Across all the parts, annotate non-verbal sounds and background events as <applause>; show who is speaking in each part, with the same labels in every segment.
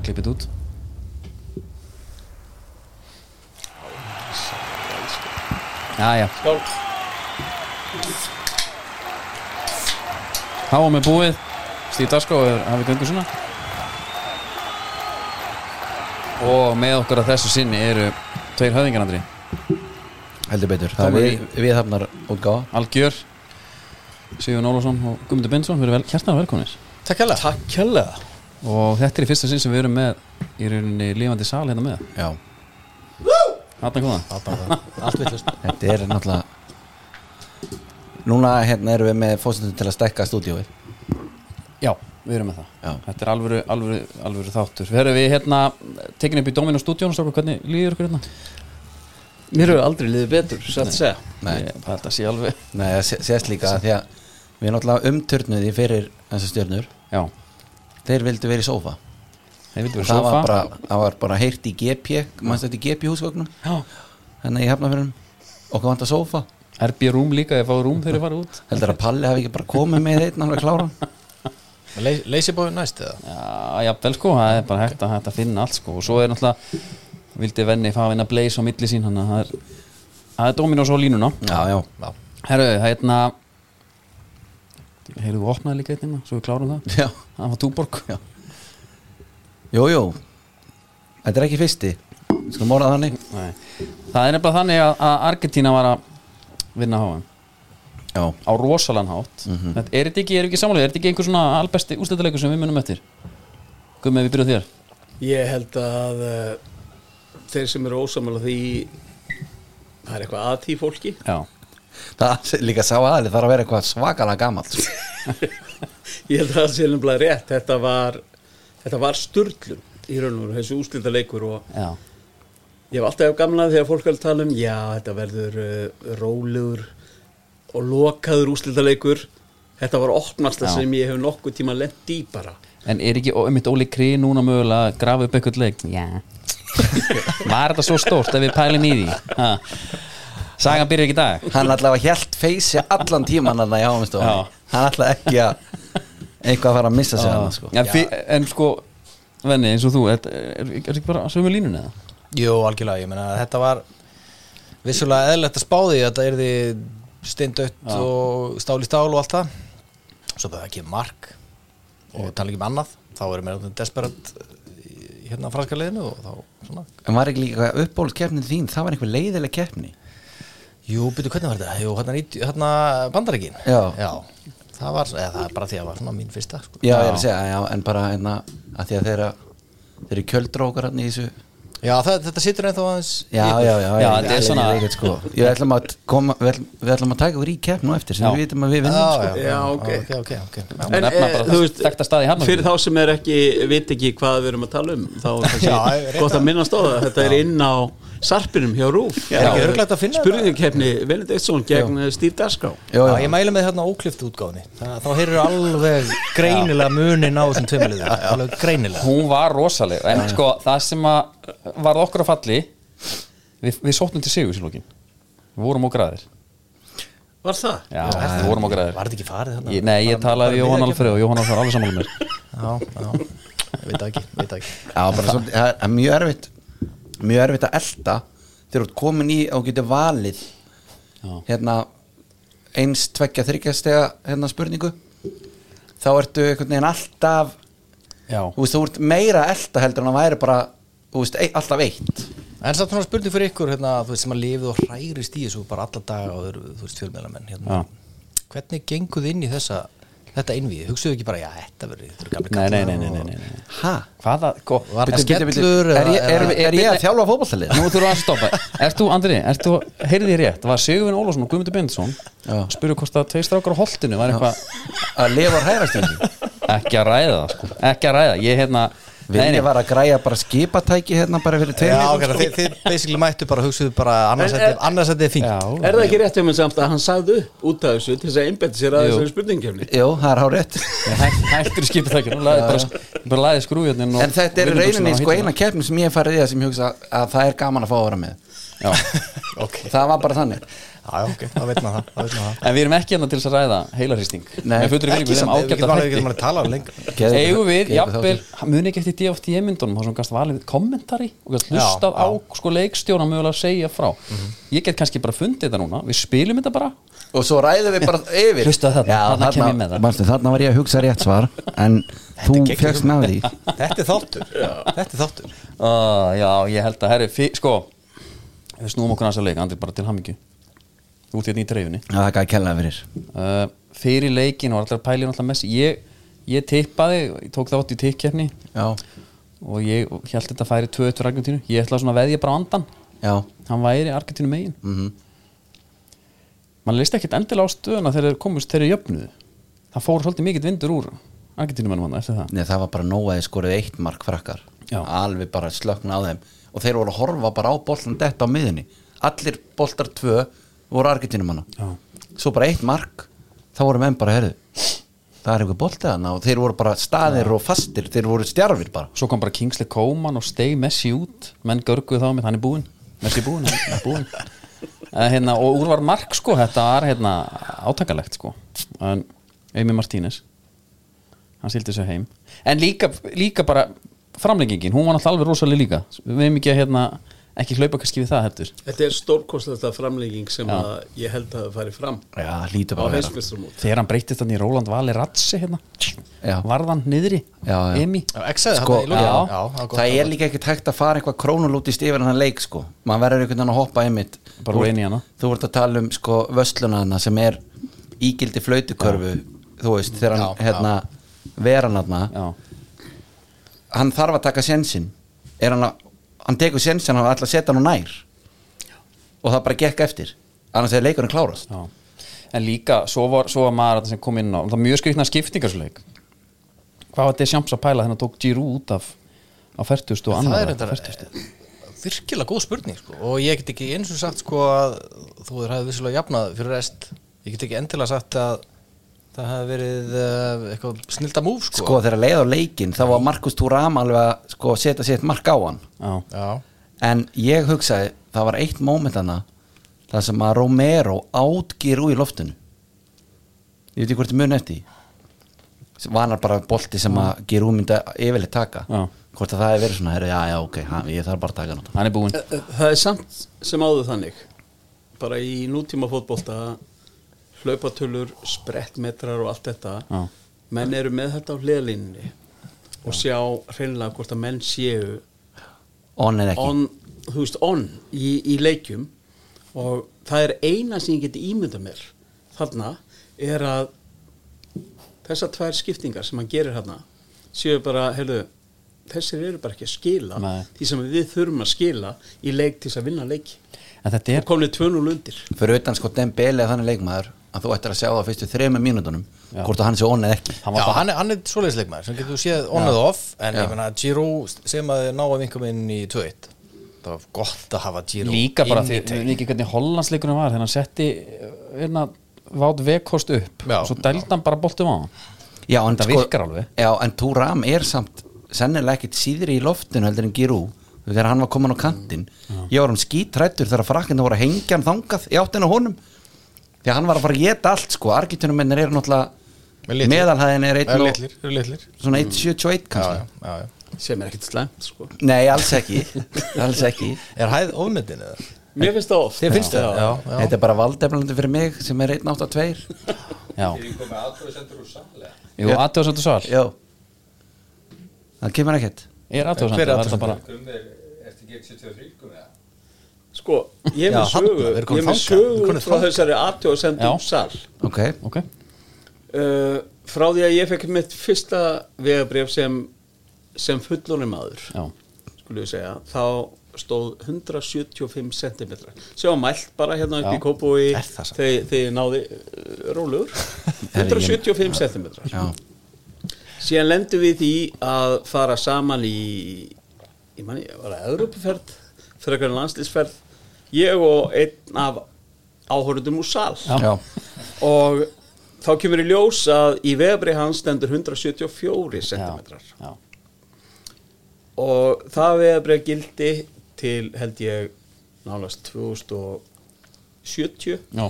Speaker 1: klippið út Jæja,
Speaker 2: Skál
Speaker 1: háum er búið Stíð Dasko er hafið göngu svona Og með okkur að þessu sinni eru tveir höfðingar Andri
Speaker 2: Heldur betur, það er við, við hafnar útgáfa
Speaker 1: Algjör Sigur Nólafsson og Guðmundur Bindsson Við erum vel, hjartnar velkominir
Speaker 2: Takk hérlega Takk hérlega
Speaker 1: Og þetta er í fyrsta sinn sem við erum með Í rauninni lifandi sal hérna með
Speaker 2: Já,
Speaker 1: Hanna kom það
Speaker 3: allt villust
Speaker 2: þetta er náttúrulega Núna hérna erum við með fósundum til að stekka stúdíóið
Speaker 1: Já, við erum með það
Speaker 2: Já.
Speaker 1: Þetta er alvöru, alvöru, alvöru þáttur Verðum við hérna tekin upp í Dominó stúdíón og hvernig líður ykkur hérna?
Speaker 3: Mér hefur aldrei liðið betur, satt að segja
Speaker 2: Nei,
Speaker 1: Ég, þetta sé alveg
Speaker 2: Nei það sé- sést líka að því að við náttúrulega umtörnuð í fyrir þessar stjörnur
Speaker 1: Já,
Speaker 2: Þeir vildu verið í sófa
Speaker 1: þeir vildu
Speaker 2: Það
Speaker 1: verið sofa
Speaker 2: var bara, það var bara heyrt í GP Manst þetta í GP húsgögnum
Speaker 1: Já,
Speaker 2: Hérna Þannig að ég hafna fyrir hann Okkur vantar sófa
Speaker 1: RB Rúm líka, ég fáið rúm þegar ég var út
Speaker 2: Heldur að Palli hafi ekki bara komið með einn alveg kláran
Speaker 3: Leysibóðu næst eða?
Speaker 1: Já, jafnvel sko, það er bara hægt að, hægt að finna allt sko Og svo er náttúrulega, vildi venni fá hérna Blaze á milli sín Þannig að það er, það er Dominós á línuna
Speaker 2: Já, já,
Speaker 3: Já
Speaker 1: Herru, hérna Heyrðu, þú opnaði líka einnig, svo við klárum það
Speaker 2: já
Speaker 1: Það var Túborg
Speaker 2: Já. Jú, jú Þetta er ekki fyrsti Skulum orða það þannig
Speaker 1: Nei. Það er nefnilega þannig að, að Argentína var að vinna HM
Speaker 2: Já,
Speaker 1: á rosalan hátt þetta, er þetta ekki, er ekki samanlega, er þetta ekki einhver svona albesti ústættileikur sem við munum eftir Guðmið, við byrjum á þér
Speaker 4: Ég held að uh, þeir sem eru ósamála því það er eitthvað að því fólki
Speaker 1: Já,
Speaker 2: það er líka sá aðlið þarf að vera eitthvað svakalega gamalt sko.
Speaker 4: ég held að það sé nefnilega rétt þetta var, þetta var störtlun í raun og veru, þessi úslita leikur og
Speaker 1: já,
Speaker 4: ég hef alltaf gamlað þegar fólk er að tala um já, þetta verður uh, rólegur og lokaður úslita leikur þetta var opnasta
Speaker 1: Já.
Speaker 4: sem ég hef nokkuð tíma lent í bara
Speaker 1: en er ekki ó- einmitt Óli Kri núna mögulega að grafa upp eitthvað leik Já <laughs> Var þetta svo stórt ef við pælum í því ha. Sagan byrjar ekki í dag
Speaker 2: Hann allavega hjælt feysi allan tíman hann að jáumstu
Speaker 1: Já.
Speaker 2: Hann allavega ekki að eitthvað að fara að missa sig hann sko.
Speaker 1: en, fi- en sko, venni, eins og þú er, er, er ekki bara sömu línun eða?
Speaker 3: Jú, algjörlega, ég meina að þetta var vissulega eðlilegt að spáði að þetta er því steindött og stál í stál og allt það svo bara það kemur mark og tala ekki um annað, þá erum við erum desperat í- hérna á franska liðinu og þá svona
Speaker 2: En var ekki líka uppbólskeppnin þín Það var einhver leiðileg keppni
Speaker 3: Jú, byrju, hvernig var þetta? Jú, hérna, nít- hérna bandarækin
Speaker 2: Já.
Speaker 3: það var, eða það er bara því að það var svona mín fyrsta sko.
Speaker 2: Já, ég er að segja, já, en bara einna, að því að þeirra þeir eru kjöldrókar hann í þessu
Speaker 3: Já, það, þetta situr ennþá aðeins í
Speaker 2: Já,
Speaker 3: ykkur.
Speaker 2: já, já,
Speaker 1: Já, þetta er svona-
Speaker 2: leiðilegt, sko. Ég ætlum að koma, við ætlum, við ætlum að taka ykkur í keppnu eftir sem
Speaker 1: Já.
Speaker 2: við vitum að við vinnum sko.
Speaker 3: já,
Speaker 4: sko.
Speaker 3: já,
Speaker 4: Já,
Speaker 3: já,
Speaker 4: ok.
Speaker 3: ok, ok, ok Já,
Speaker 1: má nefna bara þess- þekkta staði í Hafnarfirði.
Speaker 4: eh, fyrir þá sem er ekki, veit ekki hvað við erum að tala um þá er <laughs>
Speaker 3: Já,
Speaker 4: kannski
Speaker 3: rétt
Speaker 4: gott
Speaker 3: að-
Speaker 4: að minnast á það þetta er inn á sarpinum hjá Rúf
Speaker 3: er ekki örugglega hægt að finna
Speaker 4: spurningakeppni Velend Eidsson gegn eh, Steve Daskó
Speaker 2: Jó,
Speaker 3: já,
Speaker 2: já.
Speaker 3: ég mælu með hérna ókliftu útgáðni Þá heyrur alveg greinilega munin á þessum tveimaliðum Alveg greinilega
Speaker 1: hún var rosaleg en sko það sem að uh, varð okkur að falli við, við sóttum til sigur í lókin við vorum og græðir
Speaker 4: Var það?
Speaker 1: já, við vorum og
Speaker 3: Var
Speaker 1: græðir
Speaker 3: þetta ekki farið hérna?
Speaker 1: ég, nei, ég
Speaker 3: Bara- bara
Speaker 1: talaði við Jóhann
Speaker 3: miðjakefni?
Speaker 1: Alfreð og Jóhann Alfreð var alveg saman mér
Speaker 3: Já, já, ég veit það ekki, veit það ekki
Speaker 2: Já, bara svolítið, það er mjög erfitt mjög erfitt að elta þegar þú ert komin í og getur valið
Speaker 1: Já.
Speaker 2: hérna eins, tveggja, þryggja stega hérna spurningu þá ertu einhvern veginn alltaf
Speaker 1: já,
Speaker 2: þú veist, þú ert meira að elta heldur en að væri bara, þú veist, ei, alltaf eitt
Speaker 3: En samt svona spurning fyrir ykkur hérna, þú veist, sem að lifið og hrærist í þessu bara alla daga og eru, þú veist, fjölmjölamenn hérna.
Speaker 1: Já.
Speaker 3: Hvernig genguð inn í þessa þetta innvíð? Hugsuðu ekki bara, já, þetta verður þetta eru gamli
Speaker 1: nei, nei,
Speaker 3: kallar
Speaker 1: nei, nei,
Speaker 3: og-
Speaker 1: nei, nei, nei.
Speaker 2: ha?
Speaker 1: hvaða, sko
Speaker 3: Var það
Speaker 2: Bíddu, bíddu, bíddu.
Speaker 3: skellur
Speaker 2: er, ég-
Speaker 3: eða-
Speaker 2: er, er, er ég
Speaker 1: Bíddu.
Speaker 2: að þjálfa fótballtalið?
Speaker 1: nú þurfum við að stoppa ert þú, Andri, ert þú, heyrði ég rétt var Sigurvin Ólafsson og Guðmundur Bendisson
Speaker 2: Já.
Speaker 1: spurðu hvort það tveist rákar á holtinu var eitthvað
Speaker 2: að lifa að hærast þessu
Speaker 1: ekki að ræða það, sko, ekki að ræða ég hérna, nei,
Speaker 2: Vilja
Speaker 1: nei,
Speaker 2: var að græja bara skipatæki hérna bara fyrir tveim
Speaker 3: Já,
Speaker 2: leikjum,
Speaker 3: ok, þið, þið basically mættu bara hugsuðu bara annars
Speaker 4: En-
Speaker 3: þetta er- annars þetta er fínt
Speaker 1: Já.
Speaker 4: Er það ekki rétt hjá mér samt að hann sagði upp út af þessu til þess að einbetta sér að
Speaker 1: Jú.
Speaker 4: þessari spurningakefni
Speaker 2: Jú, það er há rétt
Speaker 1: Hæ- hættur skipið þekkur hún laði bara, bara hérna laði skrúfjörnin
Speaker 2: En sko þetta er í rauninni sko eina keppnum sem ég hef farið í það sem ég hugsa að það er gaman að fá að vera með
Speaker 1: já,
Speaker 3: ok
Speaker 2: það var bara þannig
Speaker 3: Já, já, ok, þá veit maður það, þá veit maður það.
Speaker 1: En við erum ekki hérna til þess að ræða heilarýsting
Speaker 2: Nei,
Speaker 1: Með fullri
Speaker 3: Ekki
Speaker 1: virðingu þeim
Speaker 3: samt, við getum
Speaker 1: ágæta
Speaker 3: alveg- við
Speaker 1: þætti
Speaker 3: getum alveg talað um lengur
Speaker 1: Eigum við,
Speaker 2: Geðveikur
Speaker 1: jafnvel,
Speaker 2: þáttur.
Speaker 1: muni ekki eftir DFT myndunum þá sem gæst valið kommentari og gæst hlustað á sko leikstjóra mögulega að segja frá
Speaker 3: Mhm.
Speaker 1: Ég get kannski bara fundið þetta núna Við spilum þetta bara
Speaker 2: og svo ræðum við bara yfir
Speaker 1: Hlustaðu þarna, þarna kem ég með það.
Speaker 2: manstu, þarna var ég að hugsa rétt svar en þú
Speaker 3: geggjum.
Speaker 2: fjögst með því
Speaker 3: Þetta er þáttur, þetta er þáttur
Speaker 1: uh, Já, ég held að herri, fi- sko Við snúum okkur aðeins að leika, Andri, bara til hamingju Út í þetta í dreifinni
Speaker 2: Já, það er gæði kellaði fyrir
Speaker 1: uh, Fyrir leikin og allar pælin alltaf messi Ég, ég tippaði, ég tók þátt í tippkeppni
Speaker 2: já,
Speaker 1: og ég held þetta færi 2-1 Argentínu ég ætlaði svona að veðja bara á andan
Speaker 2: já,
Speaker 1: hann væri Argentínu megin mm -hmm. mann leist ekkert endilega á stöðuna þegar þeir komust þeirri jöfnuðu það fór svolítið mikill vindur úr Argentínu mannum hann eftir það
Speaker 2: Nei, það var bara nóg að þið skorið eitt mark frakkar
Speaker 1: Já.
Speaker 2: alveg bara slökna á þeim og þeir voru að horfa bara á boltan detta á miðunni allir boltar tvö voru argetinu manna
Speaker 1: Já.
Speaker 2: svo bara eitt mark þá voru menn bara herðu það er einhver bolti þarna og þeir voru bara staðir og fastir þeir voru stjarfir bara
Speaker 1: svo kom bara Kingsley Coman og Stey Messi út menn görguð þá með hann er búinn Messi er búinn, hann er
Speaker 2: <laughs>
Speaker 1: búinn Eh, hérna, og úr var mark sko, þetta var hérna, átakalegt sko en Amy Martínez hann sildi sig heim en líka, líka bara framlengingin hún var náttúrulega alveg rosalega líka við hefum ekki að hérna, ekki hlaupa kannski við það heldur
Speaker 4: Þetta er stórkostlega framlegging sem að ég held að það fari fram
Speaker 2: já, hlýtu
Speaker 4: á
Speaker 2: bara að vera.
Speaker 4: heimsmeistaramót.
Speaker 1: þegar hann breytist þannig í Róland Vali Ratsi hérna,
Speaker 2: Já.
Speaker 1: varðan niðri
Speaker 2: Já, já.
Speaker 1: Amy
Speaker 3: Já, X-aði
Speaker 2: Sko,
Speaker 3: þarna í lókinu
Speaker 1: já.
Speaker 3: það er gott.
Speaker 2: það er líka ekkert hægt að fara eitthvað krónulútist yfir hann leik sko maður verður einhvern veginn að hoppa einmitt
Speaker 1: Bara
Speaker 2: Þú
Speaker 1: úr einu í
Speaker 2: ert-
Speaker 1: hana.
Speaker 2: þú ert að tala um sko vösluna hana sem er ígildi flautukörfu þú veist þegar hann
Speaker 3: Já,
Speaker 2: hérna veran hana
Speaker 1: já,
Speaker 2: hann þarf að taka sensin er hann að hann tekur sensin hann ætla að setja hann á nær og það bara gekk eftir annars er leikurinn klárast
Speaker 1: Já. En líka, svo var, svo var maður þarna sem kom inn á, það var mjög skrifna skiptingarsleik Hvað var Deschamps að pæla þannig að tók Giroud út af á fertust og
Speaker 3: það
Speaker 1: annar
Speaker 3: er þetta virkilega góð spurning sko. og ég get ekki eins og sagt sko, að þú hefði vissulega jafnað fyrir rest ég get ekki endilega sagt að það hefði verið uh, eitthvað snilda múf sko.
Speaker 2: sko þegar leið á leikinn þá var Markus Thuram alveg að sko setja sitt mark á hann
Speaker 1: Já,
Speaker 3: Já,
Speaker 2: En ég hugsaði, það var eitt moment hana Það sem að Romero átgir úr í loftinu Ég veit ekki hvort ég mun eftir því. Sem Vanar bara bolti sem að gera úmynda yfirleitt taka
Speaker 1: Já.
Speaker 2: Hvort að það hefur verið svona heyrðu, Já, já, ok, ha, ég þarf bara að taka nátt
Speaker 1: hann er búinn
Speaker 4: Eh, Það er samt sem áður þannig bara í nútíma fótbolta hlaupatölur, sprettmetrar og allt þetta
Speaker 1: Já.
Speaker 4: menn eru með þetta á hliðlinni og sjá hreinlega hvort að menn séu
Speaker 2: On eða ekki
Speaker 4: on, þú veist, on í, í leikjum og það er eina sem ég geti ímynda mér þarna er að þessar tvær skiptingar sem hann gerir þarna séu bara, heyrðu þessir eru bara ekki að skila
Speaker 1: Nei.
Speaker 4: því sem við þurfum að skila í leik til þess að vinna leik
Speaker 1: En þetta
Speaker 4: og
Speaker 1: er,
Speaker 4: komnið 2-0 undir
Speaker 2: Fyrir utan sko Dembele eða þannig leikmaður að þú ættir að sjá það á fyrstu þremur mínútunum
Speaker 1: Já.
Speaker 2: Hvort að hann sé on eða ekki
Speaker 1: hann
Speaker 3: já
Speaker 1: var bara,
Speaker 3: hann, er, hann er svoleiðisleikmaður sem getur séð on and off en
Speaker 2: Já.
Speaker 3: ég meina Giro sem að ná að vinka inn í 2-1 það var gott að hafa Giro
Speaker 1: líka bara
Speaker 3: inn
Speaker 1: því,
Speaker 3: í
Speaker 1: við
Speaker 3: teik.
Speaker 1: veitum ekki hvernig Hollandsleikurinn var þegar hann setti, eh, hérna vátt vekkost upp,
Speaker 3: Já.
Speaker 1: svo dældi hann bara boltum á hann
Speaker 2: Já, en
Speaker 1: Þetta
Speaker 2: sko-
Speaker 1: virkar alveg.
Speaker 2: Já, en Thuram er samt sennilega ekkit síðri í loftinu heldur en Girú þegar hann var komin á kantinn ég var um skítrættur þegar frakkinn voru að hengja hann þangað í áttina á honum því að hann var að fara að geta allt sko argitunumennir eru
Speaker 3: Með
Speaker 2: náttúrulega
Speaker 3: litlir.
Speaker 2: meðalhæðin er
Speaker 3: Það eru
Speaker 2: einn og
Speaker 3: litlir, eru litlir
Speaker 2: svona 1.71
Speaker 3: já, já,
Speaker 2: kannski
Speaker 3: já, já.
Speaker 4: sem er ekkert slæmt sko
Speaker 2: Nei, alls
Speaker 3: <laughs>
Speaker 2: ekki, alls ekki.
Speaker 3: er hæð ofnetin eða?
Speaker 4: Mér finnst það oft
Speaker 2: Þið finnst
Speaker 4: Já.
Speaker 2: það?
Speaker 3: já, já.
Speaker 2: Þetta er bara valdefnandi fyrir mig sem er 1.82
Speaker 1: Já Jú, aðtöðsendur sval,
Speaker 2: Já Það kemur ekkert
Speaker 1: er
Speaker 3: Hver er
Speaker 1: aðtöðsendur, það er
Speaker 3: athugasemd?
Speaker 1: bara
Speaker 4: Sko, ég er
Speaker 3: Já,
Speaker 4: með
Speaker 3: þarna,
Speaker 4: sögu
Speaker 3: við erum
Speaker 4: Ég
Speaker 3: komin
Speaker 4: er með
Speaker 3: þangað, við erum
Speaker 4: sögu
Speaker 3: komin
Speaker 4: frá
Speaker 3: þangað.
Speaker 4: þessari aðtjóðsendum
Speaker 1: Já.
Speaker 4: sal
Speaker 2: Ok,
Speaker 1: Ok,
Speaker 4: uh, frá því að ég fekk mitt fyrsta vegabref sem, sem fullonum maður
Speaker 1: já,
Speaker 4: skulum við segja, þá stóð 175 cm sem var mælt bara hérna upp
Speaker 1: Já.
Speaker 4: í Kópói
Speaker 3: Er það samt?
Speaker 4: þegar þegar ég náði uh, rólegur 175 cm
Speaker 2: já,
Speaker 4: síðan lendum við í að fara saman í ég manni, var það Európaferð frekar en landslýsferð ég og einn af áhörundum úr sal
Speaker 1: Já.
Speaker 2: já.
Speaker 4: og þá kemur í ljós að í vefri hans stendur 174
Speaker 1: já,
Speaker 4: cm
Speaker 1: já.
Speaker 4: og það veðabrið gildi til held ég nálast 2008 70
Speaker 1: Já.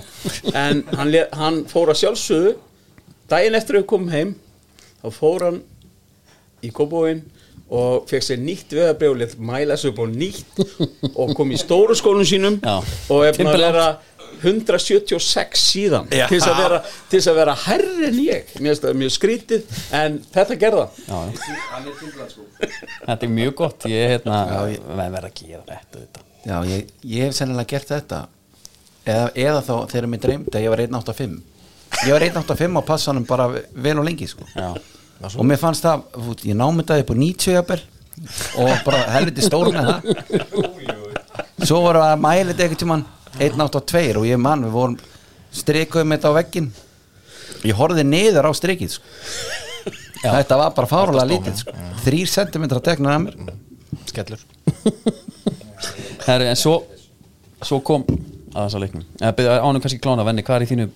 Speaker 4: en hann, le- hann fór að sjálfsögðu daginn eftir að við komum heim þá fór hann í kópóin og fekk sér nýtt veðabrjóðlið mæla sig upp á nýtt og kom í stóru skólum sínum
Speaker 1: Já.
Speaker 4: og er búin að
Speaker 1: Timberland.
Speaker 4: vera 176 síðan til þess, að vera, til þess að vera herri en ég mér finnst það mjög skrítið en þetta gerða
Speaker 1: Já, já. Þetta er mjög gott Ég hérna, verð verð að gera þetta, þetta.
Speaker 2: Já, ég, ég hef sennilega gert þetta eða, eða þá þegar mér dreymdi að ég var 1.85 ég var 1.85 á passanum bara vel og lengi sko. og mér fannst það, þú veit, ég námi þetta upp á 90 jafnvel og bara helviti stór með það svo voru að mæla þetta eitthvað tímann 1.82 og ég mann, við vorum strikuðum þetta á veggin ég horfði niður á strikið sko. þetta var Mm. bara fárulega lítið sko. 3 cm að tekna að mér
Speaker 3: skellur
Speaker 1: Herri, en svo, svo kom að þessa leiknum Eða, byrja, Ánum kannski klána, venni, hvað er í þínu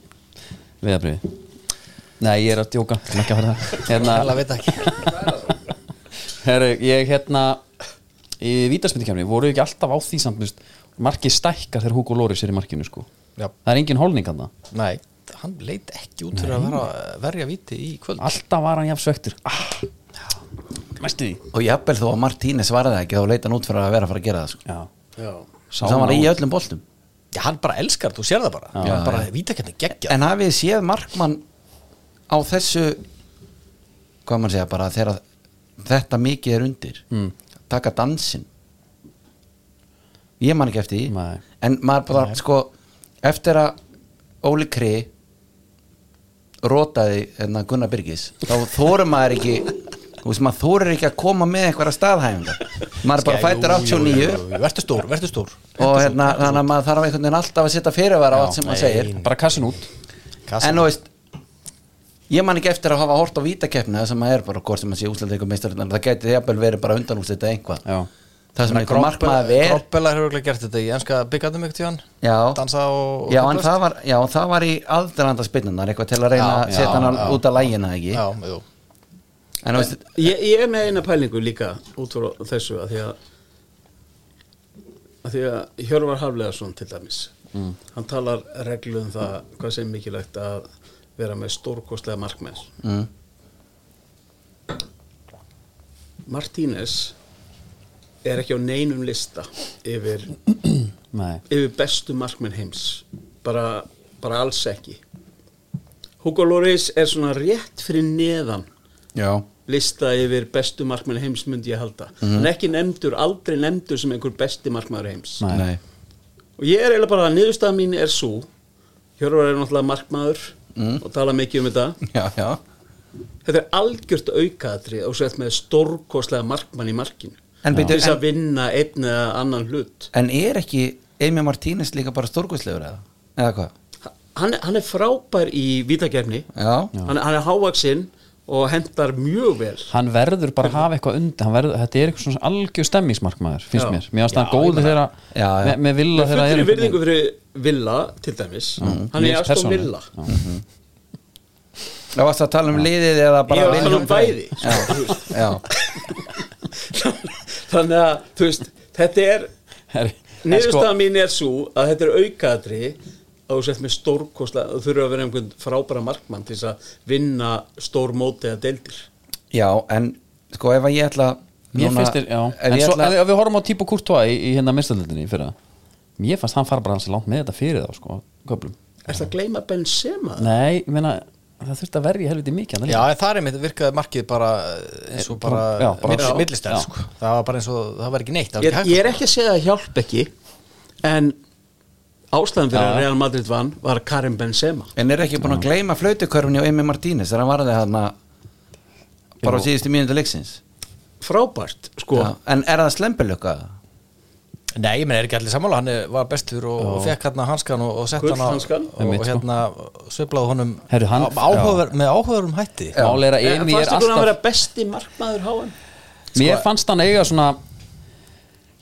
Speaker 1: veðabriði? Nei, ég er að djóka Ég er ekki að fara það
Speaker 3: Alla
Speaker 1: hérna,
Speaker 3: veit það ekki
Speaker 1: Herri, ég hérna Í vítaspindikefni voru ekki alltaf á því samt þú veist, Markið stækkar þegar Hugo Loris er í markinu sko.
Speaker 3: Já.
Speaker 1: Það er engin holning hann
Speaker 3: Nei, hann leit ekki út fyrir að vera, verja viti í kvöld
Speaker 1: Alltaf var hann jafn svektur ah, Mæstu því
Speaker 2: og jafnvel þó að Martínez svaraði ekki þá leita hann út fyrir að vera að fara að gera það sko.
Speaker 1: Já,
Speaker 2: Sá hann var í öllum boltum
Speaker 3: Já, hann bara elskar, þú sér það bara já, hann bara vita hvernig geggja
Speaker 2: en hafið þið séð Markmann á þessu hvað mann segja bara þegar þetta mikið er undir mm. taka dansinn ég man ekki eftir því
Speaker 1: Nei.
Speaker 2: en maður bara sko eftir að Óli Kri rótaði hérna, Gunnar Byrgis þá þórum maður ekki þú veist maður þórir ekki að koma með einhverja staðhæfingar maður er bara fættur 89
Speaker 3: Vertu stór, vertu stór
Speaker 2: og hérna, þannig að maður þarf einhvern veginn alltaf að setja fyrirvara á allt sem maður segir
Speaker 1: Bara kassin út
Speaker 3: Kassan.
Speaker 2: en þú veist ég man ekki eftir að hafa hort á vítakeppni það sem maður er bara, hvort sem maður sé úslega eitthvað meistar það gæti jafnvel verið bara undan úslega einhvað
Speaker 1: Já.
Speaker 2: það sem einhver markmaður ver
Speaker 3: Kroppela hefur örugglega gert þetta í enska byggandum ykkur tíðan
Speaker 2: já,
Speaker 3: Dansa og
Speaker 2: já, en það var, já, það var í aðdralanda spinnunar eitthvað til að reyna
Speaker 3: Já,
Speaker 2: að
Speaker 3: já,
Speaker 2: setja hann
Speaker 3: já.
Speaker 2: út af lægina ekki
Speaker 3: Já, jú
Speaker 2: en þú veist,
Speaker 4: ég, ég er með eina pælingu líka út frá þessu að því að að því að Hjörvar Hafleðarsson til dæmis
Speaker 2: Mm.
Speaker 4: hann talar reglu um það hvað sem mikilvægt að vera með stórkostlega markmenn
Speaker 2: mm,
Speaker 4: Martínez er ekki á neinum lista yfir,
Speaker 1: Nei,
Speaker 4: yfir bestu markmenn heims bara, bara alls ekki Hugo Lloris er svona rétt fyrir neðan
Speaker 2: já,
Speaker 4: lista yfir bestu markmenn heims myndi ég halda
Speaker 1: Mhm.
Speaker 4: hann er ekki nefndur, aldrei nefndur sem einhver besti markmaður heims
Speaker 1: Nei.
Speaker 2: nei
Speaker 4: og ég er eiginlega bara að niðurstaða mín er svo Hjörvar er náttúrulega markmaður
Speaker 1: Mhm.
Speaker 4: og tala mikið um þetta
Speaker 2: já, já,
Speaker 4: þetta er algjört aukaðri og svo eftir með stórkoslega markmann í markinu
Speaker 2: En bíddu,
Speaker 4: til þess
Speaker 2: en-
Speaker 4: að vinna einn eða annan hlut
Speaker 2: en er ekki Amy Martínez líka bara stórkvæslegur eða, eða hvað,
Speaker 4: hann, hann er frábær í vítakefni
Speaker 2: já,
Speaker 4: hann, hann er hávaksinn og hendar mjög vel
Speaker 1: hann verður bara að hafa eitthvað undir hann verður, Þetta er eitthvað svona algjör stemmingsmarkmaður finnst
Speaker 4: Já.
Speaker 1: mér, mér finnst það góður þeirra
Speaker 2: Já, já.
Speaker 1: með, með vilja þeirra
Speaker 4: fullri virðingu fyrir Villa til dæmis, hann er
Speaker 1: Mm, Ég
Speaker 4: Aston
Speaker 1: persónulega.
Speaker 4: Villa
Speaker 2: þá varst að tala um liðið eða bara
Speaker 4: ég var að tala um
Speaker 2: William Frey?
Speaker 4: bæði
Speaker 2: já, já
Speaker 4: þannig að þú veist, þetta er
Speaker 1: sko,
Speaker 4: niðurstaða mín er svo að þetta er aukaðri að þú sett með stórkosla þú þurfa að vera einhvern frábæra markmann til þess að vinna stór móti eða deildir
Speaker 2: Já, en sko ef að ég ætla
Speaker 1: Mér
Speaker 2: núna-
Speaker 1: finnst þér, já
Speaker 2: ef
Speaker 1: En
Speaker 2: ég
Speaker 1: svo,
Speaker 2: ætla,
Speaker 1: ef, ef við horfum á Tíbo Courtois í, í hérna mistöldinni fyrir Mér fannst hann fara bara hans langt með þetta fyrir þá sko, köflum
Speaker 4: Er það að gleyma Benzema?
Speaker 1: Nei, ég meina, það þurfti að verja helviti mikið hérna hann
Speaker 3: Já, en það er einmitt virkaði markið bara eh, eins og bara,
Speaker 1: Já, bara-
Speaker 3: bara
Speaker 1: Já.
Speaker 3: millistæð
Speaker 1: Já.
Speaker 3: sko. það var bara eins og, það var ekki neitt það var
Speaker 4: Ég,
Speaker 3: ekki
Speaker 4: ég
Speaker 3: hægt sko.
Speaker 4: er ekki að segja að það hjálp ekki en ástæðan fyrir að Real Madrid vann var Karim Benzema
Speaker 2: En er ekki búin að gleyma flautukörfunni á Amy Martínez þegar hann varði hann bara á síðustu mínútu leiksins
Speaker 4: frábært sko
Speaker 2: Já, En er það slempilöka?
Speaker 3: Nei, ég menn er ekki allir sammála, hann er- var bestur og, og fekk hérna hanskan og, og sett hann á
Speaker 4: Gullhanskann.
Speaker 3: og,
Speaker 1: Einmitt,
Speaker 3: og
Speaker 1: sko.
Speaker 3: hérna sveiflaði honum
Speaker 1: Herru, hann-
Speaker 3: á- áhugaver, með áhugaverum hætti
Speaker 1: Mál er að
Speaker 4: En
Speaker 1: Emi
Speaker 4: Eh,
Speaker 1: er
Speaker 4: fannst ykkur að
Speaker 1: alltaf
Speaker 4: vera besti markmaður háan?
Speaker 1: Mér fannst hann eiga svona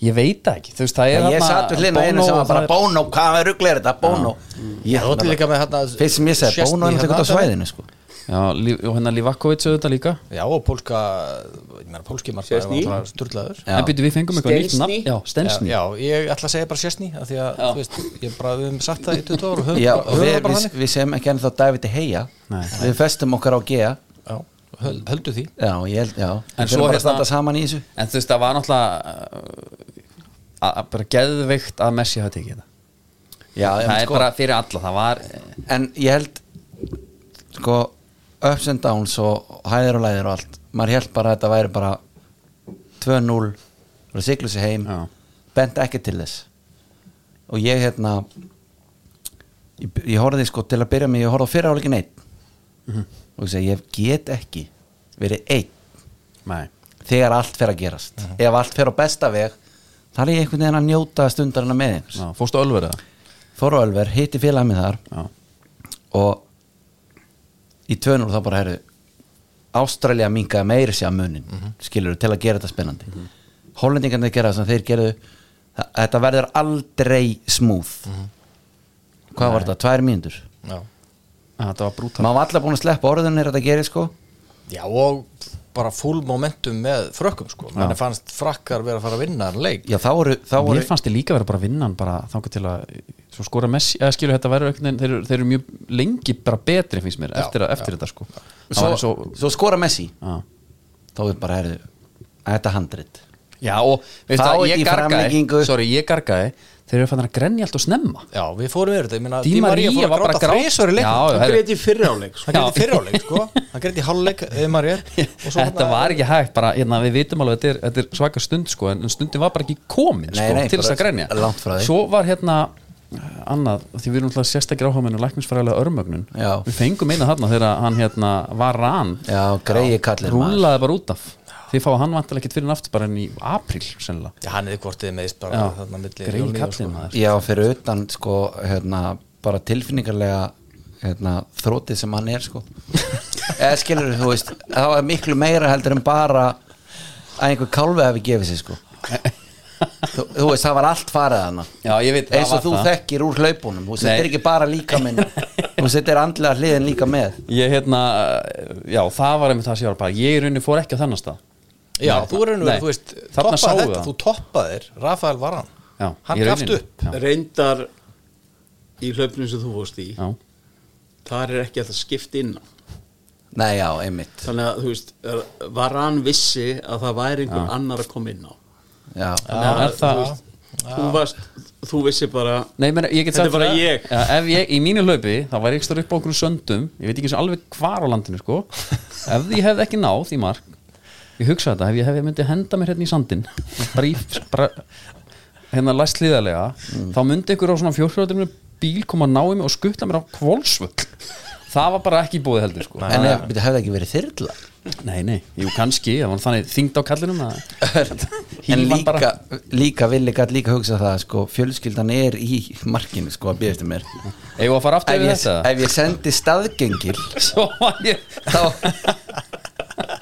Speaker 1: Ég veit það ekki, þú veist, það er
Speaker 2: Ég
Speaker 1: þarna
Speaker 2: satt við hlina einu
Speaker 1: Bono
Speaker 2: sem
Speaker 1: og
Speaker 2: var bara
Speaker 1: það er-
Speaker 2: Bono, hvað er rugglega þetta? Bono
Speaker 3: Ég þótti líka með hérna
Speaker 2: Fyrst sem ég segi,
Speaker 3: Chesney
Speaker 2: Bono er
Speaker 3: hérna,
Speaker 2: náttúrulega gott á
Speaker 3: þetta-
Speaker 2: svæðinu sko
Speaker 1: Já, Lí- og hérna Livakovic auðvitað líka
Speaker 3: Já, og pólska, ég meina pólski markaður
Speaker 4: Szczesny.
Speaker 3: var sturlaður
Speaker 2: Já.
Speaker 1: En býtu við fengum eitthvað nýtt
Speaker 4: Stensny.
Speaker 1: nafn Já, Stensni
Speaker 3: Já, já, ég ætla að segja bara Sjössni af því að, þú veist, ég bara, við höfum sagt það í 20 ára og höfum
Speaker 2: Já,
Speaker 3: bara,
Speaker 2: og
Speaker 3: höfum
Speaker 2: við,
Speaker 3: það bara
Speaker 2: við,
Speaker 3: þannig
Speaker 2: við segjum ekki ennþá David Heia
Speaker 1: Nei.
Speaker 2: Við festum okkar á Gea
Speaker 3: Já, höld- höldu því
Speaker 2: Já, ég held, já
Speaker 1: En
Speaker 2: En
Speaker 1: svo
Speaker 2: svo bara
Speaker 1: hérna-
Speaker 2: að standa saman í þessu
Speaker 1: En þú veist, það var náttúrulega uh, að, að bara geðveikt að Messi hafa tekið þetta
Speaker 2: Já, en,
Speaker 1: Það er
Speaker 2: sko,
Speaker 1: bara fyrir alla, það var eh,
Speaker 2: en ég held Sko, ups and downs og hæðir og læðir og allt Maður held bara að þetta væri bara 2-0 Bara siglu sig heim
Speaker 1: Já.
Speaker 2: Bent ekki til þess Og ég hérna Ég, ég horfði sko til að byrja með Ég horfði á fyrra áleikin einn
Speaker 1: Mhm.
Speaker 2: Og ég segi, ég get ekki verið einn
Speaker 1: Nei,
Speaker 2: þegar allt fer að gerast
Speaker 1: Mhm.
Speaker 2: ef allt fer á besta veg þá er ég einhvern veginn að njóta stundarina með þeim
Speaker 1: já, fórstu ölverið
Speaker 2: fór á Ölver, hitti félagið mig þar
Speaker 1: Já,
Speaker 2: og í tvönur þá bara herðu Ástralja minkaði meiri sér að munin mm
Speaker 1: Mhm.
Speaker 2: til að gera þetta spennandi mm gera það sem þeir gerðu þa- þetta verður aldrei smúð
Speaker 1: Mhm.
Speaker 2: hvað var þetta, tvær mínútur
Speaker 3: Já,
Speaker 1: þetta var brútal
Speaker 2: maður var allar búin að sleppa orðunir að þetta gerir sko
Speaker 3: já og bara full momentum með frökkum, sko Þannig fannst frakkar vera að fara að vinna en leik
Speaker 2: já þá voru, þá voru
Speaker 1: Mér fannst þið líka vera bara vinnan bara þangar til að svo skora Messi, eða skilur þetta verður einhvern veginn þeir, eru- þeir eru mjög lengi bara betri finnst mér eftir, að, eftir þetta sko Það
Speaker 2: svo,
Speaker 1: var eins
Speaker 2: svo,
Speaker 1: og-
Speaker 2: skora Messi
Speaker 1: Já.
Speaker 2: þá er bara herðu, þetta er handrit
Speaker 1: Já og veistu
Speaker 2: Þá
Speaker 1: það,
Speaker 2: ekki
Speaker 1: ég
Speaker 2: í
Speaker 1: gargaði
Speaker 2: framlengingu.
Speaker 1: Sorry, ég gargaði Þeir eru fannar að grenja allt og snemma
Speaker 3: Já, við fórum yfir þetta, ég meina
Speaker 1: Di Maria
Speaker 3: fór
Speaker 1: var
Speaker 3: að
Speaker 1: bara
Speaker 3: gráta
Speaker 1: grát-
Speaker 3: þrisvar í leiknum.
Speaker 1: Já,
Speaker 4: Það
Speaker 1: herri.
Speaker 4: greið í fyrráleik sko.
Speaker 3: Hann gerði
Speaker 1: Já.
Speaker 3: fyrirháleik, sko Hann gerði í háluleik,
Speaker 1: <laughs>
Speaker 3: Di Maria og svo
Speaker 1: Þetta
Speaker 3: hérna-
Speaker 1: var ekki hægt, bara hérna, við vitum alveg að þetta er, þetta er svaka stund sko, en en stundin var bara ekki komin
Speaker 2: Nei,
Speaker 1: sko,
Speaker 2: nei,
Speaker 1: til þess að
Speaker 2: bara
Speaker 1: grænja
Speaker 2: langt frá því.
Speaker 1: Svo var hérna eh, annað, því við erum alltaf sérstakir áhafmenn og læknisfræðilega örmögnun
Speaker 2: Já.
Speaker 1: Við fengum eina þarna þegar hann hérna var rann
Speaker 2: Já, greiði kallir maður
Speaker 1: rúlaði bara út af Þið fá hann vantilega ekkert fyrir nátt bara enn í apríl sennilega
Speaker 3: Já, hann hefði kortið meðist bara þarna milli
Speaker 1: greið
Speaker 3: jólíða, sko.
Speaker 1: kallinn maður <laughs>
Speaker 2: Já, fyrir utan sko hérna, bara tilfinningarlega hérna, þrótið sem hann er sko
Speaker 1: <laughs>
Speaker 2: eða skilur þú veist það var miklu meira heldur en bara að einhver kálfi hafi gefið sér sko þú, þú veist, það var allt farið hana
Speaker 1: Já, ég veit, það
Speaker 2: eins og
Speaker 1: var
Speaker 2: þú
Speaker 1: það.
Speaker 2: þekkir úr hlaupunum þú veist,
Speaker 1: Nei.
Speaker 2: þetta er ekki bara líka minn
Speaker 1: <laughs>
Speaker 2: þú veist, þetta er andlega hliðin líka með
Speaker 1: Ég hérna, já, það var einmitt það sem ég var bara Ég í rauninni fór ekki á þennan stað
Speaker 3: Já,
Speaker 1: Nei,
Speaker 3: þú er henni
Speaker 1: nei.
Speaker 3: verið, þú veist,
Speaker 1: Þarna
Speaker 3: toppaði
Speaker 1: sáu
Speaker 3: þetta,
Speaker 1: það.
Speaker 3: þú toppaðir Rafael Varan,
Speaker 1: Já,
Speaker 3: hann
Speaker 1: í
Speaker 3: gafst
Speaker 1: rauninni.
Speaker 3: upp
Speaker 1: Já.
Speaker 4: Reyndar í hlaupnum sem þú fórst í
Speaker 1: Já,
Speaker 4: þar er ekki alltaf skipt inn á.
Speaker 2: Nei, já, einmitt
Speaker 4: þannig að þú veist er- var hann vissi að það væri einhver annar að koma inn á
Speaker 2: já.
Speaker 1: já er það
Speaker 4: þú, varst, þú vissi bara
Speaker 1: Nei, meni, ég get
Speaker 4: Þetta er
Speaker 1: sagt
Speaker 4: bara
Speaker 1: það.
Speaker 4: ég.
Speaker 1: Já, Ef ég, í mínu hlaupi, þá væri ég stór upp á okkur söndum Ég veit ekki eins og alveg hvar á landinu, sko Ef ég hefði ekki náð í mark Ég hugsa þetta, ef ég hefði myndi henda mér hérna í sandin <laughs> Bara, í, bara hérna læst hlýðarlega Þá myndi ykkur á svona fjórhjóðatum bíl koma að ná í mig og skutta mér á kvolsvöld Það var bara ekki búið heldur, sko
Speaker 2: en ef, þetta hefði ekki verið þyrla
Speaker 1: Nei, nei, jú, kannski, það var þannig þyngd á kallinum að
Speaker 2: en
Speaker 1: Hífa
Speaker 2: líka,
Speaker 1: bara.
Speaker 2: líka villi gætt líka hugsa það sko, fjölskyldan er í markinu sko að býðast um mér
Speaker 1: Eigum við að fara aftur
Speaker 2: ef
Speaker 1: við
Speaker 2: ég,
Speaker 1: þetta?
Speaker 2: ef ég sendi staðgengil
Speaker 1: Svo var ég
Speaker 2: þá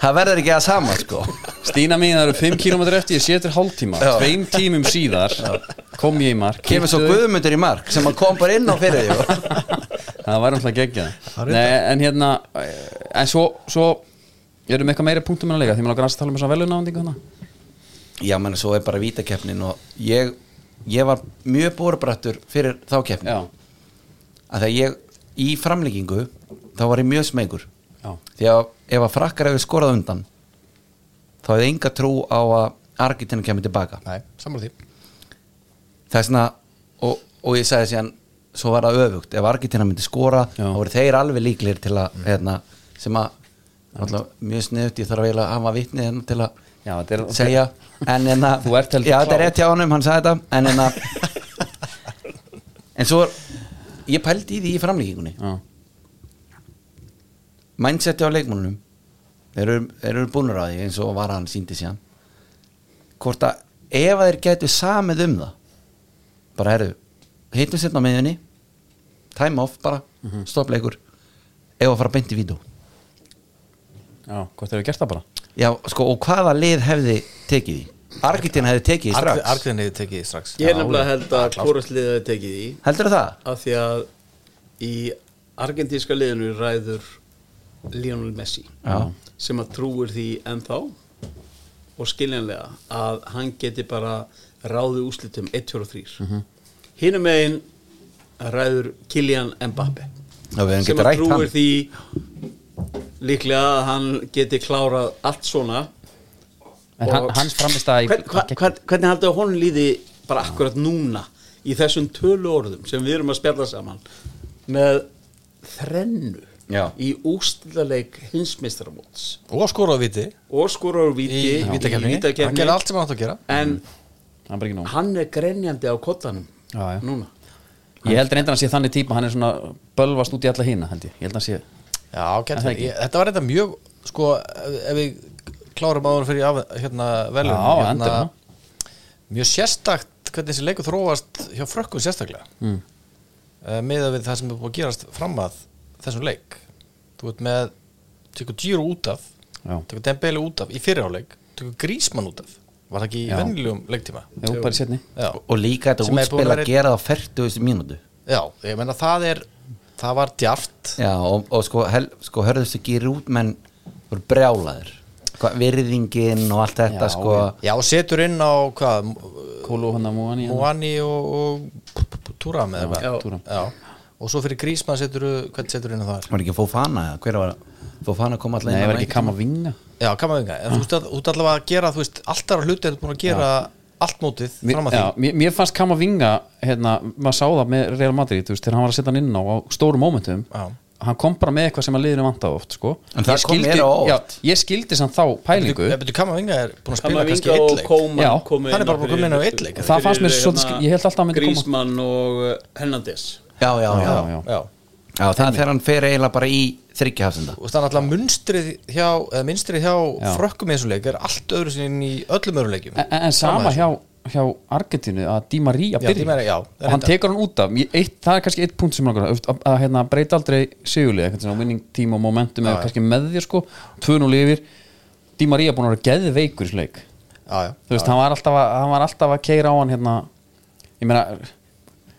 Speaker 2: það verður ekki að sama sko
Speaker 1: Stína mín, það eru 5 km eftir, ég sé eftir hálftíma
Speaker 2: Já.
Speaker 1: Tveim tímum síðar kom ég í mark
Speaker 2: kemur svo
Speaker 1: Hittu-
Speaker 2: guðmundur í mark sem að kom bara inn á sko. fyrir því
Speaker 1: <laughs> Það var alltaf geggja En hérna, eh, en svo, svo Erum við eitthvað meira punktum en að leika Því mér langar aðeins að tala um þess að velunándingu hana
Speaker 2: já menn svo er bara vítakeppnin og ég, ég var mjög búrbrættur fyrir þá keppnin
Speaker 1: Já,
Speaker 2: að þegar ég í framlíkingu þá var ég mjög smeykur
Speaker 1: já,
Speaker 2: því að ef að frakkar hefur skorað undan þá hefði enga trú á að Argentinu kemur tilbaka
Speaker 3: Nei, samar því
Speaker 2: það er svona og, og ég sagði síðan, svo var það öfugt ef Argentina myndi skora,
Speaker 1: Já. Mm.
Speaker 2: þá voru þeir alveg líklir til að, hérna, sem að alltaf, mjög sniðut, ég þarf eiginlega að hafa vitni hérna til að
Speaker 1: já þetta er
Speaker 2: segja en en að,
Speaker 1: <laughs> Þú ert heldur
Speaker 2: já þetta er
Speaker 1: klár.
Speaker 2: rétt hjá honum, hann sagði þetta en
Speaker 1: <laughs>
Speaker 2: en að en svo, ég pældi í því í framlíkingunni
Speaker 1: Já,
Speaker 2: mindsetti á leikmónunum þeir eru, þeir eru búnur að því eins og var hann síndi síðan hvort að ef að þeir gætu samið um það bara eru hittum setna á meðunni time off bara, mm
Speaker 3: Mhm.
Speaker 2: leikur ef að fara beint í vídó
Speaker 1: já, hvort hefur gert það bara
Speaker 2: já sko og hvaða lið hefði tekið því Argentin hefði tekið því strax
Speaker 3: Argrinni tekið því strax
Speaker 4: ég er nefnilega held að kórasliðið hefði tekið í
Speaker 2: heldur það?
Speaker 4: af því að í argentíska liðinu ræður Lionel Messi
Speaker 2: Já.
Speaker 4: sem að trúir því ennþá og skiljanlega að hann geti bara ráði úslitum 1, 2 og 3 mm
Speaker 2: Mhm.
Speaker 4: -hmm. hinum megin ræður Kylian Mbappe
Speaker 2: Já, við höfum
Speaker 4: sem
Speaker 2: getað
Speaker 4: að
Speaker 2: rætt
Speaker 4: trúir
Speaker 2: hann.
Speaker 4: því líklega að hann geti klárað allt svona
Speaker 1: En
Speaker 4: Og-
Speaker 1: hann, hans framist að
Speaker 4: hvern, hva, hvern, hvernig haldið að honum líði bara akkurat núna í þessum tölu orðum sem við erum að spjalla saman með þrennu
Speaker 2: Já.
Speaker 4: í ústilaleik hinsmeistaramóts
Speaker 3: Og skóraði viti
Speaker 4: og skorar úr víti
Speaker 3: Í vítakefni Hann gerði allt sem hann átt að gera Mm.
Speaker 4: en
Speaker 1: Hann er bara ekki nóg
Speaker 4: hann er grenjandi á kottanum
Speaker 1: Já, já.
Speaker 4: núna
Speaker 1: Ég held reyndar að hann sé þannig típa Hann er svona bölvast út í alla hína held ég Ég held að hann sé
Speaker 3: Já,
Speaker 1: Er
Speaker 3: gæti
Speaker 1: það
Speaker 3: verið.
Speaker 1: ekki?
Speaker 3: Ég- Þetta var þetta mjög Sko, ef ef við klárum áður fyrir af, hérna, velum
Speaker 1: Já,
Speaker 3: hérna,
Speaker 1: endilega.
Speaker 3: Mjög sérstakt hvernig þessi leikur þróast hjá frökkum sérstaklega mm. meða við það sem er búið að gerast fram að þessum leik Þú veit með tekur Giro út af
Speaker 1: Já.
Speaker 3: tekur Dembele út af í fyrirháleik tekur Grísmann út af Var það ekki í
Speaker 1: Já. hérna?
Speaker 3: vennilegum leiktíma?
Speaker 1: Jú, bara í setni
Speaker 3: Já.
Speaker 2: og líka þetta
Speaker 3: Sem er
Speaker 2: útspil
Speaker 3: búin að
Speaker 2: að
Speaker 3: vera-
Speaker 2: gera það á 40 mínútu
Speaker 3: Já, ég meina það er það var djart
Speaker 2: Já, og, og sko, hel, sko hörðustu ekki rút menn voru brjálaðir Hva, virðingin og allt þetta
Speaker 1: Já,
Speaker 2: sko
Speaker 3: Já, og setur inn á hvað,
Speaker 1: Kólu hann að múan í
Speaker 3: Moani og, og Túram eða
Speaker 1: Já,
Speaker 3: hvað
Speaker 1: Thuram.
Speaker 3: Já. og svo fyrir Grísmann setur hvernig setur inn á það
Speaker 2: var ekki Fofana eða hver var Fofana kom alltaf
Speaker 1: Nei,
Speaker 2: inn
Speaker 1: það
Speaker 2: á
Speaker 1: er
Speaker 2: leikinn?
Speaker 1: ekki kam að vinga
Speaker 3: já, kamavinga, en þú veist að þú ert allavega að gera þú veist, allt aðra hluti er búin að gera allt mótið
Speaker 1: Mér,
Speaker 3: fram að því
Speaker 1: já, mér, mér fannst kam að vinga hérna, maður sá það með Real Madrid þú veist, þegar hann var að setja hann inn á, á stórum mómentum
Speaker 3: Já.
Speaker 1: hann kom bara með eitthvað sem að liðinu vanta oft sko.
Speaker 2: En það
Speaker 1: Ég
Speaker 2: kom
Speaker 1: skildi-
Speaker 2: mér á óvart.
Speaker 1: já, ég skildi samt þá pælingu
Speaker 3: Ég betur Kamavinga er búin að spila kannski
Speaker 4: Kamavinga
Speaker 3: eitt
Speaker 4: og
Speaker 3: leik
Speaker 4: Kóman
Speaker 1: Já,
Speaker 4: komu
Speaker 3: hann er
Speaker 4: inn á
Speaker 3: bara búinn að koma inn á
Speaker 4: fyrir-
Speaker 3: einn leik.
Speaker 1: Það fannst mér
Speaker 4: fyrir,
Speaker 1: svolítið
Speaker 4: hérna,
Speaker 1: sk- ég held alltaf hann myndi koma.
Speaker 4: Griezmann og uh, Hernandez
Speaker 2: já, já, já, já,
Speaker 1: já.
Speaker 3: já.
Speaker 2: það er þegar hann fer eiginlega bara í þryggjahafsenda
Speaker 3: og það er alltaf munstrið hjá, eða munstrið hjá
Speaker 1: Já.
Speaker 3: frökkum í þessum leik er allt öðru sinni í öllum öðrum leikjum
Speaker 1: en, en- en
Speaker 3: Fram
Speaker 1: sama
Speaker 3: að þessu.
Speaker 1: hjá, hjá Argentínu að Di Maria
Speaker 3: Já, Di
Speaker 1: byrja
Speaker 3: Maria, já,
Speaker 1: og hann
Speaker 3: reyndar.
Speaker 1: tekur hann út af Ég- eitt, það er kannski eitt punkt sem langar að, að, að hérna, breyta aldrei sigurlið eitthvað svona winning team og momentum eða kannski með þér sko, 2-0 yfir Di Maria búin að vera geðveikur í þessu leik
Speaker 3: já, já.
Speaker 1: þú veist, hann var alltaf að, hann var alltaf að keira á hann hérna, ég meina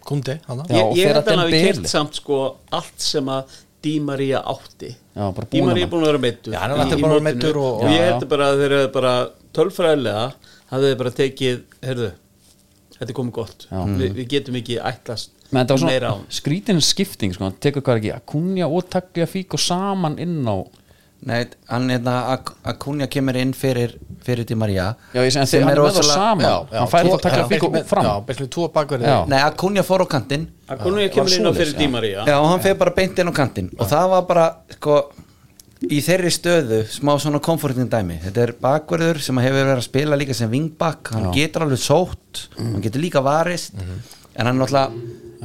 Speaker 3: Kundi, hann
Speaker 1: Já,
Speaker 4: ég,
Speaker 1: og
Speaker 4: ég
Speaker 1: þegar
Speaker 4: held að hann hafi
Speaker 1: Dembele-
Speaker 4: kert samt sko allt sem að Di Maria átti
Speaker 1: Já, bara
Speaker 4: Di
Speaker 1: búin að-
Speaker 4: Maria er búin að vera meittur
Speaker 3: Já, hann er
Speaker 4: í-
Speaker 3: alltaf
Speaker 4: í
Speaker 3: bara
Speaker 4: mótinu.
Speaker 3: meiddur og-
Speaker 4: og ég
Speaker 1: Já,
Speaker 4: held
Speaker 1: já.
Speaker 4: bara að þeir eru bara tölfræðilega hafði þeir bara tekið, heyrðu þetta er komið gott, Vi, við getum ekki ætlast
Speaker 1: menn þetta var
Speaker 4: meira á
Speaker 1: svona skrítin skipting sko, hann tekur hvað ekki, Akunja og Taglia Fík og saman inn á
Speaker 2: Nei, hann hérna að Kunja kemur inn fyrir, fyrir til Maria
Speaker 1: já, ég segi, þeir hann er með það saman hann fær það Taglia Fík og fram
Speaker 3: Já, byrjum tvo bakverði
Speaker 1: Já.
Speaker 2: Nei, að Kunja fór á kantinn
Speaker 4: að konunni kemur inn á fyrir Di Maria
Speaker 2: Já, og hann fer bara beint inn á kantinn og það var bara, sko í þeirri stöðu, smá svona komfortin dæmi þetta er bakverður sem hefur verið að spila líka sem vingbak, hann getur alveg sótt hann getur líka varist en hann er náttúrulega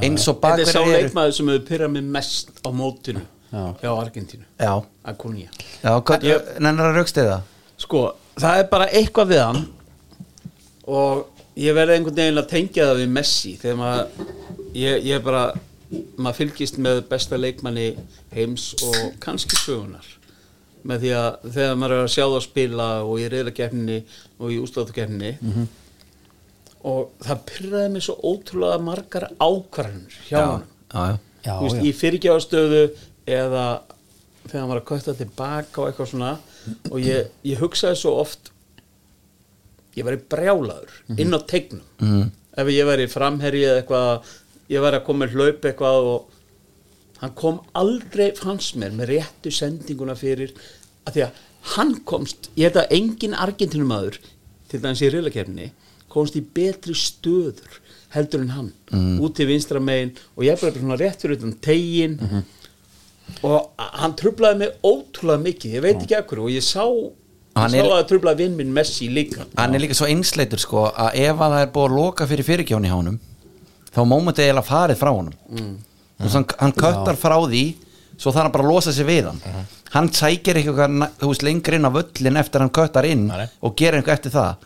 Speaker 2: eins og
Speaker 4: þetta er sá
Speaker 2: bakverður
Speaker 4: leikmaður sem hefur pyrrað mig mest á mótinu hjá Argentínu
Speaker 2: Já,
Speaker 4: að konunni
Speaker 2: já, hvað,
Speaker 4: Ég-
Speaker 2: nennar að raukstu það
Speaker 4: sko, það er bara eitthvað við hann og ég verði einhvern veginn að tengja það við Messi þegar maður ég, ég er bara, maður fylgist með besta leikmanni heims og kannski sögunar með því að þegar maður er að sjá það spila og í reyðakefninni og í úslátukefninni og það pyrraði mig svo ótrúlega margar ákvarðanir hjá hann
Speaker 2: Já, já,
Speaker 1: Já,
Speaker 4: Þú veist,
Speaker 1: já.
Speaker 4: í fyrirgjáðastöðu eða þegar hann var að kvötta tilbaka og eitthvað svona og ég, ég hugsaði svo oft ég væri brjálaður
Speaker 1: Mhm.
Speaker 4: inn á tegnum -hmm. ef ég væri framherji eða eitthvað ég væri að koma með hlaup eitthvað og hann kom aldrei fannst mér með réttu sendinguna fyrir að því að hann komst ég held að engin argentinumæður til dæmis í reylakefni komst í betri stöður heldur en hann
Speaker 2: Mm.
Speaker 4: út til vinstra megin og ég bara svona rétt fyrir utan tegin
Speaker 2: Mhm.
Speaker 4: og a- hann trublaði mig ótrúlega mikið, ég veit ekki af hverju og ég sá,
Speaker 2: Hann
Speaker 4: ég sá
Speaker 2: er-
Speaker 4: að það trublaði vinn minn Messi líka
Speaker 2: hann er líka svo einsleitur sko að ef að það er búið að loka fyrir fyrirgjóni hjá honum þá mómentið er eiginlega farið frá honum mm. hann, hann köttar frá því svo þarf hann bara að losa sig við hann hann sækir eitthvað na- þú veist lengur inn á völlin eftir hann köttar inn
Speaker 3: Nei, nei.
Speaker 2: og gerir eitthvað eftir það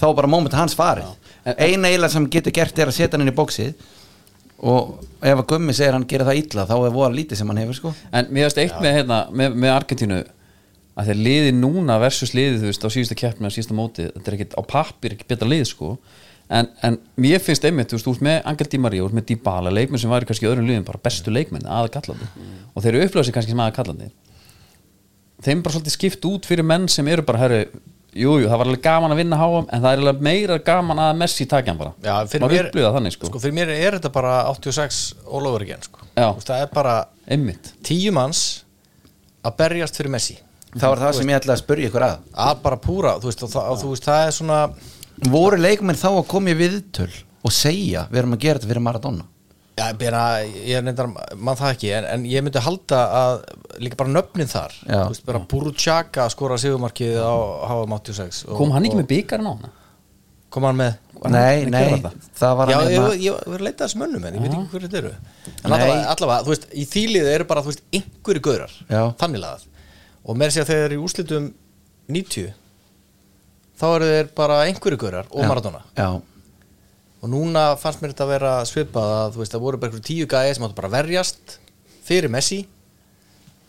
Speaker 2: þá er bara mómentið hans farið eina eiginlega sem hann getur gert er að setja hann inn í bóksið og ef að gummi segir hann gerir það illa þá er voða lítið sem hann hefur sko
Speaker 1: en mér veist eitt með, hérna, með, með Argentínu að þeir liði núna versus liði þú veist á síðustu keppni á síðustu móti þetta er ekkit á pappir ekki betra lið sko en, en mér finnst einmitt þú veist þú veist með Angel Di Maria, þú veist með Dybala leikmenn sem væri kannski í öðrum liðum bara bestu leikmenn aða kallandi og þeir eru upplöðsir kannski sem aða kallandi þeim er bara svolítið skipt út fyrir menn sem eru bara, herru, jú, jú, það var alveg gaman að vinna háum, en það er alveg meira gaman að Messi takja hann bara,
Speaker 3: Já, fyrir
Speaker 1: maður
Speaker 3: mér-
Speaker 1: upplýða þannig sko,
Speaker 3: sko, fyrir mér er þetta bara 86 all over again sko.
Speaker 1: Já.
Speaker 3: Þú veist, það er bara
Speaker 1: einmitt
Speaker 3: tíu manns að berjast fyrir Messi
Speaker 2: Það var það sem ég ætlaði að spurja ykkur að
Speaker 3: að bara púra, þú veist, og það, og þú veist það er svona
Speaker 2: Voru leikmenn þá að koma í viðtöl og segja við erum að gera þetta fyrir Maradona
Speaker 3: já, ég meina, ég er neyndar, mann það ekki en, en ég myndi halda að líka bara nöfnin þar
Speaker 2: Já.
Speaker 3: þú veist, bara Buruchaka skora sigumarkið á HM 86 og,
Speaker 1: kom hann ekki
Speaker 3: og,
Speaker 1: með byggarinn á hana?
Speaker 3: kom hann með
Speaker 1: Var hann
Speaker 2: Nei,
Speaker 1: að
Speaker 2: nei,
Speaker 1: gera
Speaker 2: það?
Speaker 1: það?
Speaker 2: var
Speaker 3: Já,
Speaker 2: hann
Speaker 3: ég,
Speaker 2: hérna-
Speaker 3: ég, ég verið að leita að þessum önnum en ég veit ekki hverju þetta eru En
Speaker 2: Nei.
Speaker 3: allavega, allavega, þú veist, í þýlið eru bara, þú veist, einhverju gaurar
Speaker 2: Já.
Speaker 3: Þannig lagað Og meira að segja þegar þeir eru í úrslitum 90 Þá eru þeir bara einhverju gaurar og Maradona
Speaker 2: Já,
Speaker 3: Og núna fannst mér þetta að vera svipað að, þú veist, það voru bara einhverju tíu gæði sem áttu bara að verjast Fyrir Messi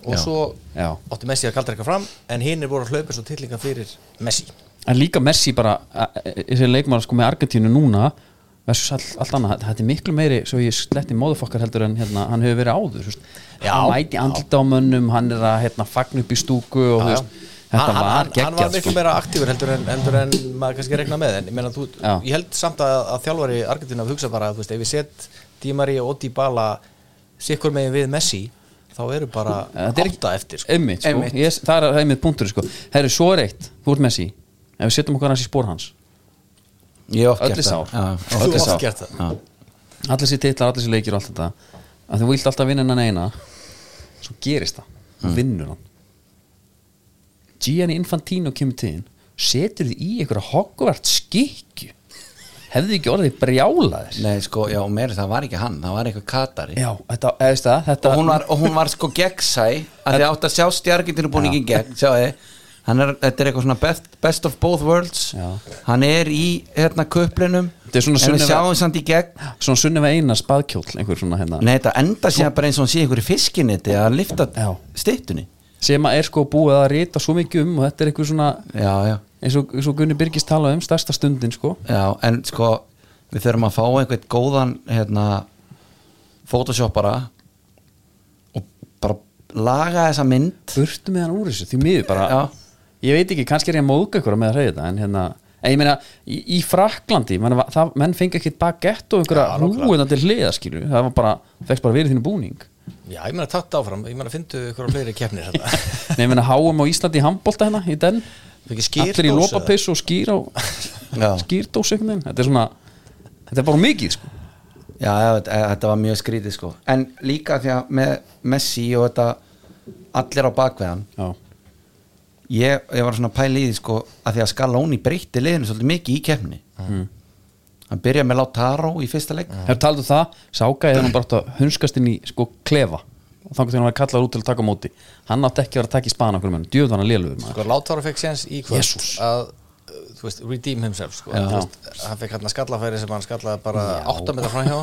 Speaker 3: Og
Speaker 2: Já.
Speaker 3: svo
Speaker 1: Já.
Speaker 3: átti Messi að kaldra eitthvað fram En hinn er voru að hlaupa svo tillinga fyrir Messi
Speaker 1: en líka Messi bara, þessi leikmaður sko með Argentínu núna versus all, allt annað, þetta er miklu meiri svo ég sletti móðufokkar heldur en hérna, hann hefur verið áður þú veist.
Speaker 3: Já.
Speaker 1: hann mæti andlita á mönnum hann er að hérna, fagna upp í stúku og, þú
Speaker 3: Já, já.
Speaker 1: veist, þetta var
Speaker 3: hann, hann, hann var
Speaker 1: geggjað
Speaker 3: miklu
Speaker 1: sko.
Speaker 3: meira aktífur heldur en, heldur en maður kannski regna með en ég, meina, þú,
Speaker 1: Já.
Speaker 3: ég held samt að, að þjálfari Argentina hugsa bara að þú veist, ef ég set Dímari og Dybala sikkur megin við Messi þá eru bara
Speaker 1: Þetta er-
Speaker 3: átta eftir sko.
Speaker 1: einmitt, sko.
Speaker 2: Einmitt.
Speaker 1: Ég, það er einmitt punktur sko. herru, svo er eitt, þú ert Messi ef við setjum okkar hans í spór hans
Speaker 2: ég hef oft
Speaker 1: Öll
Speaker 2: gert
Speaker 1: í sár.
Speaker 2: það Já,
Speaker 3: Þú
Speaker 2: öll í
Speaker 3: oft
Speaker 2: sár.
Speaker 3: gert það.
Speaker 2: Já.
Speaker 1: allir sér titlar, allir sér leikir og allt þetta að þú vilt alltaf vinna hennan eina svo gerist það,
Speaker 2: Hmm.
Speaker 1: þú vinnur hann Gianni Infantino kemur til þín setur þið í einhverja hokkuvert skikju hefði ekki orðið brjálaðir
Speaker 2: Nei, sko, já, og meira það var ekki hann, það var eitthvað Katari
Speaker 1: já, þetta, eða veist það þetta,
Speaker 2: og, hún var, og hún var sko gegnsæ að þið átt að sjá stjargitinu búningin gegn sjáði, hann er, þetta er eitthvað svona best, best of both worlds
Speaker 1: Já.
Speaker 2: hann er í hérna köplinum
Speaker 1: Þetta er svona
Speaker 2: en við
Speaker 1: Sunnefa-
Speaker 2: sjáum samt í gegn
Speaker 1: svona sunnum að eina spaðkjóll einhver svona hérna
Speaker 2: Nei, þetta enda sé bara eins og hann sé ykkur í fiskiniti að lifta
Speaker 1: Já.
Speaker 2: styttunni
Speaker 1: sem að er sko búið að rita svo mikið um og þetta er einhver svona
Speaker 2: Já, já,
Speaker 1: eins og, eins og Gunni Birgis talaði um stærsta stundin sko
Speaker 2: já, en sko við þurfum að fá einhvern góðan hérna, photoshoppara og bara laga þessa mynd
Speaker 1: burtu með hann úr þessu, því miður bara
Speaker 2: Já.
Speaker 1: ég veit ekki, kannski er ég að móðga ykkur með að reyða þetta en hérna, en ég meina í, í Fraklandi, menn, það, menn fengi ekki bagett og einhverja húinandi hliða skilju, það var bara, fegst bara verið þínu <laughs> búning
Speaker 3: já, ég meina takt áfram, ég meina fyndu ykkur á fleiri
Speaker 1: <laughs>
Speaker 3: keppnir þetta
Speaker 1: Nei, ég meina háum á Íslandi í handbólta hérna í den, allir í lópapissu og skýr á
Speaker 2: Já.
Speaker 1: <laughs> skýrdós einhvern veginn, þetta er svona þetta er bara mikið sko
Speaker 2: Já, já, þetta- eh, þetta var mjög skrítið sko En líka því að með Messi og þetta allir á bakveðan
Speaker 1: Já.
Speaker 2: ég, ég var svona pæli í því sko að því að Scaloni breytti liðinu svolítið mikið í kefni
Speaker 1: Mm.
Speaker 2: Hann byrjaði með Lautaro í fyrsta leik
Speaker 1: Hefur taldu það, Sáka eða hann bara átt að hunskast inn í sko klefa og þannig að hann var kallar út til að taka á móti hann átti ekki að vera að taka í spana okkur menn, djöðu hann að lélugur maður
Speaker 3: sko, Látára fekk séns í kvöld
Speaker 1: Jesús.
Speaker 3: að uh, þú veist, redeem himself sko. Þú veist, hann fekk hann að skallafæri sem hann skallaði bara 8 metra frá hjá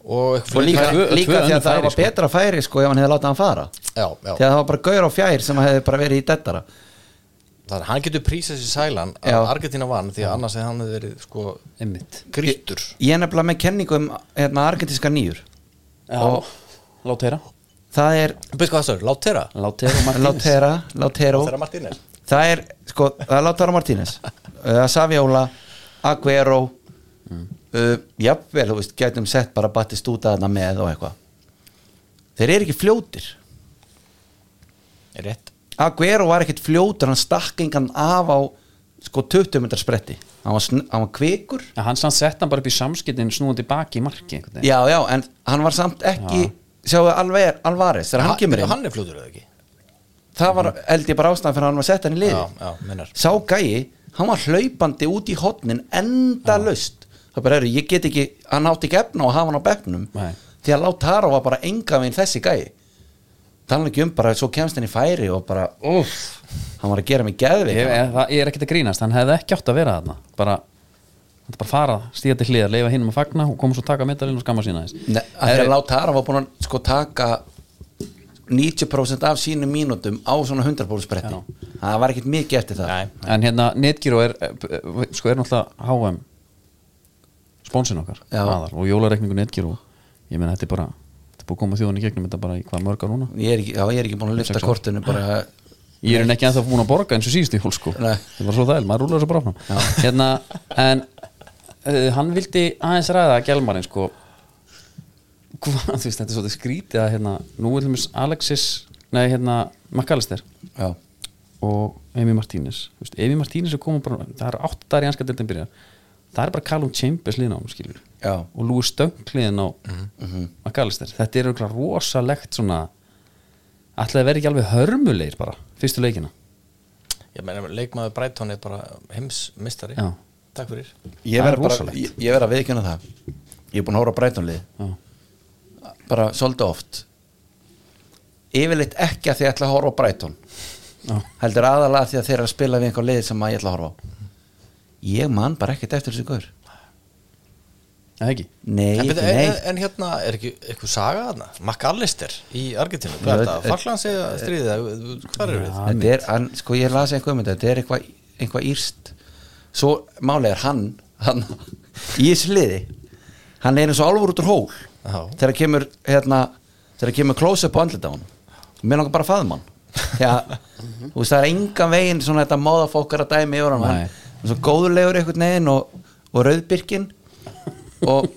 Speaker 3: og,
Speaker 2: Og líka,
Speaker 1: Tvö- tvö
Speaker 2: líka því
Speaker 1: önnur
Speaker 2: að það
Speaker 1: færi,
Speaker 2: var
Speaker 1: sko.
Speaker 2: betra færi sko ef hann hefði látað hann fara
Speaker 3: já, já.
Speaker 2: Því að það var bara gaur á fjær sem hefði bara verið í dettara
Speaker 3: Þannig að hann getur prísað sér sælan
Speaker 2: Já.
Speaker 3: að Argentina vann því að annars hefði hann hefði verið sko
Speaker 1: einmitt
Speaker 3: grítur
Speaker 2: Ég er nefnilega með kenningu um hérna, argentinska nýjur
Speaker 1: Já, Látera
Speaker 2: Það er
Speaker 3: Beistu hvað það stöður? Látera?
Speaker 1: Látera og Martínez
Speaker 2: Lautera, Lautero
Speaker 3: Látera Martínez
Speaker 2: það er sko, það er Lautaro Martínez uh, Saviola, Aguero uh, jafnvel, þú veist, gætum sett bara battist út að þarna með og eitthvað þeir eru ekki fljótir
Speaker 3: Rétt
Speaker 2: Aguero var ekkert fljótur, hann stakk engan af á sko 20 metrar spretti hann var, sn- hann var kvikur
Speaker 1: Já, hann sann sett hann bara upp í samskiptin snúandi baki í marki einhvern veginn.
Speaker 2: já, já, en hann var samt ekki sjáu Alver, Alvarez, þegar hann kemur inn
Speaker 3: Hann er fljótur eða ekki
Speaker 2: það var, held ég bara ástæðan fyrir að hann var sett hann í liði
Speaker 3: Já, já, minnar
Speaker 2: sá gæi, hann var hlaupandi út í hotnin endalaust það bara eru, ég get ekki, hann átti ekki efna og hafa hann á bekknum
Speaker 1: Nei.
Speaker 2: því að Lautaro var bara enga veginn þessi gæi talan ekki um bara, svo kemst hann í færi og bara, uff hann var að gera mig geðvik
Speaker 1: ég, ég, það- ég er ekkert að grínast, hann hefði ekki átt að vera þarna bara, hann bara fara stíða til hliðar, leifa hinn um að fagna og koma svo að taka metalinn og skamma sína aðeins
Speaker 2: Nei, að því að Lautaro var búin að sko taka 90% af sínum mínútum á svona 100% bretti það var ekkert mikið eftir það
Speaker 3: Nei
Speaker 1: En hérna, Netgyro er eh, eh, sko er náttúrulega HM spónsin okkar
Speaker 2: Já.
Speaker 1: aðal, og jólareikningu Netgyro ég meina þetta er bara, þetta er búið að koma þjóðan í gegnum þetta bara í hvað mörg á núna
Speaker 2: ég er ekki, já, ég er ekki búin að lyfta kortinu bara
Speaker 1: Ég er ekki ennþá búin að borga eins og síðust í hól sko
Speaker 2: Nei.
Speaker 1: Það var svo þæl, maður rúlar þessu bara áfram Hérna, en uh, hann vildi aðeins ræða gælmarinn sko Hvað, þú veist, þetta er svolítið skrítið að hérna Nú er þeimist Alexis, nei hérna McAllister
Speaker 2: Já,
Speaker 1: og Amy Martínez Þú veist, Emi Martínez er komið bara, það er átt dagar í anska deltin byrja Það er bara Callum Chambers liðin á hann skilur
Speaker 2: Já.
Speaker 1: Og Lúi Stöng liðin á McAllister Þetta er auðvitað rosalegt svona Ætlaði að vera ekki alveg hörmulegir bara, fyrstu leikina
Speaker 3: Ég meina, leikmaður Brighton er bara heimsmistari
Speaker 1: Já.
Speaker 3: Takk fyrir
Speaker 1: Það
Speaker 2: ég
Speaker 1: er
Speaker 2: verð bara
Speaker 1: rosalegt.
Speaker 2: ég, ég verð að viðkjöna það ég er búin að hóra á breytunlið bara svolítið oft yfirleitt ekki að því ég ætla að horfa á breytun
Speaker 1: Já.
Speaker 2: heldur aðalega því að þeir eru að spila við einhver liði sem að ég ætla að horfa á ég man bara ekkert eftir þessu gaur
Speaker 1: Eða ekki?
Speaker 2: nei,
Speaker 3: en,
Speaker 2: ekki,
Speaker 3: byrju, en,
Speaker 2: nei,
Speaker 3: en hérna, er ekki eitthvað saga þarna? McAllister í Argentínu, hvað er
Speaker 2: Ég veit-
Speaker 3: þetta? Falklands eða stríðið, eða hvað er við?
Speaker 2: þetta er hann, sko ég las eitthvað um þetta þetta er eitthvað eitthva írst svo máli er hann, hann <laughs> í þessu liði hann er eins og alvor út úr hól
Speaker 3: Já.
Speaker 2: þegar kemur hérna, þegar kemur close up á andlita á hann mér langar bara að faðum hann þegar, þú veist það er engan veginn svona þetta móðafokkar að dæmi yfir hann
Speaker 1: Nei.
Speaker 2: hann er svo góðulegur einhvern veginn og, og rauðbyrkin og,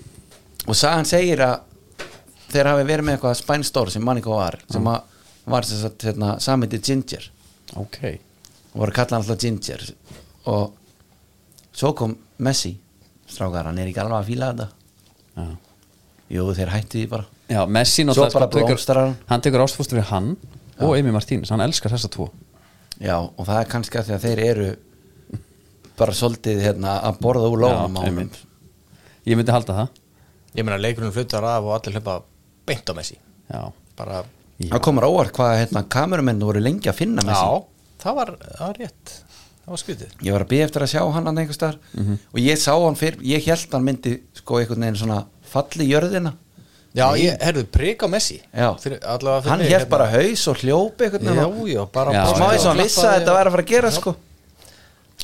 Speaker 2: og sagan segir að þeir hafi verið með eitthvað spænstór sem manni hvað var sem að var sem sagt, hérna, samiti Ginger
Speaker 1: Ok
Speaker 2: og voru að kalla hann alltaf Ginger og svo kom Messi strákar, hann er ekki alveg að fíla þetta
Speaker 1: Já,
Speaker 2: jú þeir hættu því bara
Speaker 1: Já Messi
Speaker 2: Svo bara
Speaker 1: náttúrulega sko,
Speaker 2: blómstrar hann.
Speaker 1: hann tekur ástfóstur við hann og Amy Martínez, hann elskar þessa tvo
Speaker 2: Já, og það er kannski að því að þeir eru bara svolítið hérna að borða úr lóðum
Speaker 1: Já,
Speaker 2: á honum
Speaker 1: einmitt. Ég myndi halda það
Speaker 3: Ég meina, leikurinn flutar af og allir hlupa beint á Messi
Speaker 1: Já,
Speaker 3: bara,
Speaker 2: Það komur óvart hvað hérna, kameramennu voru lengi að finna með
Speaker 3: já, það var, það var rétt það var skrítið
Speaker 2: Ég var að býja eftir að sjá hann hann einhvers staðar
Speaker 3: Mhm.
Speaker 2: og ég sá hann fyrr, ég held hann myndi sko einhvern veginn svona falli í jörðina
Speaker 3: Já, ég, herðu, prik á Messi
Speaker 2: Já,
Speaker 3: fyrir, allavega fyrir
Speaker 2: hann
Speaker 3: mig,
Speaker 2: held
Speaker 3: hérna.
Speaker 2: bara haus og hljópi einhvern
Speaker 3: Já,
Speaker 2: veginn
Speaker 3: já, bara
Speaker 1: Já,
Speaker 2: og
Speaker 3: brosti
Speaker 1: já.
Speaker 2: smá
Speaker 3: og
Speaker 2: eins og hann vissi að
Speaker 3: klappaði
Speaker 2: þetta væri að fara að gera sko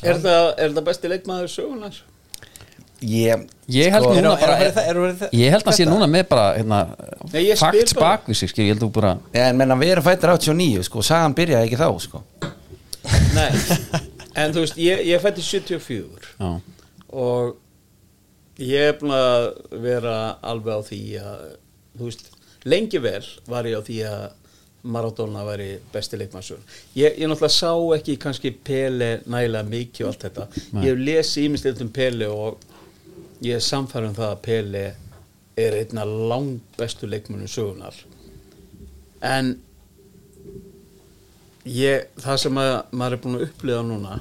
Speaker 4: Er það, er það besti leikmaður sögunars?
Speaker 2: Ég,
Speaker 1: Ég held
Speaker 3: Sko,
Speaker 1: núna
Speaker 3: eru-
Speaker 1: bara
Speaker 3: eru- eru- eru- eru-
Speaker 1: Ég held að sé núna með bara hérna,
Speaker 4: Nei, ég spyr
Speaker 1: Fakt
Speaker 4: bara.
Speaker 1: bak við sig, skil, ég held þú bara
Speaker 2: en menna við erum fættir 89 sko, sagan byrjaði ekki þá sko <laughs>
Speaker 4: Nei, en þú veist, ég, ég fætti 74
Speaker 1: Já,
Speaker 4: og ég er búin að vera alveg á því að, þú veist, lengi vel var ég á því að Maradona væri besti leikmannsson ég, ég náttúrulega sá ekki kannski Pele nægilega mikið og allt þetta
Speaker 1: Nei.
Speaker 4: ég hef lesið ímislegt um Pele og ég er samfærum það að Pele er einna langbestu leikmannum sögunar en ég, það sem að, maður er búin að upplifa núna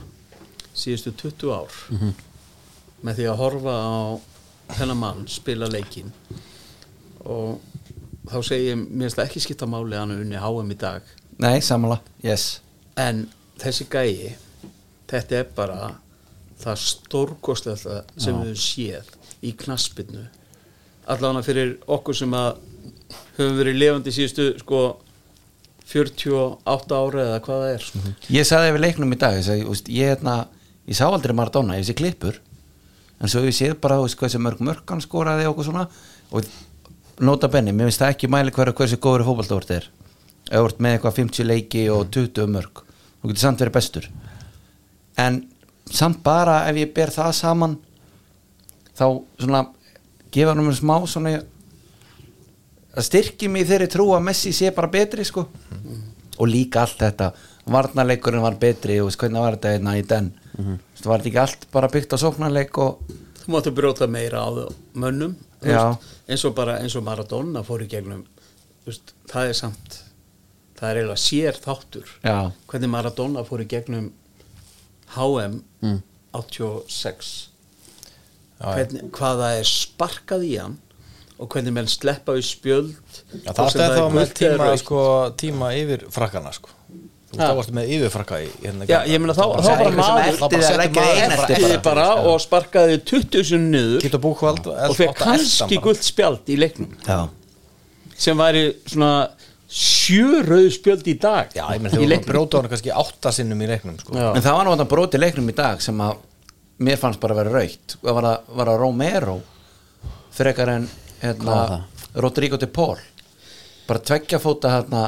Speaker 4: síðustu 20 ár með því að horfa á þennan mann spila leikinn og þá segi ég mér finnst það ekki skipta máli að hann hafi unni háum í dag
Speaker 2: Nei, samanlega, yes
Speaker 4: en þessi gæi þetta er bara það stórkostlega sem við höfum séð í knaspinu allavega fyrir okkur sem að höfum verið levandi síðustu sko 48 ára eða hvað það er sko.
Speaker 2: Ég sagði yfir leiknum í dag ég, sagði, úst, ég, hérna, ég sá aldrei Maradona, ég sé klippur en svo ég sé bara úst, hversu mörg mörg hann skoraði og okkur svona og nota benni, mér finnst það ekki mæli hverju hversu góður fótballtávert er eða vart með eitthvað 50 leiki og 20 mörg þú getur samt verið bestur en samt bara ef ég ber það saman þá svona gefa hann um smá svona að styrki mig í þeirri trú að Messi sé bara betri sko og líka allt þetta varnarleikurinn var betri og veist, hvernig var þetta hérna í den mm var þetta ekki allt bara byggt á sóknarleik og
Speaker 4: þú máttu brjóta meira á þau mönnum
Speaker 2: Já.
Speaker 4: þú veist, eins og bara eins og Maradona fór í gegnum þú veist, það er samt það er eiginlega sér þáttur
Speaker 2: Já.
Speaker 4: hvernig Maradona fór í gegnum HM
Speaker 3: Mm.
Speaker 4: 86 hvernig, hvað það er sparkað í hann og hvernig menn sleppa við spjöld
Speaker 3: Já,
Speaker 4: hvort
Speaker 3: það
Speaker 4: sem
Speaker 3: er
Speaker 4: er
Speaker 3: þá með
Speaker 4: gult eða
Speaker 3: tíma,
Speaker 4: rautt.
Speaker 3: sko, tíma yfir frakkana sko. Þú veist,
Speaker 4: Ha.
Speaker 3: þá varstu með yfirfrakka í hérna
Speaker 4: Já, ég meina þá, þá
Speaker 2: bara
Speaker 4: bara
Speaker 2: einhver sem
Speaker 4: maður
Speaker 2: elti þig að leggja þig inn eftir
Speaker 4: eltiði bara og sparkaði 20 sinni niður
Speaker 3: Geta búkvald
Speaker 4: og fekk kannski gullt spjald í leiknum
Speaker 2: Já.
Speaker 4: sem væri svona sjö rauð spjöld í dag
Speaker 3: Já, ég
Speaker 4: í
Speaker 3: meina þegar þú
Speaker 4: leiknum
Speaker 3: bróta hann kannski átta sinnum í leiknum sko.
Speaker 4: Já.
Speaker 2: en það var nú þetta broti leiknum í dag sem að mér fannst bara að vera raukt og það var að, var að Romero frekar en
Speaker 1: Hvað var
Speaker 2: hérna, Rodrigo de Paul bara tveggja fóta hérna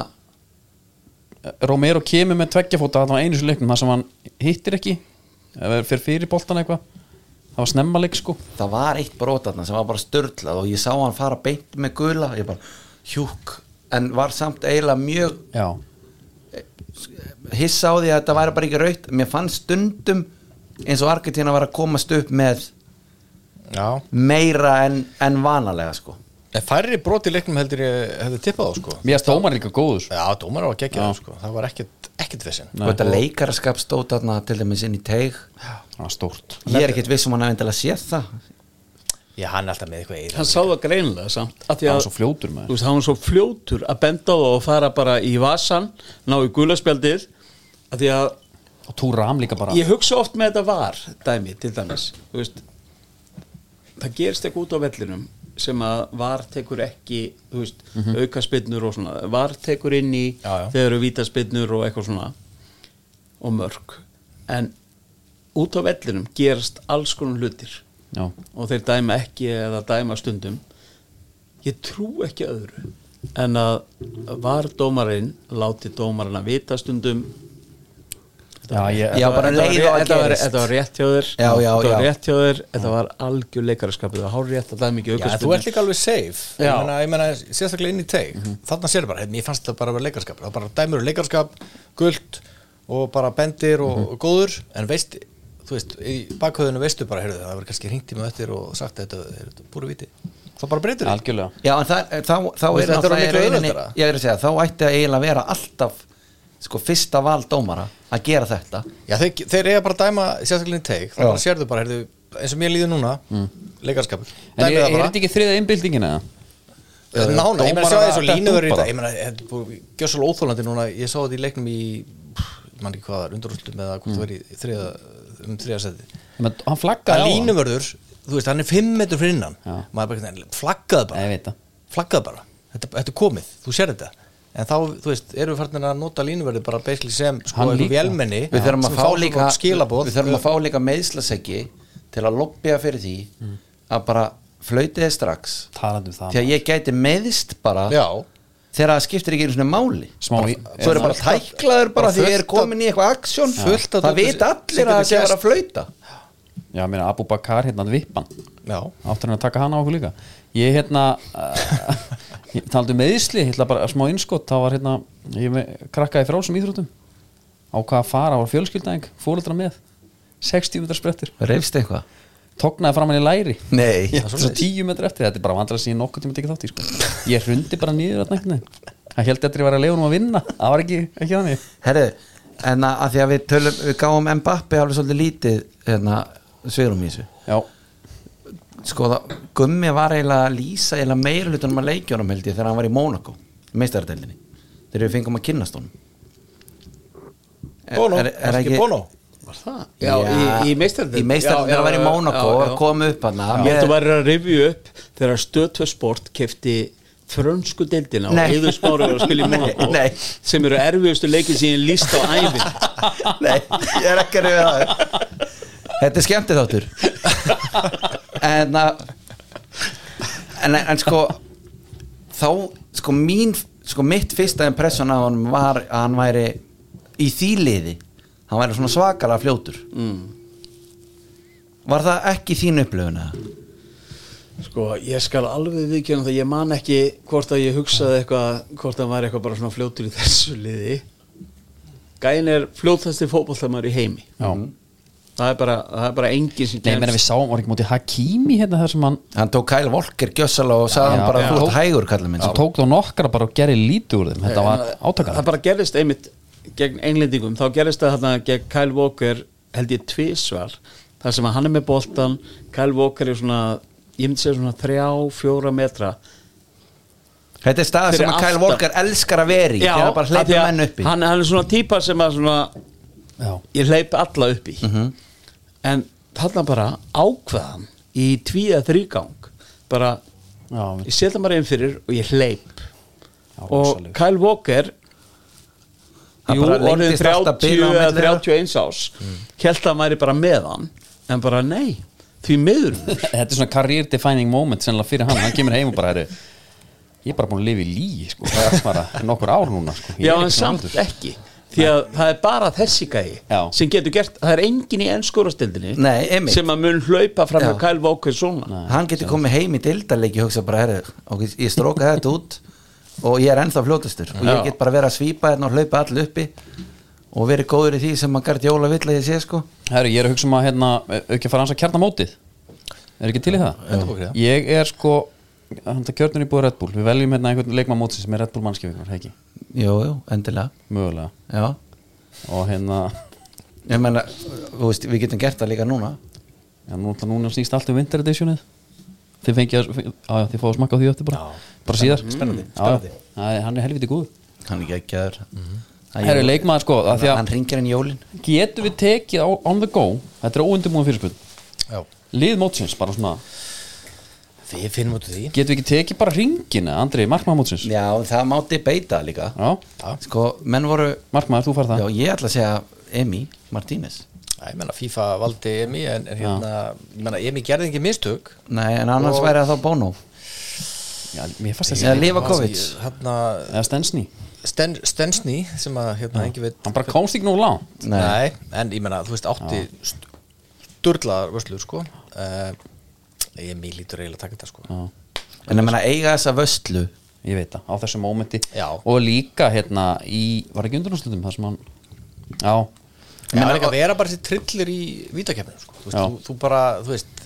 Speaker 1: Romero kemur með tveggjafóta það var einu svo leiknum þar sem hann hittir ekki eða fyrir fyrir boltan eitthvað það var snemma leik sko
Speaker 2: það var eitt brot þarna sem var bara störlað og ég sá hann fara beint með gula ég bara, hjúk, en var samt eiginlega mjög
Speaker 1: já,
Speaker 2: hissa á því að þetta væri bara ekki raut mér fannst stundum eins og Argentina var að komast upp með
Speaker 3: Já
Speaker 2: meira en, en vanalega sko
Speaker 3: En færri brot í leiknum heldur ég hefði tippað á sko
Speaker 1: mér að stómar líka góður sko.
Speaker 3: Já, dómar á að gegja það sko Það var ekkert, ekkert vissin
Speaker 1: Nei.
Speaker 2: og þetta leikaraskap stóð þarna til dæmis inn í teig
Speaker 1: það var stórt
Speaker 2: ég er ekkert viss um hann að endilega sé það
Speaker 3: Já, hann er alltaf með eitthvað eira
Speaker 4: hann sá það greinilega samt af því
Speaker 1: það
Speaker 4: að
Speaker 1: var svo fljótur með
Speaker 4: þú veist, hann var svo fljótur að benda á það og fara bara í vasan ná í gulaspjaldið af því að
Speaker 1: og túra ham líka bara
Speaker 4: ég hugsa oft með þetta var dæmi til dæmis þú veist, það gerist eitthvað út á vellinum sem að var tekur ekki þú veist, mm og svona var tekur inn í
Speaker 3: Mhm. Já, já.
Speaker 4: þegar eru vítaspinnur og eitthvað svona og mörg en út á vellinum gerast alls konar hlutir
Speaker 1: já,
Speaker 4: og þeir dæma ekki eða dæma stundum ég trú ekki öðru en að var dómarinn láti dómarinn að vita stundum
Speaker 1: já, ég,
Speaker 2: Já, bara
Speaker 4: Þetta var-
Speaker 2: leið og það
Speaker 4: þetta var-
Speaker 2: gerist.
Speaker 4: þetta var rétt hjá þér
Speaker 2: Já, já,
Speaker 4: þetta var
Speaker 2: já.
Speaker 4: rétt hjá þér þetta var algjör leikaraskapið það var hárrétt að dæma ekki
Speaker 3: Já, en þú ert
Speaker 4: aukaspyrnu
Speaker 3: líka alveg safe
Speaker 4: Já.
Speaker 3: Ég meina, ég meina sérstaklega inn í teig mm -hmm. Þannig sér bara, hey, ég fannst þetta bara að vera leikarskap Það bara dæmur leikarskap, gult og bara bendir og góður En veist, þú veist, í bakhauðinu veistu bara heyrðu, Það verður kannski hringt í mig eftir og sagt að þetta er búru viti Það bara breytir því.
Speaker 1: algjörlega
Speaker 2: Já, en það, þá, þá
Speaker 3: Þú veist,
Speaker 2: er
Speaker 3: þetta er
Speaker 2: náttúrulega
Speaker 3: miklu
Speaker 2: í rauninni-
Speaker 3: auðveldara.
Speaker 2: Ég er að segja, þá ætti að eiginlega vera alltaf sko, fyrsta val dómara að gera þetta
Speaker 3: Já, þeir, þeir eiga bara að dæma sérstaklega inn í teig
Speaker 2: Já.
Speaker 3: Það bara sérðu bara, heyrðu, eins og mér líður núna mm. Leikarskap
Speaker 1: en er, er þetta ekki þriða innbyldingin eða?
Speaker 3: Nána, ég meina
Speaker 1: Dómarar
Speaker 3: sjá þessu
Speaker 1: að detta
Speaker 3: línuður í
Speaker 1: út bara.
Speaker 3: þetta Ég meina, þetta er búið- gjör svo óþólandi núna Ég sá þetta í leiknum í ég man ekki hvað, undurústum eða hvort það var í þriða, um þriða seti
Speaker 1: Men, hann
Speaker 3: að
Speaker 1: flaggaði á hann.
Speaker 3: línuvörður, þú veist, hann er 5 metrur fyrir innan
Speaker 1: Já.
Speaker 3: maður bara, einhvern veginn, flaggaðu
Speaker 1: Nei, ég
Speaker 3: bara
Speaker 1: veit það.
Speaker 3: flaggaðu bara, þetta, þetta er komið, þú sér þetta en þá, þú veist, erum við farin að nota línuvörður bara basically sem sko
Speaker 1: Hann
Speaker 3: eitthvað
Speaker 1: líka.
Speaker 3: vélmenni
Speaker 2: Við þurfum að
Speaker 3: sem
Speaker 2: fá
Speaker 3: fá
Speaker 2: líka
Speaker 3: skilabóð
Speaker 2: Við þurfum að fá líka meðslaseggi til að lobbya fyrir því að bara flöytið strax
Speaker 1: talandi um það
Speaker 2: því að ég gæti meðist bara
Speaker 3: já,
Speaker 2: þegar það skiptir ekki einu svona máli
Speaker 1: Smá í-
Speaker 2: Svo eru bara tæklaður bara því ég er komin í eitthvað aksjón
Speaker 3: Fullt af
Speaker 2: Það
Speaker 3: dóti
Speaker 2: veit
Speaker 3: sem- sem
Speaker 2: allir að
Speaker 3: getur
Speaker 2: það sé að vera
Speaker 3: gerst.
Speaker 2: að flöyta
Speaker 1: já, ég meina Abu Bakar hérna vippan
Speaker 3: já,
Speaker 1: áttur hann að taka hana á okkur líka ég hérna uh, ég taldi meðisli, hérna bara smá innskott þá var hérna, ég me- krakkaði frá sem íþróttum á hvað að fara, á fjölskyldaðing fóreldra með, 60 metrar sprettir
Speaker 2: Reifst eitthvað?
Speaker 1: tóknaði fram hann í læri
Speaker 2: Nei
Speaker 1: Já, svo 10 metrar eftir, þetta er bara vandræð sem ég nokkuð tíma tekið þátt í sko. ég hrundi bara nýður að nægna hann held eftir að ég var að leiða um að vinna það var ekki, ekki þannig
Speaker 2: Herru, en að, að því að við tölum við gáum Mbappi alveg svolítið lítið hérna, sviðrum í þessu
Speaker 1: já,
Speaker 2: sko það, Gummi var eiginlega að lýsa eiginlega meira hlutunum að leikjónum held ég þegar hann var í Mónaco, meistaradeldinni þegar við fengum að kynnast honum Er-
Speaker 3: Bono,
Speaker 2: er- er
Speaker 3: er
Speaker 2: ekki-
Speaker 3: ekki Bono
Speaker 4: var það? já, í, í meistardin
Speaker 2: í meistaradeldinni þegar hann var í Mónaco og var komið upp hann
Speaker 4: ég held að væri að rifja upp þegar stöðtöðsport kefti frönsku deildina og
Speaker 2: Nei.
Speaker 4: yður smári var að spila í Monaco
Speaker 2: <laughs> Nei.
Speaker 4: sem eru erfiðustu leikin sem ég líst á
Speaker 2: <laughs>
Speaker 4: ævin
Speaker 2: Nei, ég er ekki að reyða það Þetta er skemmtið þáttur En að En, en sko Þá, sko mín Sko mitt fyrsta impression á hann var Að hann væri í því liði Hann væri svona svakalega fljótur mm. Var það ekki þín upplöfuna?
Speaker 4: sko ég skal alveg viðkjöna það ég man ekki hvort að ég hugsaði eitthvað hvort að var eitthvað bara svona fljótur í <laughs> þessu liði gæin er fljótasti fótbollamar í heimi
Speaker 1: já.
Speaker 4: það er bara, það er bara engin sem
Speaker 1: Nei, ég meina við sáum, var ekki mútið Hakimi hérna þar sem hann
Speaker 2: Hann tók Kyle Volker gjössala og sagði hann
Speaker 1: Já,
Speaker 2: bara
Speaker 1: já.
Speaker 2: Þú ert hægur kallar minn
Speaker 1: svo tók þá nokkra bara og gerði lítið úr þeim þetta var
Speaker 4: Eh, það
Speaker 1: átakar
Speaker 4: bara gerist einmitt gegn englendingum, þá gerist það þarna gegn Kyle Walker held ég tvísvar þar sem að hann er með boltan Kyle Walker er svona, ég myndi segja svona þrjá, fjóra metra
Speaker 2: Þetta er staða sem
Speaker 4: Fyrir
Speaker 2: að Kyle
Speaker 4: aftan.
Speaker 2: Volker elskar að veri í Þegar hann bara
Speaker 4: af því
Speaker 2: hleypir
Speaker 4: að
Speaker 2: menn uppi
Speaker 4: hann, hann er svona típa sem að svona
Speaker 1: já,
Speaker 4: ég hleyp alla uppi
Speaker 2: Mhm.
Speaker 4: en þarna bara ákveðan í tvíða þrýgang bara,
Speaker 1: já, <laughs>
Speaker 4: ég setja maður einn fyrir og ég hleyp
Speaker 1: já,
Speaker 4: og
Speaker 1: rosalegur.
Speaker 4: Kyle Walker
Speaker 2: Það
Speaker 4: jú,
Speaker 2: bara
Speaker 4: orðin
Speaker 2: lengdist alltaf
Speaker 4: 30
Speaker 2: bilið á
Speaker 4: eða
Speaker 2: milli þeirra. Mm.
Speaker 4: 31 ás held að hann væri bara með hann en bara nei, því miður
Speaker 1: þetta er svona career defining moment sennilega fyrir hann, hann kemur heim og bara herri ég er bara búin að lifa í lí sko, það er bara nokkur ár núna sko. Ég
Speaker 4: Já,
Speaker 1: er
Speaker 4: en
Speaker 1: ekki
Speaker 4: samt
Speaker 1: svona aldur.
Speaker 4: ekki Því að það er bara þessi gæi
Speaker 1: Já.
Speaker 4: sem getur gert, það er engin í ennskórastildinni
Speaker 2: Nei, einmitt.
Speaker 4: sem að mun hlaupa fram hjá
Speaker 2: Já.
Speaker 4: Kyle Walker svona
Speaker 2: hann getur komið heim í deildarleiki og hugsa bara, herri, ok, ég stróka þetta út og ég er ennþá fljótastur og ég
Speaker 4: Já.
Speaker 2: get bara verið að svípa hérna og hlaupa all uppi og verið góður í því sem að Gert Jóla vill að ég sé sko
Speaker 1: Herru, ég er að hugsa um að hérna, ekki að fara hans að kjarna mótið Er ekki til í það?
Speaker 3: Já.
Speaker 1: Ég er sko Handa kjörnur í búið Red Bull Við veljum hérna einhvern leikmann mótið sem er Red Bull mannskifingar Ekki,
Speaker 2: jú, jú, endilega,
Speaker 1: mögulega
Speaker 2: já
Speaker 1: Og hérna,
Speaker 2: ég menna, þú veist, við getum gert það líka núna
Speaker 1: já, nú, ætla- núna snýst allt um Winter Editionið Þið fengið að, á, já, þið fáið að smakka á því eftir bara
Speaker 3: Já.
Speaker 1: Bara síðar
Speaker 3: Spennandi,
Speaker 1: Já,
Speaker 3: spennandi.
Speaker 1: já. Það er- Hann er helviti góð
Speaker 2: hann er ekki aður mm
Speaker 1: Herru, leikmann sko, af því
Speaker 2: hann
Speaker 1: að
Speaker 2: ringir enn Jólin
Speaker 1: getum við tekið á, on the go Þetta er óundumúin fyrirspunn
Speaker 3: Já.
Speaker 1: Lið mótsins, bara svona
Speaker 3: Við finnum út úr því
Speaker 1: Getum við ekki tekið bara ringina, Andri, markmaður mótsins
Speaker 2: já, það mátti beita líka
Speaker 1: Já,
Speaker 2: sko, menn voru,
Speaker 1: markmaður, þú far það
Speaker 2: já, ég ætla að segja Emi Martínez
Speaker 3: Já, Ég menna FIFA valdi EMI en, en hérna, ég menna EMI gerði ekki mistök
Speaker 2: nei, en annars
Speaker 3: Og-
Speaker 2: væri það þá Bono
Speaker 1: Já, mér fannst
Speaker 2: eða
Speaker 1: þessi
Speaker 2: Liva Kovic
Speaker 3: Hérna
Speaker 1: Eða Stensny
Speaker 3: Sten, Stensny sem að hérna engi veit
Speaker 1: Hann bara komst ekki nú langt
Speaker 2: Nei.
Speaker 3: Nei. en ég menna, þú veist, átti st sturlaðar vörslur, sko uh, EMI lítur eiginlega að taka þetta, sko
Speaker 1: Já,
Speaker 2: en ég menna eiga þessa vöslu
Speaker 1: Ég veit það, á þessu mómenti
Speaker 3: Já.
Speaker 1: Og líka hérna í Var ekki undurnúrslutum þar sem hann Já,
Speaker 3: Ég menna líka að vera bara sér trillir í vítakefnum, sko Þú, veist,
Speaker 1: Já.
Speaker 3: þú, þú bara, þú veist,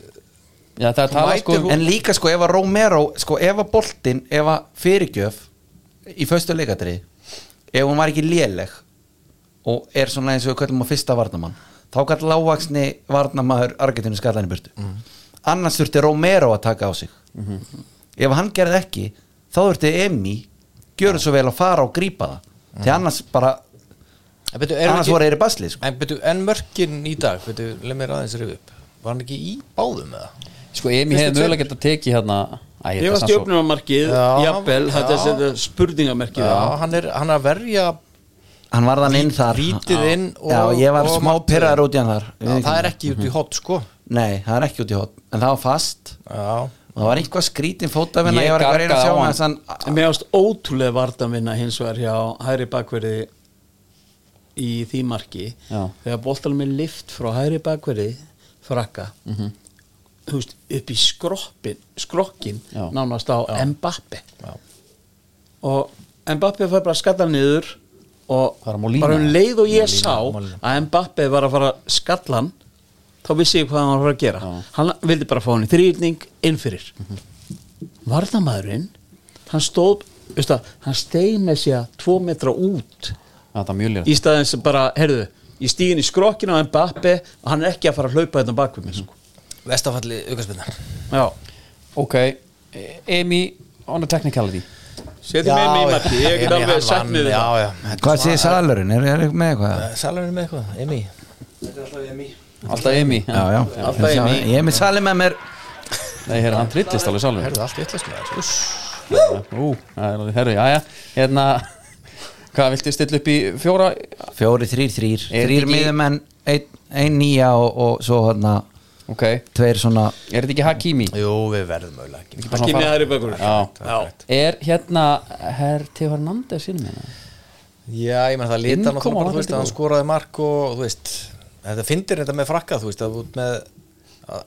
Speaker 1: já það er talað
Speaker 3: mætir
Speaker 1: sko
Speaker 3: þú-
Speaker 2: en líka sko ef að Romero sko ef að boltin, ef að fyrirgjöf í föstu leikatri ef hún var ekki léleg og er svona eins og við kallum á fyrsta varnamann þá gætt lágvaksni varnamaður Argentínu skallan í burtu
Speaker 3: Mhm.
Speaker 2: annars þurfti Romero að taka á sig ef hann gerði ekki þá þurfti Emi gjöru svo vel að fara og grípa það því annars bara,
Speaker 3: en betur,
Speaker 2: annars
Speaker 3: Mhm. ekki,
Speaker 2: voru þeir í basli sko.
Speaker 3: en, betur, en mörkin í dag, betur, leið mér aðeins rifið upp Var hann ekki í báðum eða?
Speaker 1: Sko, Emi hefði mögulega getað tekið hérna Æ, þetta
Speaker 4: Ég var
Speaker 1: er sann svo-
Speaker 4: stjöfnumarkið,
Speaker 3: Já,
Speaker 4: jafnvel þetta er
Speaker 3: já.
Speaker 4: sem þetta spurningamerkið
Speaker 3: Já,
Speaker 4: á.
Speaker 3: hann er, hann er að verja
Speaker 2: hann var þann inn þar
Speaker 3: Vítið
Speaker 2: Já.
Speaker 3: inn og-
Speaker 2: já, ég var
Speaker 3: og
Speaker 2: smá
Speaker 3: markið.
Speaker 2: pyrraður út í hann þar
Speaker 3: Já, það er ekki út í hot, sko
Speaker 2: Nei, það er ekki út í hot En það var fast
Speaker 3: Já,
Speaker 2: Og það var eitthvað skrítin fótafinna
Speaker 1: Ég
Speaker 2: Ég var ekki að reyna að
Speaker 1: gargaði
Speaker 2: sjá
Speaker 1: á
Speaker 2: hann
Speaker 1: hann.
Speaker 2: þessan
Speaker 4: En Mér ást ótrúlega vardaminna hins vegar hjá hæri bakverði í því marki
Speaker 1: Já.
Speaker 4: þegar boltanum er lift frá hæri bakverði frakka
Speaker 1: Mhm.
Speaker 4: þú veist, upp í skroppin skrokkin
Speaker 1: Já.
Speaker 4: nánast á Mbappe
Speaker 3: Já.
Speaker 4: og Mbappe fær bara að skalla niður og
Speaker 1: Bara Molina.
Speaker 4: bara um leið og ég sá
Speaker 3: Molina.
Speaker 4: að Mbappe var að fara að skalla hann þá vissi ég hvað hann var að fara að gera
Speaker 1: Já.
Speaker 4: hann vildi bara fá hann í þrýrning inn fyrir varðamæðurinn hann stóð veist það, hann steig með sér tvo metra út
Speaker 1: Þetta er mjög lýra
Speaker 4: í staðins bara, heyrðu ég stíðin í skrokkinu á Mbappe og hann er ekki að fara að hlaupa þetta bakvið mér sko.
Speaker 3: vestafalli aukarspinna
Speaker 4: já,
Speaker 1: Ok, E- Emi on a technicality
Speaker 4: setjum með mig í marki ég get alveg sagt um með þetta
Speaker 3: þetta
Speaker 2: Hvað sé salurinn? Er það með eitthvað?
Speaker 3: Salurinn með eitthvað, Emi
Speaker 1: Alltaf Emi
Speaker 2: Já, já
Speaker 4: Alltaf í mig.
Speaker 2: Ég er með salur með mér
Speaker 1: Nei, hérna, hann trillist alveg salveg
Speaker 3: Herðu allt vitlaust með þessu Uss.
Speaker 1: Ú, það er alveg, herru, jæja Hérna, <laughs> hvað viltu stilla upp í fjóra
Speaker 2: Fjóri, þrýr, þrýr
Speaker 1: Er
Speaker 2: Þrýr
Speaker 1: þetta ekki-
Speaker 2: miðumenn Einn ein nýja og, og svo hérna
Speaker 1: Ok, er
Speaker 2: Tveir svona
Speaker 1: þetta ekki Hakimi?
Speaker 3: Jú, við verðum auðvitað ekki
Speaker 1: Bara svona
Speaker 4: ekki með
Speaker 1: fara-
Speaker 4: hæri bakvið
Speaker 1: Já,
Speaker 4: já,
Speaker 1: er hérna Herr T. Hernandez inn með það?
Speaker 3: Já, ég menn það lita
Speaker 1: Innkoma var
Speaker 3: náttúrulega bara, þú veist, að hann
Speaker 1: heldur
Speaker 3: skoraði mark og, þú veist Þetta fyndir þetta með frakka, þú veist, að þú ert með að-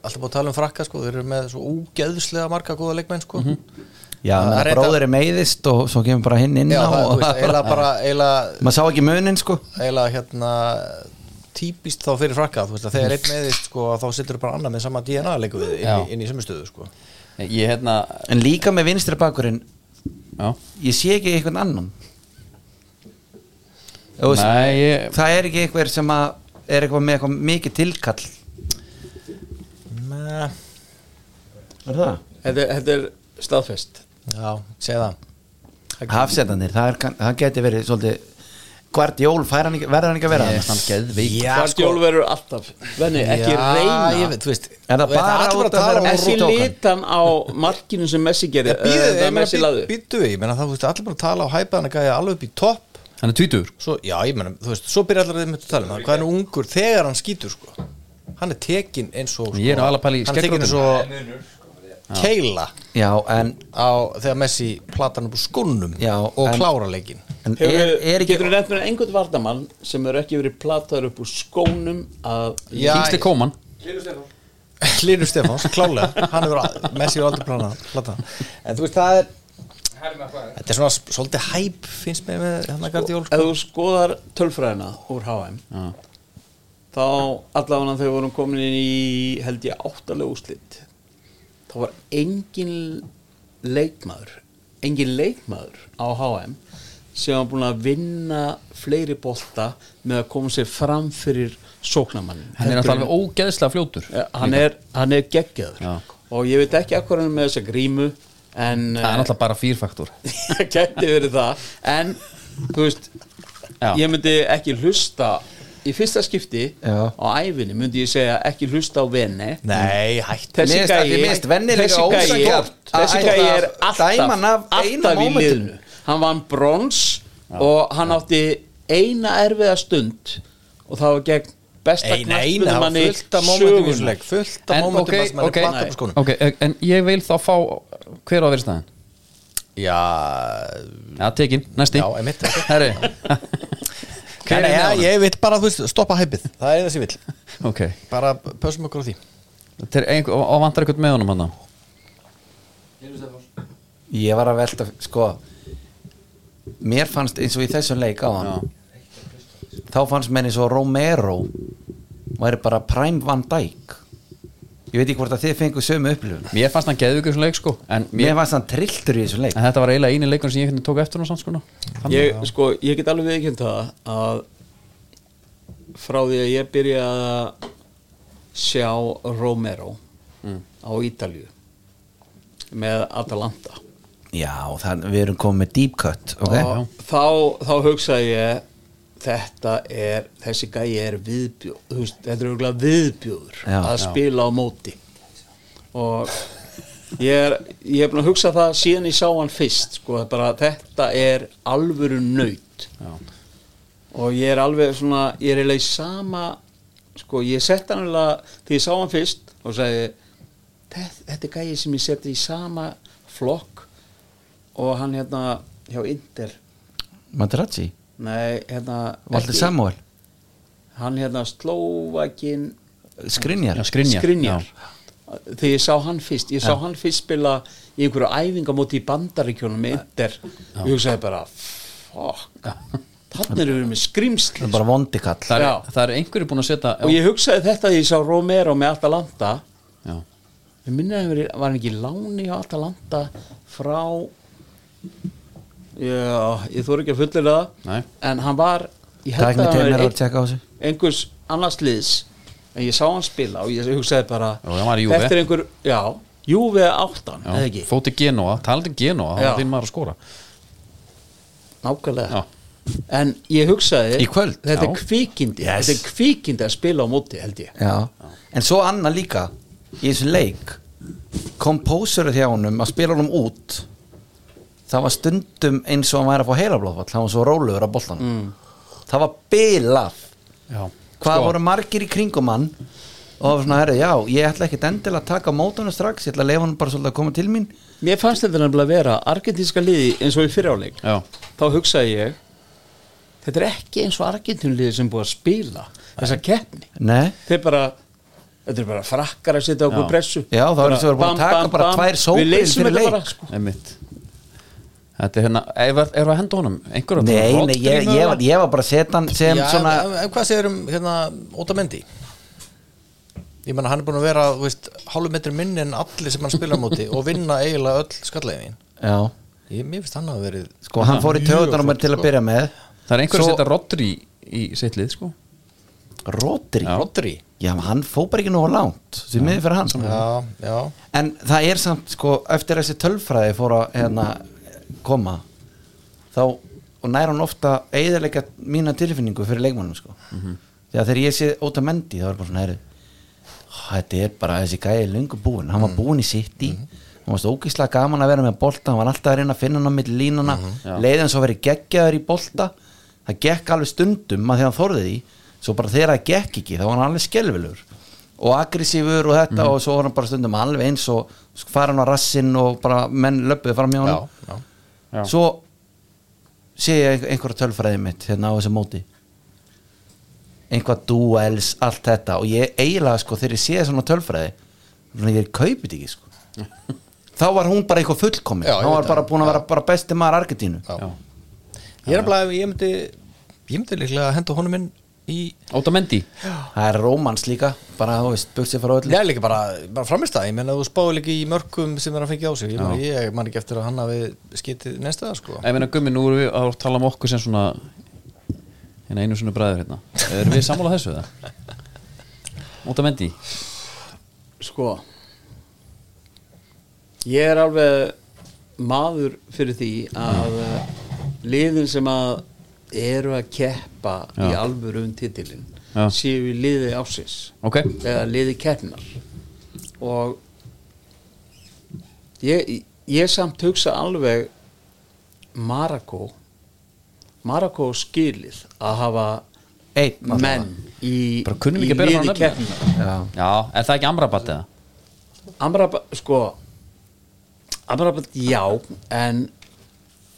Speaker 3: Alltaf búið að tala um frakka, sko, þeir eru með svo ógeðslega marga góða leikmenn, sko
Speaker 4: Mhm.
Speaker 2: Já,
Speaker 3: Það
Speaker 2: menn
Speaker 3: er
Speaker 2: bróður hérna, er meiðist Og svo kemur bara hinn inn
Speaker 3: Já,
Speaker 2: á
Speaker 3: það, þú
Speaker 2: og-
Speaker 3: veist, eiginlega bara,
Speaker 2: <laughs>
Speaker 3: eiginlega,
Speaker 2: Maður sá ekki munin sko
Speaker 3: eiginlega, hérna típist þá fyrir frakka, þú veist, að þegar einn meðist, sko, að þá setur bara annað með sama DNA leiku við inn,
Speaker 1: Já.
Speaker 3: í- inn í sömustöðu, sko
Speaker 1: Ég hérna,
Speaker 2: En líka með vinstri bakurinn
Speaker 1: já
Speaker 2: Ég sé ekki einhvern annan Þú veist,
Speaker 1: Nei, ég,
Speaker 2: það er ekki einhver sem að er eitthvað með eitthvað mikið tilkall
Speaker 3: Meh,
Speaker 2: er það?
Speaker 4: þetta, þetta er staðfest
Speaker 3: Já, segð það
Speaker 2: Hafsetandir, það, er kann- það geti verið svolítið hvert jól verður hann ekki að vera
Speaker 1: ég er
Speaker 2: þarna?
Speaker 1: samt geðveik
Speaker 3: Já,
Speaker 4: Hvar
Speaker 3: sko.
Speaker 4: sko, verður alltaf Venni, ekki
Speaker 3: Já,
Speaker 4: reyna
Speaker 3: ég veit, þú veist
Speaker 2: Er það
Speaker 3: þú veit,
Speaker 2: bara
Speaker 3: allir voru
Speaker 2: út af
Speaker 3: að tala um
Speaker 2: þessum-
Speaker 4: Þessi
Speaker 2: Rútókan.
Speaker 4: litan á markinu sem Messi gerði eh,
Speaker 3: Býðu,
Speaker 4: það Messi laði
Speaker 3: býtu, ég meina það, þú veist, allir bara að tala og hæpa hann að gæja alveg upp í topp
Speaker 1: Hann er tvítur
Speaker 3: Svo, já, ég meina, þú veist, svo byrja allir að þeim að tala um það Hvað er nú ungur þegar hann skýtur, sko Hann er tekin eins og, sko
Speaker 1: Ég er nú alveg að pæla í
Speaker 3: Hann er tekin eins og keila
Speaker 2: Já, en,
Speaker 3: á, þegar Messi platan upp úr skónum
Speaker 2: Já,
Speaker 3: og
Speaker 2: en-
Speaker 3: klára <laughs> leikin
Speaker 2: en
Speaker 4: Hefur,
Speaker 2: er, er ekki
Speaker 4: getur þú nefnt mér einhvern vardamann sem er ekki verið plataður upp úr skónum að
Speaker 3: Já,
Speaker 1: Kingsley Coman
Speaker 3: Linur Stefáns, klálega hann hefur, að- Messi er aldrei plana, plata en þú veist það er þetta er svona s- svolítið hæp finnst mér með sko. hann að gardi jól
Speaker 4: Sko, ef þú skoðar tölfræðina úr HM
Speaker 1: Já.
Speaker 4: þá allavega þegar við vorum komin inn í held ég áttalega úrslit þá var engin leikmaður engin leikmaður á HM sem var búin að vinna fleiri bolta með að koma sér fram fyrir sóknamannin
Speaker 1: Hann er alltaf alveg ógeðslega fljótur
Speaker 4: hann er, hann er geggjaður
Speaker 1: Já.
Speaker 4: og ég veit ekki akkur hann er með þessa grímu en eh,
Speaker 1: Það er alltaf bara fýrfaktor
Speaker 4: það gæti verið það en þú veist
Speaker 1: Já.
Speaker 4: ég myndi ekki hlusta í fyrsta skipti
Speaker 2: Já.
Speaker 4: á æfinni myndi ég segja ekki hlusta á venni
Speaker 3: nei, hætt
Speaker 4: þessi
Speaker 2: Mér finnst-
Speaker 4: gæi
Speaker 2: mér finnst Venni líka
Speaker 4: þessi gæi
Speaker 2: ósanngjarnt að
Speaker 4: þessi
Speaker 2: ætla
Speaker 4: gæi
Speaker 2: að
Speaker 4: er
Speaker 2: dæma hann af
Speaker 4: alltaf,
Speaker 2: eina
Speaker 4: alltaf í
Speaker 2: mómentinu.
Speaker 4: liðinu hann vann brons og hann átti eina erfiða stund og það var gegn besta
Speaker 3: Eina, eina, það var
Speaker 4: knattspyrnumanni
Speaker 3: fullt af momentum í þessum
Speaker 4: sögunnar.
Speaker 3: leik, fullt af
Speaker 1: En
Speaker 3: momentum
Speaker 1: ok,
Speaker 3: þar sem hann er
Speaker 1: ok.
Speaker 3: plantað
Speaker 4: sko.
Speaker 3: upp úr skónum.
Speaker 1: Ok, en ég vil þá fá Hver á að vera í staðin?
Speaker 3: já,
Speaker 1: Já, tekin, næsti
Speaker 3: Já, einmitt.
Speaker 4: <laughs>
Speaker 1: Herri Hver er
Speaker 3: Nei, nei,
Speaker 1: með
Speaker 3: ég vil bara, þú veist, stoppa hæpið Það er það sem ég vil
Speaker 1: honum? Ok
Speaker 3: Bara pössum okkur á því
Speaker 1: Til einhver- Og og vantar eitthvað með honum hann
Speaker 2: Ég var að velta, sko Mér fannst eins og í þessum leik á hann Þá fannst mér eins og Romero væri bara Prime Van Dijk Ég veit ekki hvort að þið fengu sömu upplifun
Speaker 1: Mér fannst hann geðvíkur sem leik sko En,
Speaker 2: Mér
Speaker 1: mér,
Speaker 2: fannst hann trilltur í þessum leik
Speaker 1: en þetta var eiginlega eini leikur sem ég einhvern veginn tók eftir hann samt sko nú. Þannig-
Speaker 4: ég, sko, ég get alveg viðkjönd það að frá því að ég byrja að sjá Romero á Ítalju með Atalanta
Speaker 2: Já, þann, við erum komið með deep cut okay?
Speaker 4: og þá, þá hugsaði ég þetta er, þessi gæi er viðbjóð, þú veist, þetta er auðvitað viðbjóður
Speaker 2: Já,
Speaker 4: að
Speaker 2: já.
Speaker 4: spila á móti og ég er, ég er búin að hugsa það síðan ég sá hann fyrst, sko, bara þetta er alvöru nöyt
Speaker 1: Já.
Speaker 4: og ég er alveg svona ég er eiginlega í sama sko, ég sett hann alveg, því ég sá hann fyrst og sagði "Þe- þetta er gæði sem ég seti í sama flokk og hann hérna hjá Inder
Speaker 2: Materazzi,
Speaker 4: nei, hérna
Speaker 2: Valdi
Speaker 4: ekki-
Speaker 2: Samuel
Speaker 4: hann hérna Slóvakin
Speaker 2: Skrinjar
Speaker 1: Já, Skrinjar
Speaker 4: Skrinjar
Speaker 1: Já.
Speaker 4: þegar ég sá hann fyrst ég sá hann fyrst spila í einhverju æfingamóti í bandaríkjónum með Inder og ég hugsaði bara fuck þannig erum við með
Speaker 2: Það
Speaker 4: skrimsli
Speaker 2: er bara vondikall
Speaker 1: Það,
Speaker 4: Já.
Speaker 1: er, það er einhverju búin að setja
Speaker 4: og ég hugsaði þetta því ég sá Romero með Atalanta
Speaker 1: Já.
Speaker 4: við minnaði að vera- var hann ekki í láni á Atalanta frá já, ég þóra ekki að fullir það
Speaker 1: Nei.
Speaker 4: en hann var ég held
Speaker 2: Tækni
Speaker 4: að hann
Speaker 2: teimir
Speaker 4: var
Speaker 2: að tjekka á þessu
Speaker 4: einhvers annars liðs en ég sá hann spila og ég hugsaði bara
Speaker 1: Já, hann var í Juve.
Speaker 4: þetta er einhver, já, Júve áttan, eða
Speaker 1: Já,
Speaker 4: ekki,
Speaker 1: fóti Genoa, talandi um Genoa það
Speaker 4: Já.
Speaker 1: var þinn maður að skora
Speaker 4: nákvæmlega
Speaker 1: Já.
Speaker 4: en ég hugsaði
Speaker 2: Í kvöld,
Speaker 4: þetta
Speaker 1: já.
Speaker 4: er kvikindi,
Speaker 2: Yes.
Speaker 4: þetta er kvikindi að spila á móti held ég
Speaker 2: Já. En svo annað líka í þessum leik kompósuru þjá honum að spila honum út það var stundum eins og hann væri að fá heilablóðfall það var svo rólegur að boltan það var bilað
Speaker 1: Já.
Speaker 2: hvað
Speaker 1: Mm. Sko,
Speaker 2: voru margir í kringum hann og það var svona, herri, já, ég ætla ekkit endilega að taka mótana strax, ég ætla að leifa hann bara svolítið að koma til mín
Speaker 4: Mér fannst þetta nefnilega að vera argentinska liði eins og í fyriráleik
Speaker 1: Já.
Speaker 4: þá hugsaði ég þetta er ekki eins og argentinliði sem búið að spila þessa keppni
Speaker 2: Nei,
Speaker 4: þeir bara þetta er bara frakkar að setja okkur
Speaker 1: Já.
Speaker 4: pressu
Speaker 2: Já, þá
Speaker 4: Bara
Speaker 2: erum þeir búin að
Speaker 4: bam,
Speaker 2: taka
Speaker 4: bam,
Speaker 2: bara
Speaker 4: bam.
Speaker 2: tvær sóknir
Speaker 4: Við leysum
Speaker 2: fyrir
Speaker 4: þetta
Speaker 2: leik.
Speaker 4: bara, sko.
Speaker 1: einmitt Þetta er hérna, eru er að henda honum einhverjum?
Speaker 2: nei, nei ég, ég, var, ég var bara að setja hann sem
Speaker 3: já,
Speaker 2: svona
Speaker 3: en, en hvað segir um hérna, Ótamendi? Ég menna hann er búin að vera þú veist, hálfum metri minni en allir sem hann spila á móti og vinna eiginlega öll skallegin
Speaker 2: Já,
Speaker 3: Ég mér finnst hann að verið
Speaker 2: sko, hann fór í töðunar á mér
Speaker 1: sko.
Speaker 2: til að byrja með
Speaker 1: Það er einhverjum
Speaker 2: Svo-
Speaker 1: að setja Rodri í, í sitt lið sko
Speaker 2: Rodri
Speaker 1: Já.
Speaker 3: Rodri
Speaker 2: Já, menn hann fó bara ekki nógu langt sem miður fyrir hann
Speaker 3: Já, já
Speaker 2: En það er samt, sko, eftir þessi tölfræði fór að hérna, koma þá, og nær hann ofta eigðarleika mína tilfinningu fyrir leikmannum, sko Þegar þegar ég sé óta mendi, þá er bara svona herið Þetta er bara þessi gæði löngu búinn Hann var búinn í sitt í Hann var stókislega gaman að vera með bolta Hann var alltaf að reyna að finna hann á milli línana mm -hmm. Leiði hann svo að vera geggjaður í bolta Það gekk alveg stundum að þegar hann þorði því Svo bara þegar það gekk ekki, þá var hann alveg skelfilegur og aggressífur og þetta og svo var hann bara stundum alveg eins og sko, fara hann á rassinn og bara menn löpuðu fram hjá hann
Speaker 3: já, já.
Speaker 1: Já.
Speaker 2: svo sé ég einhverja tölfræði mitt hérna á þessu móti einhvað duels, allt þetta og ég eiginlega sko þegar ég sé svona tölfræði svona ég kaupi þetta ekki sko
Speaker 3: <laughs>
Speaker 2: þá var hún bara eitthvað fullkomin
Speaker 3: Já, ég
Speaker 2: hún
Speaker 3: veit
Speaker 2: var bara
Speaker 3: það.
Speaker 2: búin að vera bara besti maður Argentínu
Speaker 3: Já. Ég er nefnilega, ég myndi ég myndi líklega að henda honum inn í
Speaker 1: Óta Mendi
Speaker 2: það er rómans líka, bara þú veist buksið frá öllu
Speaker 3: Ég er líka bara, bara framist það, ég menna þú spáði líka í mörgum sem er að fengja á sig, ég, man, ég man ekki eftir að hann hafi skitið næsta sko.
Speaker 1: Ég meina gummi, nú erum við að tala um okkur sem svona hérna einu svona bræður hérna Erum við sammála þessu það? Óta Mendi
Speaker 4: sko ég er alveg maður fyrir því að eh, liðin sem að eru að keppa í
Speaker 1: Já.
Speaker 4: alvöru um titilin
Speaker 1: Já.
Speaker 4: séu í liði ásins
Speaker 1: Ok,
Speaker 4: eða liði keppnar og ég, ég samt hugsa alveg Marako Marako skilið að hafa
Speaker 2: einn allavega.
Speaker 4: menn í,
Speaker 1: Bara kunnum ekki
Speaker 4: í
Speaker 1: að bera fram
Speaker 4: liði
Speaker 1: nöfnin.
Speaker 4: keppnar
Speaker 2: já,
Speaker 1: já, er það ekki Amrabat eða?
Speaker 4: Amrabat, sko Amrabat, já en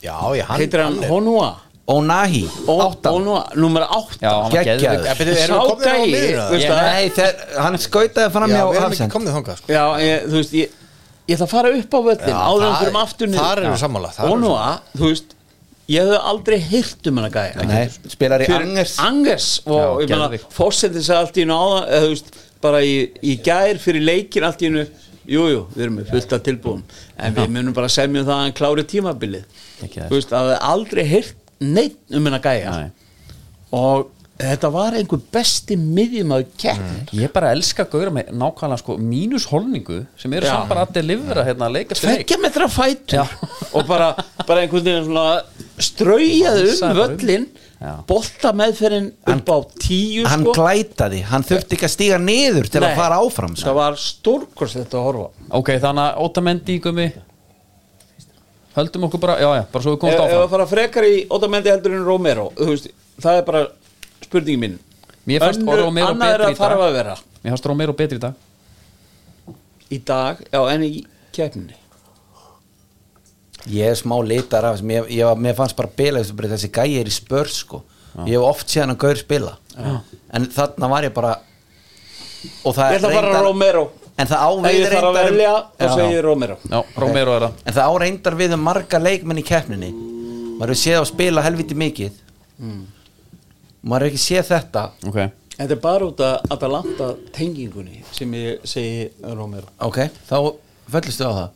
Speaker 3: Já, ég hann
Speaker 4: heitir hann Honua
Speaker 2: Onahi,
Speaker 4: Ó-
Speaker 2: áttan
Speaker 4: Honua, nummer 8
Speaker 1: Já, hann var
Speaker 2: Geggjaður.
Speaker 1: geðvig
Speaker 3: Ja, byrju, erum við komin á
Speaker 4: Sá gæi,
Speaker 3: liðinu?
Speaker 4: veistu
Speaker 1: Ég-
Speaker 4: það?
Speaker 2: nei, þeir, hann skautaði fram
Speaker 3: Já,
Speaker 2: hjá
Speaker 3: við erum ekki
Speaker 2: Hafsend
Speaker 3: komnið þangað sko.
Speaker 4: Já, ég, þú veist, ég, ég ætla að fara upp á völlin
Speaker 3: Já,
Speaker 4: áður en
Speaker 3: það-
Speaker 4: fyrir aftur niður.
Speaker 3: þar eru
Speaker 4: Já.
Speaker 3: sammála, þar eru
Speaker 4: Honua, þú veist ég hefði aldrei heyrt um hann að gæja
Speaker 2: Nei, spilar í
Speaker 4: Fyrir
Speaker 2: Angers
Speaker 4: Angers og
Speaker 1: Já,
Speaker 4: ég meina,
Speaker 1: geðveikt.
Speaker 4: fórsetin sagði allt í einu áðan eða þú veist, bara í, í gær fyrir leikin allt í einu, jújú, jú, við erum með fullt af tilbúum, en við munum bara semja um það að hann klári tímabilið
Speaker 1: Ekki það.
Speaker 4: þú veist, að það er aldrei heyrt neitt um hennar gæja
Speaker 1: Nei.
Speaker 4: og þetta var einhver besti miðjumæður kepp
Speaker 1: Ég bara elska að gauðra með nákvæmlega sko mínus holningu sem eru
Speaker 4: Já.
Speaker 1: samt bara að delivera hérna að leika eftir leik.
Speaker 4: tveggja metra fætur
Speaker 1: Já.
Speaker 4: og bara, bara einhvern veginn svona straujaði
Speaker 1: Dansaði
Speaker 4: um
Speaker 1: bara um.
Speaker 4: völlin
Speaker 1: Já.
Speaker 4: bolta meðferðin upp á tíu
Speaker 2: hann
Speaker 4: sko.
Speaker 2: glætaði, hann þurfti ekki að stíga niður til
Speaker 4: Nei,
Speaker 2: að fara áfram sko.
Speaker 4: það var stórkost þetta að horfa
Speaker 1: Ok, þannig að Ótamendi gummi Höldum okkur bara, já já, bara svo við
Speaker 4: ef
Speaker 1: komumst
Speaker 4: ef að
Speaker 1: áfram
Speaker 4: fara frekar í Otamendi heldur en Romero þú veist, það er bara spurningin mín
Speaker 1: Mér fannst
Speaker 4: Önnur-
Speaker 1: Romero
Speaker 4: annað er
Speaker 1: betri í
Speaker 4: að fara
Speaker 1: dag.
Speaker 4: að vera
Speaker 1: Mér hafst Romero betri í dag
Speaker 4: í dag, já en í keppninni
Speaker 2: Ég er smá litar af þessu, mér, ég, var- mér fannst bara bila þessu bara þessi gæi er í spör sko Ég hef oft séð hann að gaur spila En þarna var ég bara Og það
Speaker 4: ég ætla að fara að Romero
Speaker 2: En það
Speaker 4: ef
Speaker 2: áveið
Speaker 4: ég þarf að
Speaker 2: reyndar um-
Speaker 4: velja þá
Speaker 2: Já.
Speaker 4: segir ég Romero
Speaker 1: Já, Romero er það
Speaker 2: En það áreindar við um marga leikmenn í keppninni Maður hefur séð á spila helviti mikið
Speaker 3: Mm.
Speaker 2: Maður hefur ekki séð þetta
Speaker 1: Ok,
Speaker 4: Þetta er bara út af Atalanta tengingunni sem ég segi Romero
Speaker 2: Ok, þá föllistu á það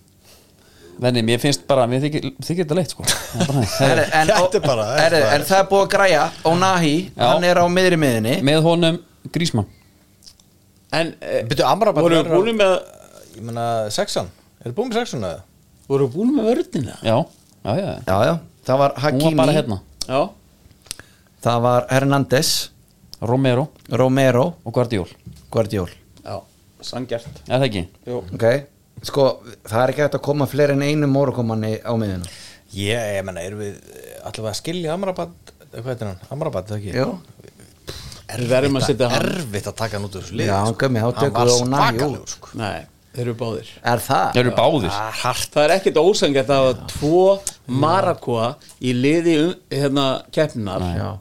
Speaker 1: venni, mér finnst bara, mér þykir, þykir þetta leitt sko Það er bara þannig.
Speaker 2: Herri, en,
Speaker 3: Þetta er bara-
Speaker 2: herri, en það er búið að græja Onahi,
Speaker 1: Já.
Speaker 2: hann er á miðri miðinni
Speaker 1: Með honum Grísmann
Speaker 4: En eh,
Speaker 3: Byrju, Amrabat
Speaker 4: voru
Speaker 3: verður að-
Speaker 4: búin með
Speaker 3: Ég meina, sexan, er þið búin með sexan eða?
Speaker 4: voru búin með vördina
Speaker 1: Já, já, já, já.
Speaker 2: Já, já, það var
Speaker 1: hún
Speaker 2: Hakimi
Speaker 1: var bara hérna
Speaker 4: Já,
Speaker 2: Það var Hernández,
Speaker 1: Romero
Speaker 2: Romero
Speaker 1: og Guardiol
Speaker 2: Guardiol
Speaker 4: já, sangjart
Speaker 1: Er það ekki?
Speaker 4: Jó,
Speaker 2: Ok, sko, það er ekki hægt að koma fleiri en einu mórukomanni á miðinu
Speaker 3: Ég, ég meina, erum við eh, allavega að skilja Amrabat eh, Hvað heitir hann? Amrabat, það ekki?
Speaker 2: Jú,
Speaker 4: við verðum að setja hann
Speaker 3: Erfitt að taka hann út úr þessu lið
Speaker 2: Já, hann gummi, þá
Speaker 3: Hann
Speaker 2: tökum
Speaker 3: var
Speaker 2: við Ónani út.
Speaker 3: svakalegur, sko.
Speaker 4: Nei, þeir eru báðir
Speaker 2: er það?
Speaker 1: Það eru báðir
Speaker 3: Ah, hart.
Speaker 4: Það er ekkert ósangjart að hafa tvo marakoa í liði um, hérna keppnar
Speaker 1: Nei.
Speaker 2: Já.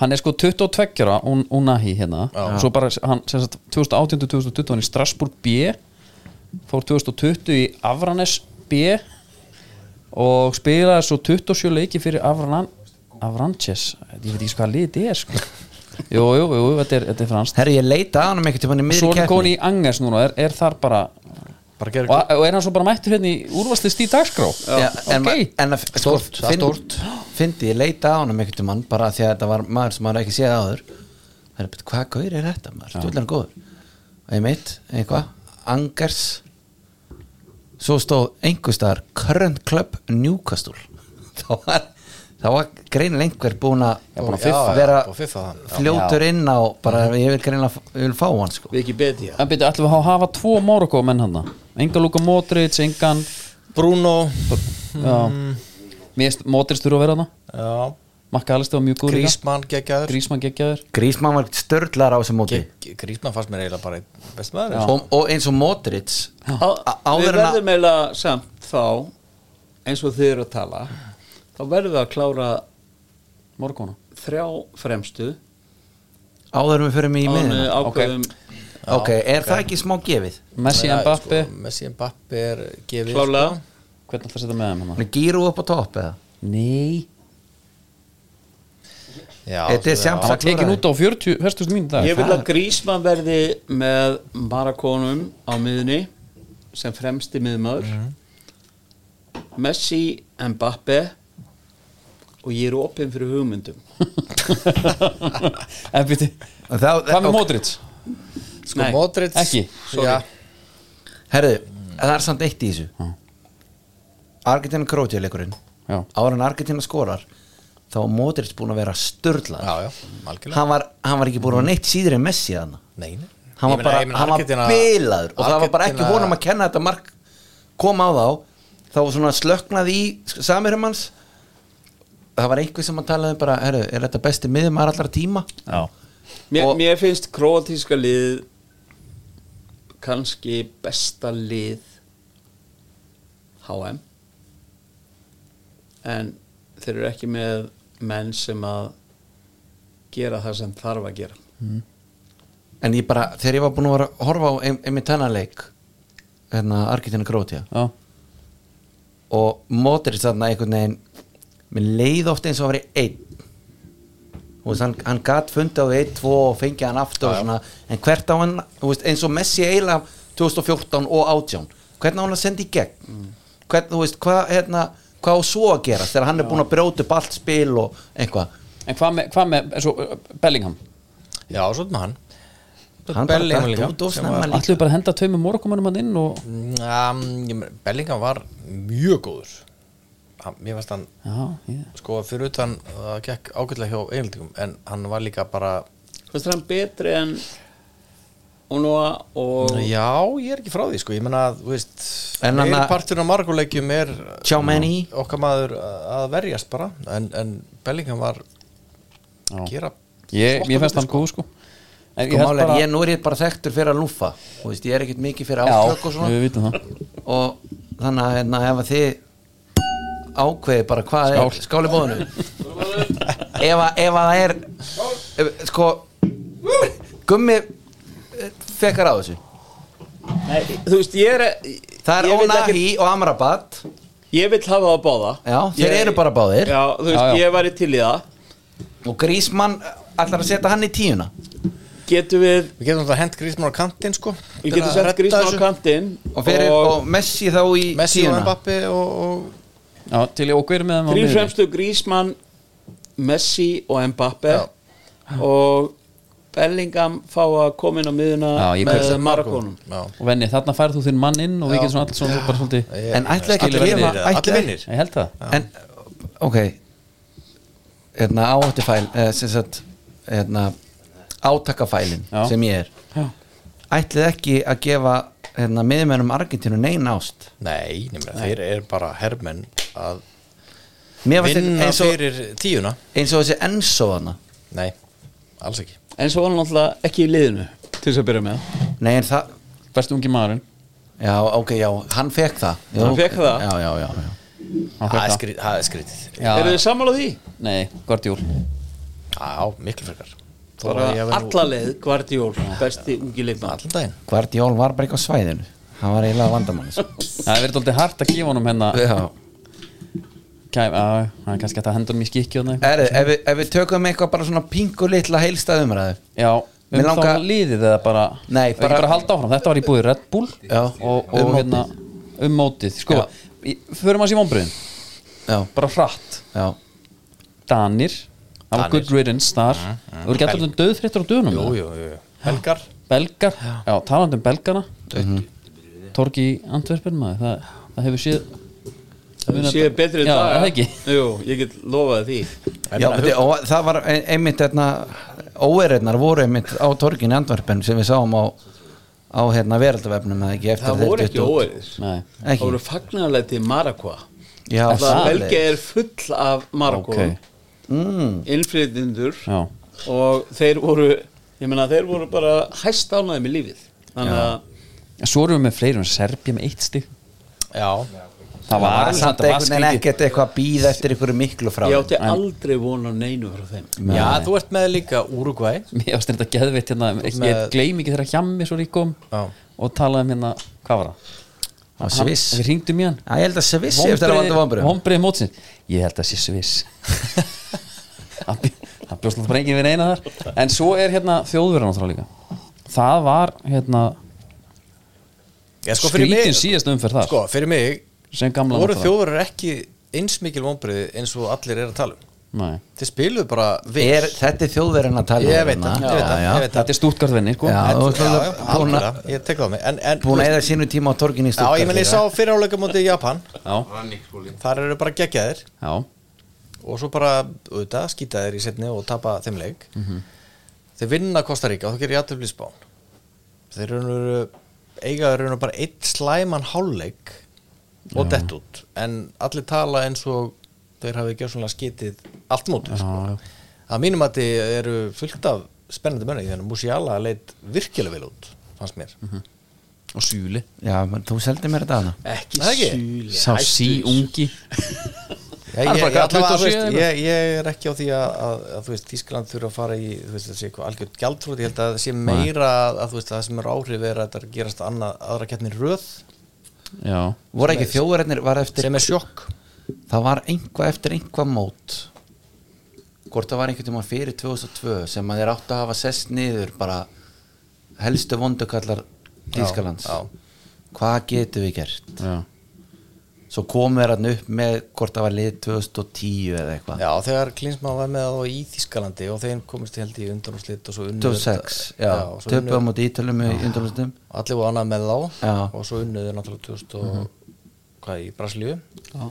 Speaker 1: Hann er sko 22 ára Un- Unahi hérna og svo bara hann sem sagt 2018-2020 hann í Strasbourg B fór 2020 í Avranes B og spilaði svo 27 leiki fyrir Avran Avranches ég veit ekki hvað liðið er sko Jú, jú, jú, þetta er, þetta er franskt
Speaker 2: Herri, ég leita að hann um ekkert tíma í miðri
Speaker 1: Svo er hann
Speaker 2: keppni
Speaker 1: komin í Angers núna, er, er þar bara
Speaker 3: Bara
Speaker 1: og,
Speaker 3: gera
Speaker 1: og er hann svo bara mættur hérna í úrvastist í dagskrá
Speaker 2: Já, en,
Speaker 1: ok,
Speaker 2: ma- en að sko,
Speaker 3: Stórt, það er stórt.
Speaker 2: Fyndi, ég leita að hann um ekkert tíma bara því að þetta var maður sem maður ekki séð áður Herri, betur, hvað gaur er þetta maður? Stjórnlega góður Einmitt, eitthvað, Angers Svo stóð einhverstaðar Current Club Newcastle <laughs> Það var, það var greinileg einhver búin að
Speaker 3: Já, búin að fiffa.
Speaker 2: vera
Speaker 3: Já, búin að fiffa hann, já.
Speaker 2: fljótur inn á bara ég vil greinilega ég vil fá hann sko
Speaker 4: Við ekki betið það
Speaker 1: en byrju, ætlum við að hafa tvo Morocco menn hann enga Luka Modric, engan
Speaker 3: Bruno
Speaker 1: Já Mér finnst Modric þurfa að vera hana
Speaker 3: Já
Speaker 1: Makka Alistair var mjög góð líka.
Speaker 3: Grísmann geggjaður
Speaker 1: Grísmann geggjaður
Speaker 2: Grísmann var störlar á þessu móti
Speaker 3: Gegg- Grísmann fannst mér eiginlega bara best maður sko.
Speaker 2: og, og eins og Modric
Speaker 4: Á-
Speaker 2: á- áður en
Speaker 4: Við
Speaker 2: að-
Speaker 4: verðum eiginlega samt þá eins og þið eru að tala þá verðum við að klára
Speaker 1: Morgóna
Speaker 4: þrjá fremstu
Speaker 2: áður en við förum í
Speaker 4: áður en
Speaker 2: miðina
Speaker 4: við ákveðum
Speaker 2: ok, er það ekki smá gefið?
Speaker 1: Messi
Speaker 3: Já,
Speaker 1: Mbappi
Speaker 3: sko, Messi Mbappi er gefið sko.
Speaker 4: klálega
Speaker 1: Hvernig ætlar að setja með þeim hérna? hann?
Speaker 2: Gíru upp á topp eða?
Speaker 1: Nei
Speaker 3: sko. Já,
Speaker 2: Þetta er
Speaker 3: svo-
Speaker 2: sjámt.
Speaker 1: Hann var tekin
Speaker 2: kláraði.
Speaker 1: út á 40 Hörstuðum mínu dag
Speaker 4: Ég vil að Grísmann verði með Marakonum á miðunni sem fremsti miðmaður Messi, Mbappe og ég er opinn fyrir hugmyndum
Speaker 1: <laughs> En býtti
Speaker 2: Það-
Speaker 1: Hvað með
Speaker 2: ok.
Speaker 1: Modric?
Speaker 3: Sko Modric
Speaker 1: ekki.
Speaker 3: Já,
Speaker 2: Herðu, það er samt eitt í þessu Argentina Krótja leikurinn
Speaker 1: Já
Speaker 2: áður en Argentina skorar þá var Modric búin að vera störlað
Speaker 3: já, já, algjörlega
Speaker 2: hann, var- hann var ekki búin að vera neitt síður en Messi hann
Speaker 3: Nei, nei.
Speaker 2: hann
Speaker 3: Ég
Speaker 2: var
Speaker 3: meina-
Speaker 2: bara,
Speaker 3: ég meina
Speaker 2: hann var
Speaker 3: Argentína-
Speaker 2: bilaður og það var bara ekki
Speaker 3: Argentína-
Speaker 2: honum að kenna þetta mark kom á þá þá var svona slöknað í samirum hans það var einhver sem að talaði bara, herru, er þetta besti miðum allra tíma?
Speaker 1: Já
Speaker 4: Mér,
Speaker 2: Og-
Speaker 4: mér finnst kroatíska lið kannski besta lið HM en þeir eru ekki með menn sem að gera það sem þarf að gera
Speaker 2: en ég bara, þegar ég var búin að vera að horfa á ein- einmitt þennan leik hérna Argentina Krótja
Speaker 1: Já
Speaker 2: og Modric þarna einhvern veginn mér leið oft eins og að vera einn Þú veist, hann, hann gat fundið á því einn, tvo og fengið hann aftur og svona, en hvert á hann þú veist, eins og Messi eiginlega 2014 og 18, hvernig á hann að senda í gegn hvern, þú veist, hvað hérna, hvað á svo að gera þegar hann er búin að brjóta upp allt spil og eitthvað
Speaker 1: En hvað með, hvað með eins og uh, Bellingham
Speaker 3: já svona hann
Speaker 2: Hann bara
Speaker 3: Bellingham
Speaker 2: datt
Speaker 3: líka,
Speaker 2: út of
Speaker 3: sem
Speaker 2: snemma
Speaker 3: var-
Speaker 2: líka.
Speaker 1: Ætlum við bara að henda tveimur morgumannum hann inn og
Speaker 3: Mm, ég meina, Bellingham var mjög góður hann, Mér fannst hann
Speaker 1: Já, ég
Speaker 3: sko fyrir utan það gekk ágætlega hjá eiginleikum en hann var líka bara
Speaker 4: Fannst þér hann betri en Unoa og
Speaker 3: Já, ég er ekki frá því sko ég menna að, þú veist,
Speaker 2: En hann að-
Speaker 3: meiriparturinn af marguleikjum er
Speaker 2: tjá menni í
Speaker 3: okkar maður að verjast bara en, en Bellingham var
Speaker 1: Já.
Speaker 3: að gera
Speaker 1: Ég,
Speaker 3: flotta
Speaker 1: ég finnst
Speaker 3: hluti,
Speaker 1: hann góð sko En ég
Speaker 2: Sko,
Speaker 1: held
Speaker 2: máli er,
Speaker 1: bara
Speaker 2: ég, nú er ég bara þekktur fyrir að lúfa Þú veist, ég er ekkert mikið fyrir átök
Speaker 1: Já,
Speaker 2: og svona
Speaker 1: við vitum það
Speaker 2: og þannig að hérna, ef að þið ákveði bara hvað er
Speaker 1: Skál.
Speaker 2: skáli bóðinu ef, að, ef að það er ef, sko gummi fekkar á þessu
Speaker 4: Nei, þú veist, ég er
Speaker 2: það er
Speaker 4: ég vil
Speaker 2: Onahi
Speaker 4: ekki-
Speaker 2: og Amrabat
Speaker 4: Ég vil hafa það báða
Speaker 2: já, þeir
Speaker 4: ég,
Speaker 2: eru bara báðir
Speaker 4: Já, þú veist,
Speaker 1: Já, já.
Speaker 4: ég væri til í það
Speaker 2: og Grísmann ætlar að setja hann í tíuna
Speaker 4: Getum við
Speaker 3: Við getum þetta hent Grísmann á kantinn sko
Speaker 4: Við getum sett grísmann á kantinn
Speaker 2: og, fyrir, og, Messi þá í
Speaker 3: Messi og
Speaker 2: tíuna
Speaker 3: Mbappi og, og
Speaker 1: Já, til ég og hver er með þeim á
Speaker 4: Þrjú
Speaker 1: miðjunni?
Speaker 4: fremstu Grísmann Messi og Mbappe
Speaker 3: Já.
Speaker 4: og Bellingham fá að koma inn á miðuna
Speaker 1: Já, ég
Speaker 4: með
Speaker 1: kaupi það.
Speaker 4: Marakonum
Speaker 3: Já.
Speaker 1: Og venni, þarna færð þú þinn mann inn og við getum svona allir svona bara svolítið
Speaker 3: Ég-
Speaker 2: En ætlaði ekki að
Speaker 3: allir
Speaker 2: gefa-
Speaker 3: vinir, eða?
Speaker 2: ætlaði-
Speaker 3: Allir vinnir
Speaker 1: Ég held það
Speaker 2: en ok hérna áhættufæl eh, sem sagt hérna, átakafælin
Speaker 1: Já.
Speaker 2: sem ég er
Speaker 1: Já.
Speaker 2: ætlið ekki að gefa hérna, miðmennum Argentínu neyn ást
Speaker 3: Nei, nefnir, þeir eru bara hermenn að
Speaker 2: mér fannst þetta
Speaker 3: vinna
Speaker 2: eins og,
Speaker 3: fyrir tíuna
Speaker 2: eins og þessi Enzo hana
Speaker 3: Nei, alls ekki
Speaker 4: en svo var hann náttúrulega ekki í liðinu til þess að byrja með
Speaker 2: nei en það
Speaker 1: Best ungi maðurinn
Speaker 2: já ok já hann fekk það Jú,
Speaker 4: Hann fékk það?
Speaker 2: já já já, já.
Speaker 1: Hann
Speaker 3: Það
Speaker 1: fékk
Speaker 3: er
Speaker 1: það.
Speaker 3: skrít- það er skrítið
Speaker 1: Já,
Speaker 4: Eru þið sammála því?
Speaker 1: Nei, Guardiol
Speaker 3: Já, miklu frekar Þó
Speaker 4: Bara
Speaker 3: að ég hafi nú-
Speaker 4: alla leið Guardiol besti ungi leikmann
Speaker 3: Allan daginn
Speaker 2: Guardiol var bara eitthvað á svæðinu hann var eiginlega vandamann sko.
Speaker 1: Það er verið alltaf hart að gefa honum hennar
Speaker 2: já
Speaker 1: Kæm, á, hann er kannski hægt að henda honum í skikki og þannig
Speaker 2: Herru, ef, við- ef við tökum eitthvað bara svona pingu litla heilstæðumræðu
Speaker 1: Já,
Speaker 2: Mig
Speaker 1: um langa...
Speaker 2: langar-
Speaker 1: þá liðið eða bara
Speaker 2: Nei,
Speaker 1: bara...
Speaker 2: bara-
Speaker 1: bara að halda áfram, þetta var í búið Red Bull
Speaker 2: Já.
Speaker 1: og, og
Speaker 2: Um mótið.
Speaker 1: hérna um mótið Sko,
Speaker 2: Já.
Speaker 1: í- förum að sé vombriðin
Speaker 2: já
Speaker 1: bara hratt
Speaker 2: já
Speaker 1: Danir, það var
Speaker 3: Danir.
Speaker 1: good riddance þar Þú voru gætt alltaf döðþreyttur á dönum
Speaker 3: Jú, jú, jú Helgar
Speaker 1: Belgar, já, talandi um belgana Torgi í Antwerpen maður það, það hefur séð
Speaker 4: séu betri
Speaker 1: Já,
Speaker 4: dag
Speaker 1: það ekki
Speaker 4: Jú, ég get lofað því
Speaker 2: Já, beti, og það var ein- einmitt hérna, óeirðnar voru einmitt á torginu í Andvarpen sem við sáum á, á hérna, veraldavefnum eða ekki eftir
Speaker 4: það
Speaker 2: þeir
Speaker 4: voru
Speaker 2: duttu
Speaker 4: ekki
Speaker 2: út.
Speaker 4: óeirðis
Speaker 1: Nei,
Speaker 2: Ekki?
Speaker 4: það voru fagnarleiti Marakva
Speaker 2: Já,
Speaker 4: það
Speaker 2: það
Speaker 4: Belgia er full af Marakva
Speaker 1: Ok.
Speaker 2: mm.
Speaker 4: innflytjendur
Speaker 1: Já.
Speaker 4: og þeir voru ég meina þeir voru bara hæst ánaði með lífið þannig
Speaker 1: Já.
Speaker 4: að
Speaker 1: En Svo erum við með fleiri um Serbja með eitt stig
Speaker 3: Já,
Speaker 1: Það var alveg
Speaker 2: samt
Speaker 1: þetta var
Speaker 2: einhvern veginn
Speaker 1: skrítið.
Speaker 2: ekkert eitthvað að býða eftir einhverju miklu frá
Speaker 4: ég
Speaker 2: þeim.
Speaker 4: átti aldrei vona á neinu frá þeim
Speaker 1: Nei.
Speaker 3: já þú ert með líka Uruguay
Speaker 1: Mér varst þetta geðveitt hérna Ég
Speaker 3: með-
Speaker 1: gleym ekki þegar hjammi svo ríkum
Speaker 3: Já.
Speaker 1: Og talaði um hérna, hvað var það?
Speaker 2: á Sviss
Speaker 1: Við ringdum í hann
Speaker 2: Já, ég held að Sviss eftir að valda vombriðum
Speaker 1: Vombriði mótsins Ég held að sé Sviss Það bjó- það bjóst náttúrulega bara enginn við neina þar En svo er hérna þjóðverðan náttúrulega líka Það var hérna
Speaker 3: Já, sko, fyrir mig-
Speaker 1: skrítin síðast umferð þar
Speaker 3: Sko, fyrir mig
Speaker 1: Sem gamla
Speaker 3: voru
Speaker 1: náttúrulega.
Speaker 3: þjóðverður ekki eins mikil vonbriði eins og allir er að tala um
Speaker 1: Nei.
Speaker 3: Þeir spiluðu bara vel
Speaker 2: er, Þetta er þjóðverðin að tala
Speaker 3: Ég
Speaker 2: um
Speaker 3: veit það,
Speaker 2: hérna.
Speaker 3: ég veit
Speaker 2: Já,
Speaker 3: það, ég
Speaker 2: já.
Speaker 3: veit það
Speaker 1: Þetta er stúttgarðvinni sko.
Speaker 2: Já.
Speaker 3: En-
Speaker 2: þú ert
Speaker 3: já,
Speaker 2: alveg búin
Speaker 3: já,
Speaker 2: að-
Speaker 3: algjörlega, Ég tek það á mig En, en
Speaker 2: Búin að eða sínu tíma á torginni í
Speaker 3: Já, ég meni, ég sá fyrir áleika móti í Japan
Speaker 1: Já.
Speaker 3: Þar eru bara geggjaðir
Speaker 1: Já.
Speaker 3: Og svo bara, auðvitað, skýta þeir í setni og tapa þeim leik Þeir vinna Kosta Ríka og þá gerir játtöfli spán Þeir eru eiga eru bara eitt slæman hálfleik og dett út en allir tala eins og þeir hafi gjörsanlega skitið allt móti sko. að mínum að þið eru fullt af spennandi mönni þannig að Musiala leit virkilega vel út fannst mér
Speaker 1: Og Súli
Speaker 2: Já, menn, þú seldi mér þetta hana
Speaker 4: ekki
Speaker 3: Það ekki?
Speaker 4: súli
Speaker 1: Sá sí ungi
Speaker 3: ég,
Speaker 1: Hann er
Speaker 3: ég,
Speaker 1: bara
Speaker 3: ég,
Speaker 1: hvað, 27
Speaker 3: allavega, þú veist,
Speaker 1: eða?
Speaker 3: ég, ég er ekki á því að, að, að þú veist, Þískland þurfa að fara í þú veist, þessi eitthvað algjörn gjaldfrúti ég held að það sé meira að, að þú veist, að það sem er áhrif er að þetta er að gerast annað, aðra keppni í röð
Speaker 1: Já.
Speaker 2: Voru ekki þjóðverðinir var eftir
Speaker 3: sem er sjokk
Speaker 2: Það var einhvað eftir einhvað mót Hvort það var einhvern tíma fyrir 2002 sem að þeir áttu að hafa sest niður bara helstu vondukallar Þýskalands
Speaker 3: já.
Speaker 2: Hvað getum við gert?
Speaker 1: Já.
Speaker 2: Svo komum við hann upp með hvort það var lið 2010 eða eitthvað
Speaker 3: Já, þegar Klinsmann var með þá í Þískalandi og þeir komist held í undanúrslit og svo unnu
Speaker 2: 2006,
Speaker 3: þetta-
Speaker 2: já,
Speaker 3: og svo unnu-
Speaker 2: töpum á dítalum í undanlustum
Speaker 3: allir voru annað með þá
Speaker 2: Já. Mhm.
Speaker 3: og svo unnuðu náttúrulega 2000 og hvað í Brasilíu
Speaker 2: já,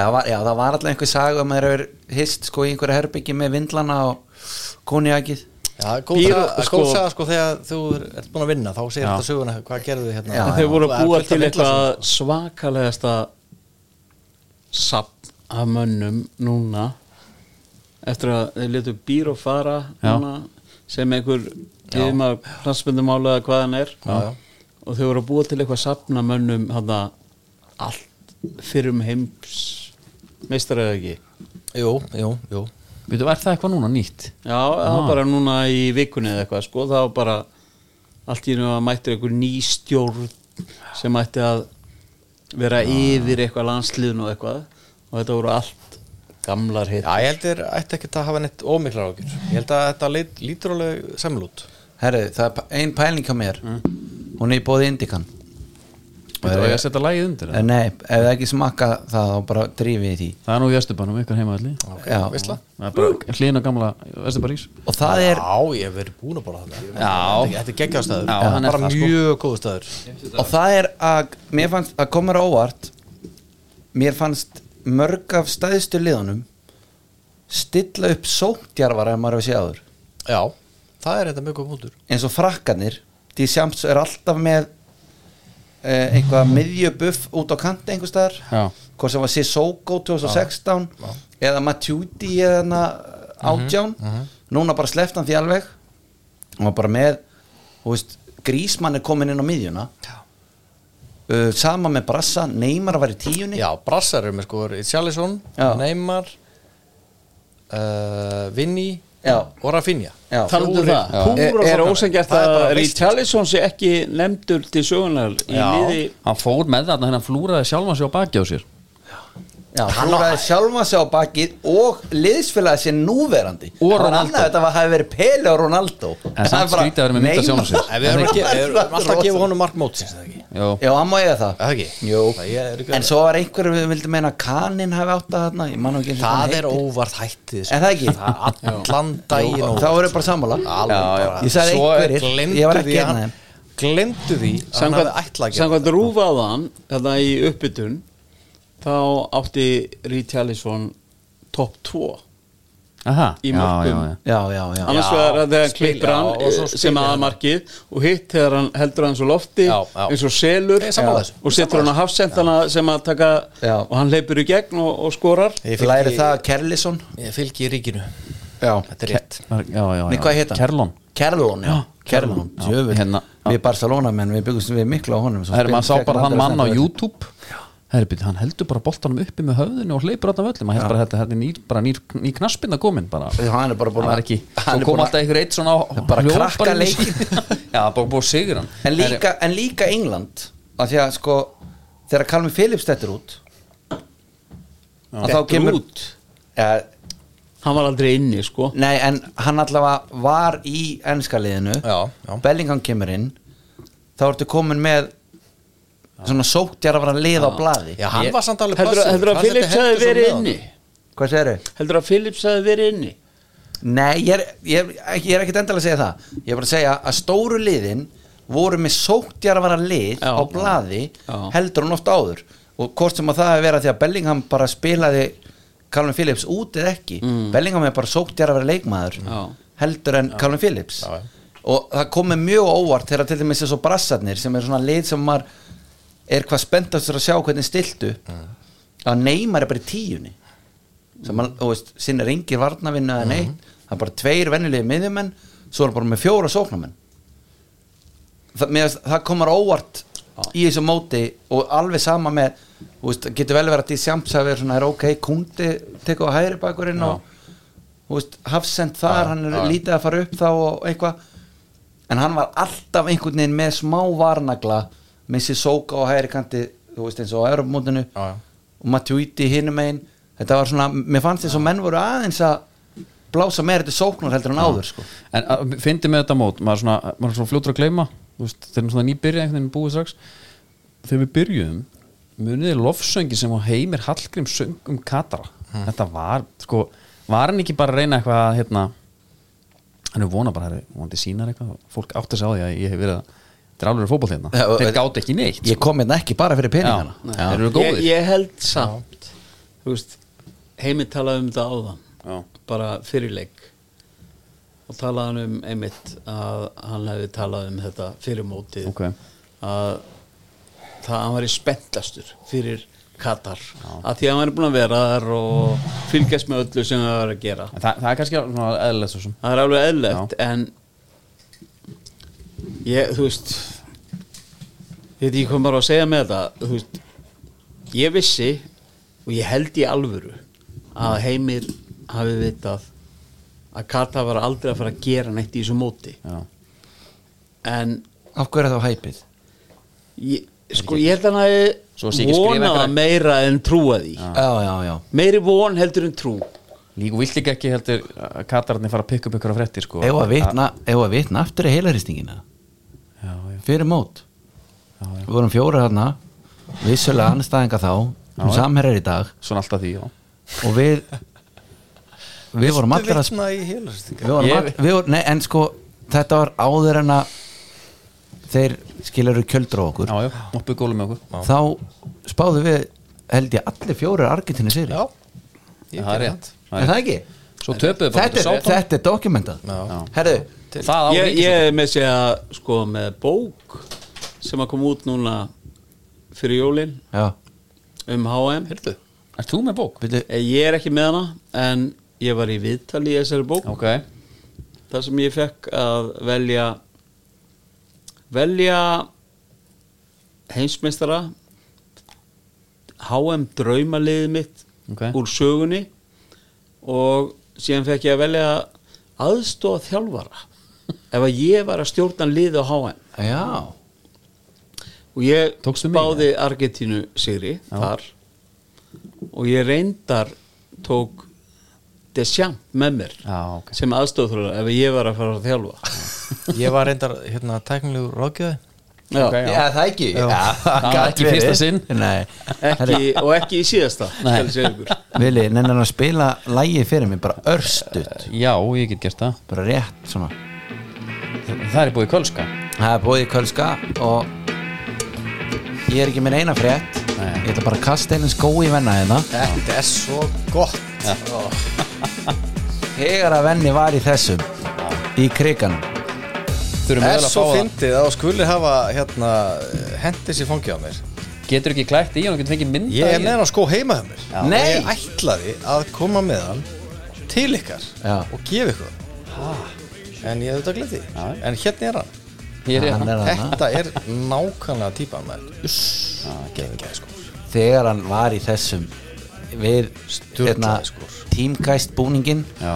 Speaker 2: það var- já, það var alltaf einhver saga um að þeir eru hist sko í einhverja herbyggi með vindlana og koniakið
Speaker 3: Já, góð
Speaker 4: Býr-
Speaker 3: saga-
Speaker 4: sko-
Speaker 3: góð saga sko þegar þú er- ert búin að vinna þá segir þetta söguna hvað gerðu þið hérna
Speaker 2: Já,
Speaker 4: þeir voru að búa
Speaker 3: Fullt af
Speaker 4: til
Speaker 3: vindlasum.
Speaker 4: eitthvað svakalegasta sapn af mönnum núna eftir að þeir letu býr og fara
Speaker 1: Já.
Speaker 4: núna, sem einhver yfir maður plassbundumála eða hvað hann er
Speaker 3: Já, já.
Speaker 4: og þeir voru að búa til eitthvað sapna mönnum hana, allt fyrir um heims meistar eða ekki
Speaker 3: Jú, jú, jú
Speaker 1: Við þú, er það eitthvað núna nýtt?
Speaker 4: Já, það var bara núna í vikunni eða eitthvað sko, það var bara allt í nú að mættir einhver ný stjórn sem ætti að vera yfir eitthvað landsliðn og eitthvað og þetta voru allt gamlar hitt
Speaker 3: Já, ég held þér ætti ekki að hafa neitt ómiklar ágjur Ég held að þetta leit, lítur alveg samlút
Speaker 2: Herru, það er p- ein pæling á mér hún er í bóði Indikan
Speaker 1: Við þú, ég að setja lagið undir
Speaker 2: Eh,
Speaker 1: það?
Speaker 2: Nei, ef það ekki smakka það þá bara drífið í því
Speaker 1: Það er nú í Östubanum, ykkar heimaðalli
Speaker 2: Já.
Speaker 3: veistla
Speaker 1: Það er bara hlýna gamla Östubarís
Speaker 2: Og það er,
Speaker 3: Já, ég hef verið búin að borða þarna
Speaker 1: Já.
Speaker 3: Þetta er geggjástaður
Speaker 1: Já, hann er
Speaker 3: Bara
Speaker 1: það, sko.
Speaker 3: mjög góð staður
Speaker 2: og það er að mér fannst, að komur á óvart mér fannst mörg af stæðstu liðunum stilla upp sóttjarvara ef maður hefur séð áður
Speaker 3: Já, það er þetta mjög góð mútur
Speaker 2: eins og frakkanir því sjams er alltaf með eh, einhvað miðjubuff út á kanti einhver staðar
Speaker 1: Já.
Speaker 2: hvort sem var Sissoko 2016 eða Matuidi eða hana átján
Speaker 1: Mhm,
Speaker 2: núna bara sleft hann því alveg hann var bara með þú veist, grísmann er komin inn á miðjuna uh, sama með Brassa Neymar var í tíunni
Speaker 3: Já, brassar eru með sko Sjálísson,
Speaker 2: Já.
Speaker 3: Neymar uh, Vinni
Speaker 2: Já.
Speaker 3: og Rafinha
Speaker 2: Já.
Speaker 4: Talandu um
Speaker 3: Fjórir
Speaker 4: það,
Speaker 3: púra
Speaker 4: er, er
Speaker 3: framherjar.
Speaker 4: ósengjart
Speaker 3: Það er
Speaker 4: að
Speaker 3: bara veist.
Speaker 4: Richarlison sé ekki nefndur til sögunar í
Speaker 3: Já.
Speaker 4: liði
Speaker 1: Hann fór með þarna, hérna flúraði sjálfan sig á baki á sér
Speaker 2: Já, flúraði sjálfa sig á bakið og liðsfélagi sér núverandi
Speaker 1: Og
Speaker 2: Það var
Speaker 1: Ronaldo.
Speaker 2: annað þetta var hafi verið Pele og Ronaldo
Speaker 1: En
Speaker 2: Það
Speaker 1: samt
Speaker 2: er bara
Speaker 1: skrítið að vera með mynd af
Speaker 2: Neymar.
Speaker 1: sjálfum sér.
Speaker 3: En við erum, ekki, við erum alltaf að gefa honum mark mótsins eða ekki?
Speaker 1: Jó,
Speaker 2: Já, hann má eiga það
Speaker 3: Eða ekki?
Speaker 2: Jú.
Speaker 3: Það ég er ekki
Speaker 2: En svo var einhverju við vildum meina að Kanin hafi átt að þarna Ég man nú ekki eins og hann
Speaker 3: Það er
Speaker 2: heitir.
Speaker 3: óvart hættið sko.
Speaker 2: Er það ekki?
Speaker 3: Allan daginn
Speaker 2: Jú,
Speaker 3: óvart.
Speaker 2: Þá voru bara sammála
Speaker 3: Alveg bara.
Speaker 2: Ég sagði
Speaker 3: Svo
Speaker 2: einhverjir,
Speaker 3: gleymdu
Speaker 2: ég var ekki hérna einn af
Speaker 3: því að hann-
Speaker 2: þeim.
Speaker 3: Gleymdu því að hann hefði ætla að gera
Speaker 4: Samkvæmt rúfaðan þetta í uppbytun þá átti Richarlison top 2
Speaker 1: Aha,
Speaker 4: í
Speaker 1: já,
Speaker 4: mörgum
Speaker 1: já, já.
Speaker 2: já, já, já
Speaker 4: annars
Speaker 3: Já,
Speaker 4: vegar að þegar hann
Speaker 3: spila,
Speaker 4: klippir hann
Speaker 3: já, og svo
Speaker 4: eh,
Speaker 3: spila
Speaker 4: sem
Speaker 3: hann.
Speaker 4: aðamarkið og hitt þegar hann heldur hann svo lofti
Speaker 3: Já, já.
Speaker 4: eins og selur
Speaker 3: Ég er sammála þessu.
Speaker 4: og setur hann á hafsendana sem að taka
Speaker 2: Já.
Speaker 4: og hann leipur í gegn og, og skorar
Speaker 3: Ég fylgi-
Speaker 2: Læri það Kerlison
Speaker 3: Ég fylgi ríkinu
Speaker 2: Já
Speaker 3: Þetta er rétt
Speaker 1: Já, já, já.
Speaker 2: Nei, hvað heit hann?
Speaker 1: Kerlon
Speaker 2: Kerlon, já Kerlon,
Speaker 1: Já,
Speaker 2: sjöfull
Speaker 1: hérna, já.
Speaker 2: Við Barcelona menn, við byggumst við miklu á honum svo
Speaker 1: Það er maður
Speaker 2: spil-
Speaker 1: sá bara þann
Speaker 2: fekk
Speaker 1: mann á
Speaker 2: aldrei að
Speaker 1: YouTube Herbið, hann heldur bara boltanum uppi með höfðinu og hleypur alltaf völlum, hann heldur bara þetta, þetta er nýr, bara nýr, nýr knaspinda komin bara
Speaker 2: senda- Hann er bara búin
Speaker 1: það er ekki,
Speaker 2: hann
Speaker 1: svo
Speaker 2: er
Speaker 1: kom
Speaker 2: búin að-
Speaker 1: alltaf einhver eitt svona á-
Speaker 2: Bara
Speaker 1: hljóp
Speaker 2: krakka
Speaker 1: inn í- <laughs> já, bara búið að sigur hann
Speaker 2: en líka, en líka England að því að sko þegar Kalmi Phillips þetta er út að þá
Speaker 4: Dettur
Speaker 2: kemur
Speaker 4: út?
Speaker 2: ja,
Speaker 4: hann var aldrei inni sko
Speaker 2: nei en hann allavega var í ennska liðinu
Speaker 3: Já, já.
Speaker 2: Bellingham kemur inn þá ertu komin með svona sóttjar að vera lið á blaði
Speaker 3: Já, hann var samt alveg
Speaker 4: heldur,
Speaker 3: passífur.
Speaker 4: heldur að
Speaker 3: Hann setti
Speaker 4: Phillips hefði
Speaker 3: Henderson
Speaker 4: verið
Speaker 3: með
Speaker 4: inni
Speaker 2: hvað segirðu?
Speaker 4: heldur að Phillips hefði verið inni
Speaker 2: Nei, ég er, ég, er, ekki- ég er ekkert endalega að segja það Ég er bara að segja að stóru liðin voru með sóttjarvara lið
Speaker 4: Já.
Speaker 2: á blaði
Speaker 4: Já.
Speaker 2: heldur hún oft áður og hvort sem að það hefur verið að því að Bellingham bara spilaði Calvin Phillips út eða ekki Bellingham er bara sóttjarvara leikmaður
Speaker 4: Mm. Já.
Speaker 2: heldur en Calvin Phillips
Speaker 3: Já, já.
Speaker 2: og það komið mjög á óvart þegar til dæmis þessu brassarnir sem er svona lið sem maður er hvað spenntastur að sjá hvernig stiltu
Speaker 3: Mm.
Speaker 2: að Neymar er bara í tíunni sem hann, þú veist, sinni ringir varnavinna
Speaker 3: Mm.
Speaker 2: eða neitt, það er bara tveir venjulegi miðjumenn, svo er hann bara með fjóra sóknamenn það, með, það komar óvart í þessu móti og alveg sama með þú veist, það getur vel verið að því sjámsaður svona er ok, kundi teka á hægri bakurinn og þú veist, hafsend þar,
Speaker 3: Já,
Speaker 2: hann er
Speaker 3: já.
Speaker 2: lítið að fara upp þá og eitthvað en hann var alltaf einhvern veginn með smá varnagla með sér sóka á hægri kanti þú veist eins og á Europamótinu
Speaker 3: Já, já.
Speaker 2: og Matuidi hinum einn þetta var svona, mér fannst þess að menn voru aðeins að blása meira þetta sóknar heldur en áður sko.
Speaker 1: en að- fyndi með þetta mót, maður er svona, maður er svona fljótur að gleyma þú veist, þegar svona nýbyrja einhvern veginn búið strax þegar við byrjuðum muniði lofsöngi sem á heimir Hallgrím söng um Katara
Speaker 2: Hm.
Speaker 1: þetta var, sko, var hann ekki bara að reyna eitthvað að, hérna hann er vona bara, herri, vonandi sínar eitthvað og fólk átti sig á því að ég hef verið að drálur fótboll hérna,
Speaker 2: Já, og-
Speaker 1: þeir gáti ekki neitt
Speaker 2: ég kom hérna ekki bara fyrir peningana
Speaker 1: Já. Þeir eru góðir.
Speaker 4: ég, ég held samt þú veist, heimi talaði um þetta áðan
Speaker 1: Já.
Speaker 4: bara fyrirleik og talaði hann um einmitt að hann hefði talað um þetta fyrir mótið
Speaker 1: Ok.
Speaker 4: að það hann væri spenntastur fyrir Katar að því að hann væri búin að vera þar og fylgjast með öllu sem það var að gera
Speaker 1: En það, það er kannski svona eðlega svo sem
Speaker 4: það er alveg eðlögt en ég, þú veist ég veit ekki hvað maður á að segja með þetta þú veist, ég vissi og ég held í alvöru að Heimir hafi vitað að Kata var aldrei að fara að gera neitt í þessu móti
Speaker 1: Já,
Speaker 4: en
Speaker 2: af hverju er það hæpið?
Speaker 4: ég, sko ég held hann að
Speaker 1: Svo sé
Speaker 4: ég
Speaker 1: ekki skrifa
Speaker 4: vonaða
Speaker 1: einhverja-
Speaker 4: meira en trúa því
Speaker 2: já, já, já,
Speaker 1: sko,
Speaker 4: meiri von heldur en trú
Speaker 1: líka vilt líka ekki heldur að katararnir fara að pikka upp ykkur á frettir sko
Speaker 2: ef að vitna, ef að vitna aftur í heilaristingina
Speaker 1: Já, já,
Speaker 2: fyrir mót
Speaker 1: já, já.
Speaker 2: við vorum fjóra þarna vissulega anstæðinga þá sem
Speaker 1: Já.
Speaker 2: samherjar í dag
Speaker 1: Svona alltaf því, já
Speaker 2: og við við vorum allir að
Speaker 3: vitna í heilarstýringar
Speaker 2: við vorum
Speaker 1: Ég-
Speaker 2: all, við vorum, nei, en sko þetta var áður en að þeir skilur kjöldur á okkur
Speaker 1: Já, já, moppu gólu með okkur
Speaker 2: þá spáðu við held ég allir fjórir argentinu sér
Speaker 3: Já,
Speaker 1: Já, Það er rétt Það
Speaker 2: er
Speaker 1: er rétt.
Speaker 2: það ekki?
Speaker 1: Svo töpuðu bara um-
Speaker 2: Þetta er, þetta er dokumentað
Speaker 3: Já.
Speaker 2: herðu,
Speaker 1: er Það á
Speaker 4: ég,
Speaker 1: ríkis
Speaker 4: ég er með segja sko með bók sem að koma út núna fyrir jólin
Speaker 2: já,
Speaker 4: um HM Heyrðu.
Speaker 1: Er þú með bók?
Speaker 2: byrju
Speaker 4: ég er ekki með hana en ég var í viðtali í þessari bók
Speaker 1: Ok
Speaker 4: þar sem ég fekk að velja velja heimsmeistara HM draumaliðið mitt
Speaker 1: Ok.
Speaker 4: úr sögunni og síðan fekk ég að velja aðstóða
Speaker 1: <laughs>
Speaker 4: þjálfara ef að ég var að stjórna liði á HM
Speaker 2: já,
Speaker 4: og ég
Speaker 1: Tókstu mig,
Speaker 4: báði Argentínu sigri þar og ég reyndar tók Deschamps með mér
Speaker 1: Já, ok
Speaker 4: sem aðstofþrólar ef ég var að fara að þjálfa
Speaker 3: Ég var reyndar hérna tæknilegu ráðgjöði
Speaker 4: Já,
Speaker 1: Ok,
Speaker 2: já. það ekki já.
Speaker 1: Það var
Speaker 2: gat
Speaker 1: ekki
Speaker 2: verið.
Speaker 1: fyrsta sinn.
Speaker 2: nei,
Speaker 4: ekki,
Speaker 2: herðu
Speaker 4: og ekki í síðasta
Speaker 1: Nei.
Speaker 4: skal ég segja ykkur.
Speaker 2: <laughs> Vili, nennan að spila lægið fyrir mig, bara örstutt
Speaker 1: Já, ég get gert það
Speaker 2: bara rétt svona
Speaker 1: Það er búið í kölska
Speaker 2: Það er búið í Kölska og ég er ekki minn eina frétt
Speaker 1: Nei.
Speaker 2: Ég ætla bara að kasta einu skói í venna hérna
Speaker 3: Þetta er svo gott Ó.
Speaker 2: Þegar að venni var í þessum Í kriganum
Speaker 1: Þurfum
Speaker 3: Það er
Speaker 1: mögulega að
Speaker 3: svo
Speaker 1: fá það
Speaker 3: fyndið að þú skuli hafa hérna, hendis í fangið á mér
Speaker 1: Getur ekki klætt í hann og getur fengið mynda
Speaker 3: Ég
Speaker 1: í
Speaker 3: er með
Speaker 1: hann.
Speaker 3: hann á skó heima hjá mér
Speaker 1: Já.
Speaker 3: Og
Speaker 2: Nei.
Speaker 3: Ég ætlaði að koma með hann til ykkar
Speaker 2: Já.
Speaker 3: og gefa ykkur hann. En ég hef þetta glemt því
Speaker 1: Já.
Speaker 3: En hérna er hann
Speaker 1: Hér er
Speaker 2: Hann
Speaker 1: hann
Speaker 2: er hann
Speaker 3: Þetta er nákvæmlega típa með Gengið sko
Speaker 2: Þegar hann var í þessum Við hérna,
Speaker 3: Sturlaði skor.
Speaker 2: sko. Tímgæst búningin
Speaker 1: Já,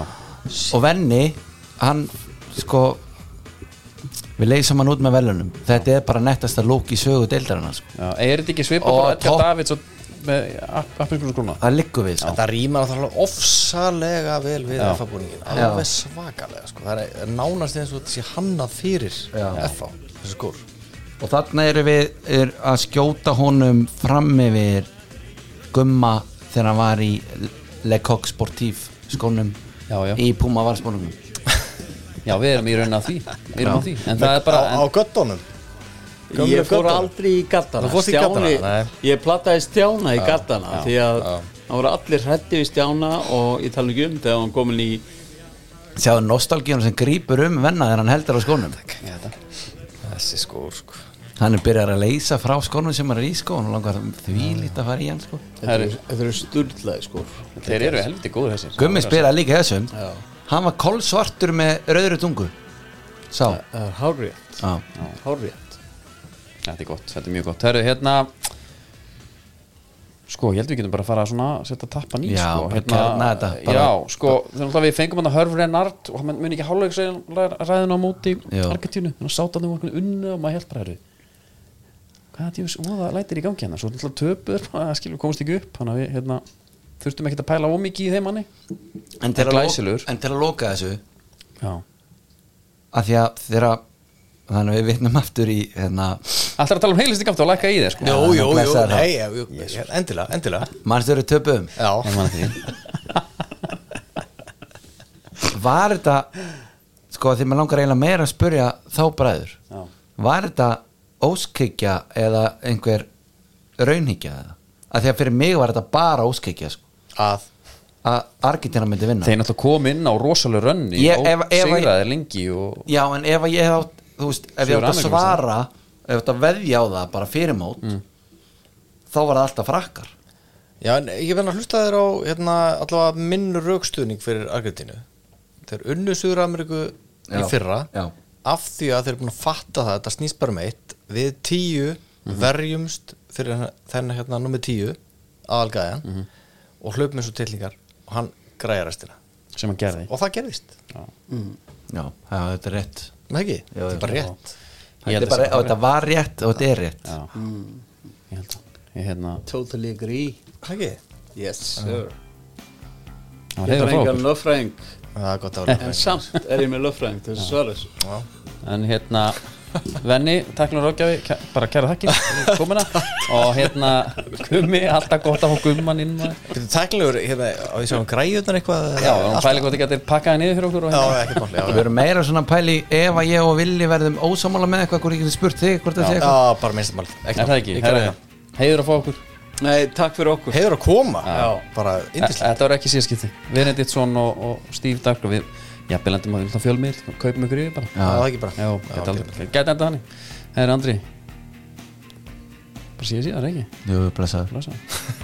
Speaker 2: Og venni Hann sko Við leysum hann út með velunum Þetta er bara nettasta lók í sögu deildarinn sko.
Speaker 1: já, er þetta ekki svipa
Speaker 2: Og
Speaker 1: bara Edgar
Speaker 2: topp.
Speaker 1: Davids og með appinskjónskrona
Speaker 2: Það liggur við sko.
Speaker 3: Þetta rýmar alltaf ofsalega vel við
Speaker 1: Já.
Speaker 3: FA-búningin
Speaker 2: Já.
Speaker 3: Alveg svakalega sko Það er nánast eins og þetta sé hannað fyrir
Speaker 2: Já.
Speaker 3: FA Þessi skór
Speaker 2: Og þarna eru við er að skjóta honum fram yfir gumma þegar hann var í Le Coq Sportif skónum
Speaker 1: Já, já.
Speaker 2: í Puma valsbólungum
Speaker 1: Já, við erum í raun að því, Við erum
Speaker 2: Já.
Speaker 1: að því. En það er bara
Speaker 3: Á, á
Speaker 1: en,
Speaker 3: göttunum Gömlu
Speaker 4: ég fór
Speaker 3: göddana.
Speaker 4: aldrei í gattana
Speaker 3: Þú fórst í gaddana, nei.
Speaker 4: ég plattaði Stjána í gattana
Speaker 3: já,
Speaker 4: því að
Speaker 3: já.
Speaker 4: það voru allir hrætti við Stjána og ég tala ekki um þegar hann komin í
Speaker 2: Sjáðu nostalgíunum sem grýpur um venna þegar hann heldur á skónum
Speaker 1: Já, þetta-
Speaker 3: Þessi skór sko
Speaker 2: Hann er byrjar að leysa frá skónum sem hann er í sko og hann langar því lít að fara í hann sko
Speaker 1: Það eru-
Speaker 4: þetta eru sturðlaði sko
Speaker 1: Þeir eru helviti góður þessir
Speaker 2: Gummi spilaði líka í þessum Hann var kolsvartur með rauðri tungu Sá
Speaker 4: það er hárrétt,
Speaker 2: Já.
Speaker 4: hárrétt.
Speaker 1: Þetta er gott, þetta er mjög gott Herru, hérna Sko, ég held við getum bara að fara að svona setja tappan í
Speaker 2: Já,
Speaker 1: sko.
Speaker 2: bara kjarna þetta, bara-
Speaker 1: Já, sko, þegar náttúrulega við fengum hann að Hörf Renard og hann muni ekki hálfleiksræðin á móti
Speaker 2: Já.
Speaker 1: Argentínu, þannig að sátan þeim var unna og maður held bara herru Hvað þetta ég veist, óða lætir í gangi hérna Svo náttúrulega töpuður, <laughs> það skilur komast ekki upp Þannig að við, hérna, þurftum ekkert að pæla ómikið í þeim manni
Speaker 2: En til að
Speaker 1: Glæsilegur.
Speaker 2: lo- en til að loka þessu
Speaker 1: Já,
Speaker 2: að því að þeirra þannig að við vitnum aftur í hérna,
Speaker 1: alltaf að tala um heilisti kamt og lækka í þeir sko.
Speaker 3: Jú,
Speaker 2: hann
Speaker 3: jú, jú,
Speaker 2: blessaði það.
Speaker 3: nei, jú, jú, jú, endilega, endilega
Speaker 2: mannstöru töpum
Speaker 3: Já,
Speaker 1: Ég man eftir því.
Speaker 2: var þetta sko að því maður langar eiginlega meira að spurja þá bræður
Speaker 1: Já.
Speaker 2: var þetta óskikja eða einhver raunhyggja eða? að því að fyrir mig var þetta bara óskikja sko,
Speaker 3: að
Speaker 2: að Argentina myndi vinna
Speaker 1: Þeir náttúrulega kom inn á rosalega rönni
Speaker 2: Ég-
Speaker 1: og
Speaker 2: ef- ef-
Speaker 1: sigraði lengi og
Speaker 2: já en ef að ég hef átt þú veist, ef ég
Speaker 1: Suður
Speaker 2: átt að
Speaker 1: Ameríku,
Speaker 2: svara ef ég átt að veðja á það bara fyrir mót þá var það alltaf frakkar
Speaker 3: Já, en ég verði að hlusta þér á hérna, allavega minn raukstuðning fyrir Argentínu Þeir unnu Suður Ameríku í
Speaker 2: Já,
Speaker 3: fyrra
Speaker 2: já.
Speaker 3: af því að þeir eru búin að fatta það þetta snýst bara með eitt við tíu
Speaker 1: Mhm.
Speaker 3: verjumst fyrir þennan hérna nummer tíu aðalgæðan
Speaker 1: Mhm.
Speaker 3: og hlaupum eins og tillingar og hann græja restina
Speaker 1: sem hann gerði
Speaker 3: og það gerðist,
Speaker 2: já, það- þetta er rétt
Speaker 3: með ekki?
Speaker 2: Já, já.
Speaker 3: þetta er bara rétt
Speaker 1: Ég held að
Speaker 2: þetta, er bara,
Speaker 1: sé bara
Speaker 2: þetta var rétt og þetta er rétt
Speaker 1: Já,
Speaker 3: Mm.
Speaker 1: ég held að Ég hérna,
Speaker 4: totally agree
Speaker 3: Með ekki?
Speaker 4: yes sir
Speaker 1: hann var
Speaker 4: ég
Speaker 1: heiður
Speaker 4: er
Speaker 1: frá
Speaker 4: engan
Speaker 1: okkur
Speaker 4: löffræðing
Speaker 3: Það er gott
Speaker 1: <laughs>
Speaker 3: að vera
Speaker 4: en samt er ég með löffræðing til þess að svara þessu
Speaker 1: En hérna, Venni, takkilega ráðgjafi kæ- bara kæra þakki, komina og hérna, gummi, alltaf gott að fá gumman inn maður.
Speaker 3: Þetta er tæknilegur, hérna, á því sem hann græjutnar eitthvað
Speaker 1: Já, og hann pæli gott ekki að þeir pakka það niður fyrir okkur og
Speaker 3: Já,
Speaker 1: hérna
Speaker 3: ekki máli, já,
Speaker 2: Við erum meira svona pæli ef að ég og Villi verðum ósámála með eitthvað hvort ég geti spurt þig hvort það sé
Speaker 3: já,
Speaker 2: eitthvað
Speaker 3: já, bara minnstamál
Speaker 1: Er það ekki, herra, heiður að fá okkur
Speaker 4: nei, takk fyrir okkur
Speaker 3: Heiður að koma,
Speaker 4: Já.
Speaker 3: bara
Speaker 1: E-
Speaker 3: yndislega
Speaker 1: Þetta var ekki síðaskipti, Benediktsson og, og Steve Daglu Við, já, belendum að við viljum fjölmiðl og kaupum ykkur yfir bara
Speaker 3: Það er ekki bara
Speaker 1: Já, þetta
Speaker 3: ok.
Speaker 1: aldrei, gæti enda þannig Herra Andri Bara síða síðar, ekki?
Speaker 2: Jú, blessaður
Speaker 1: Blessa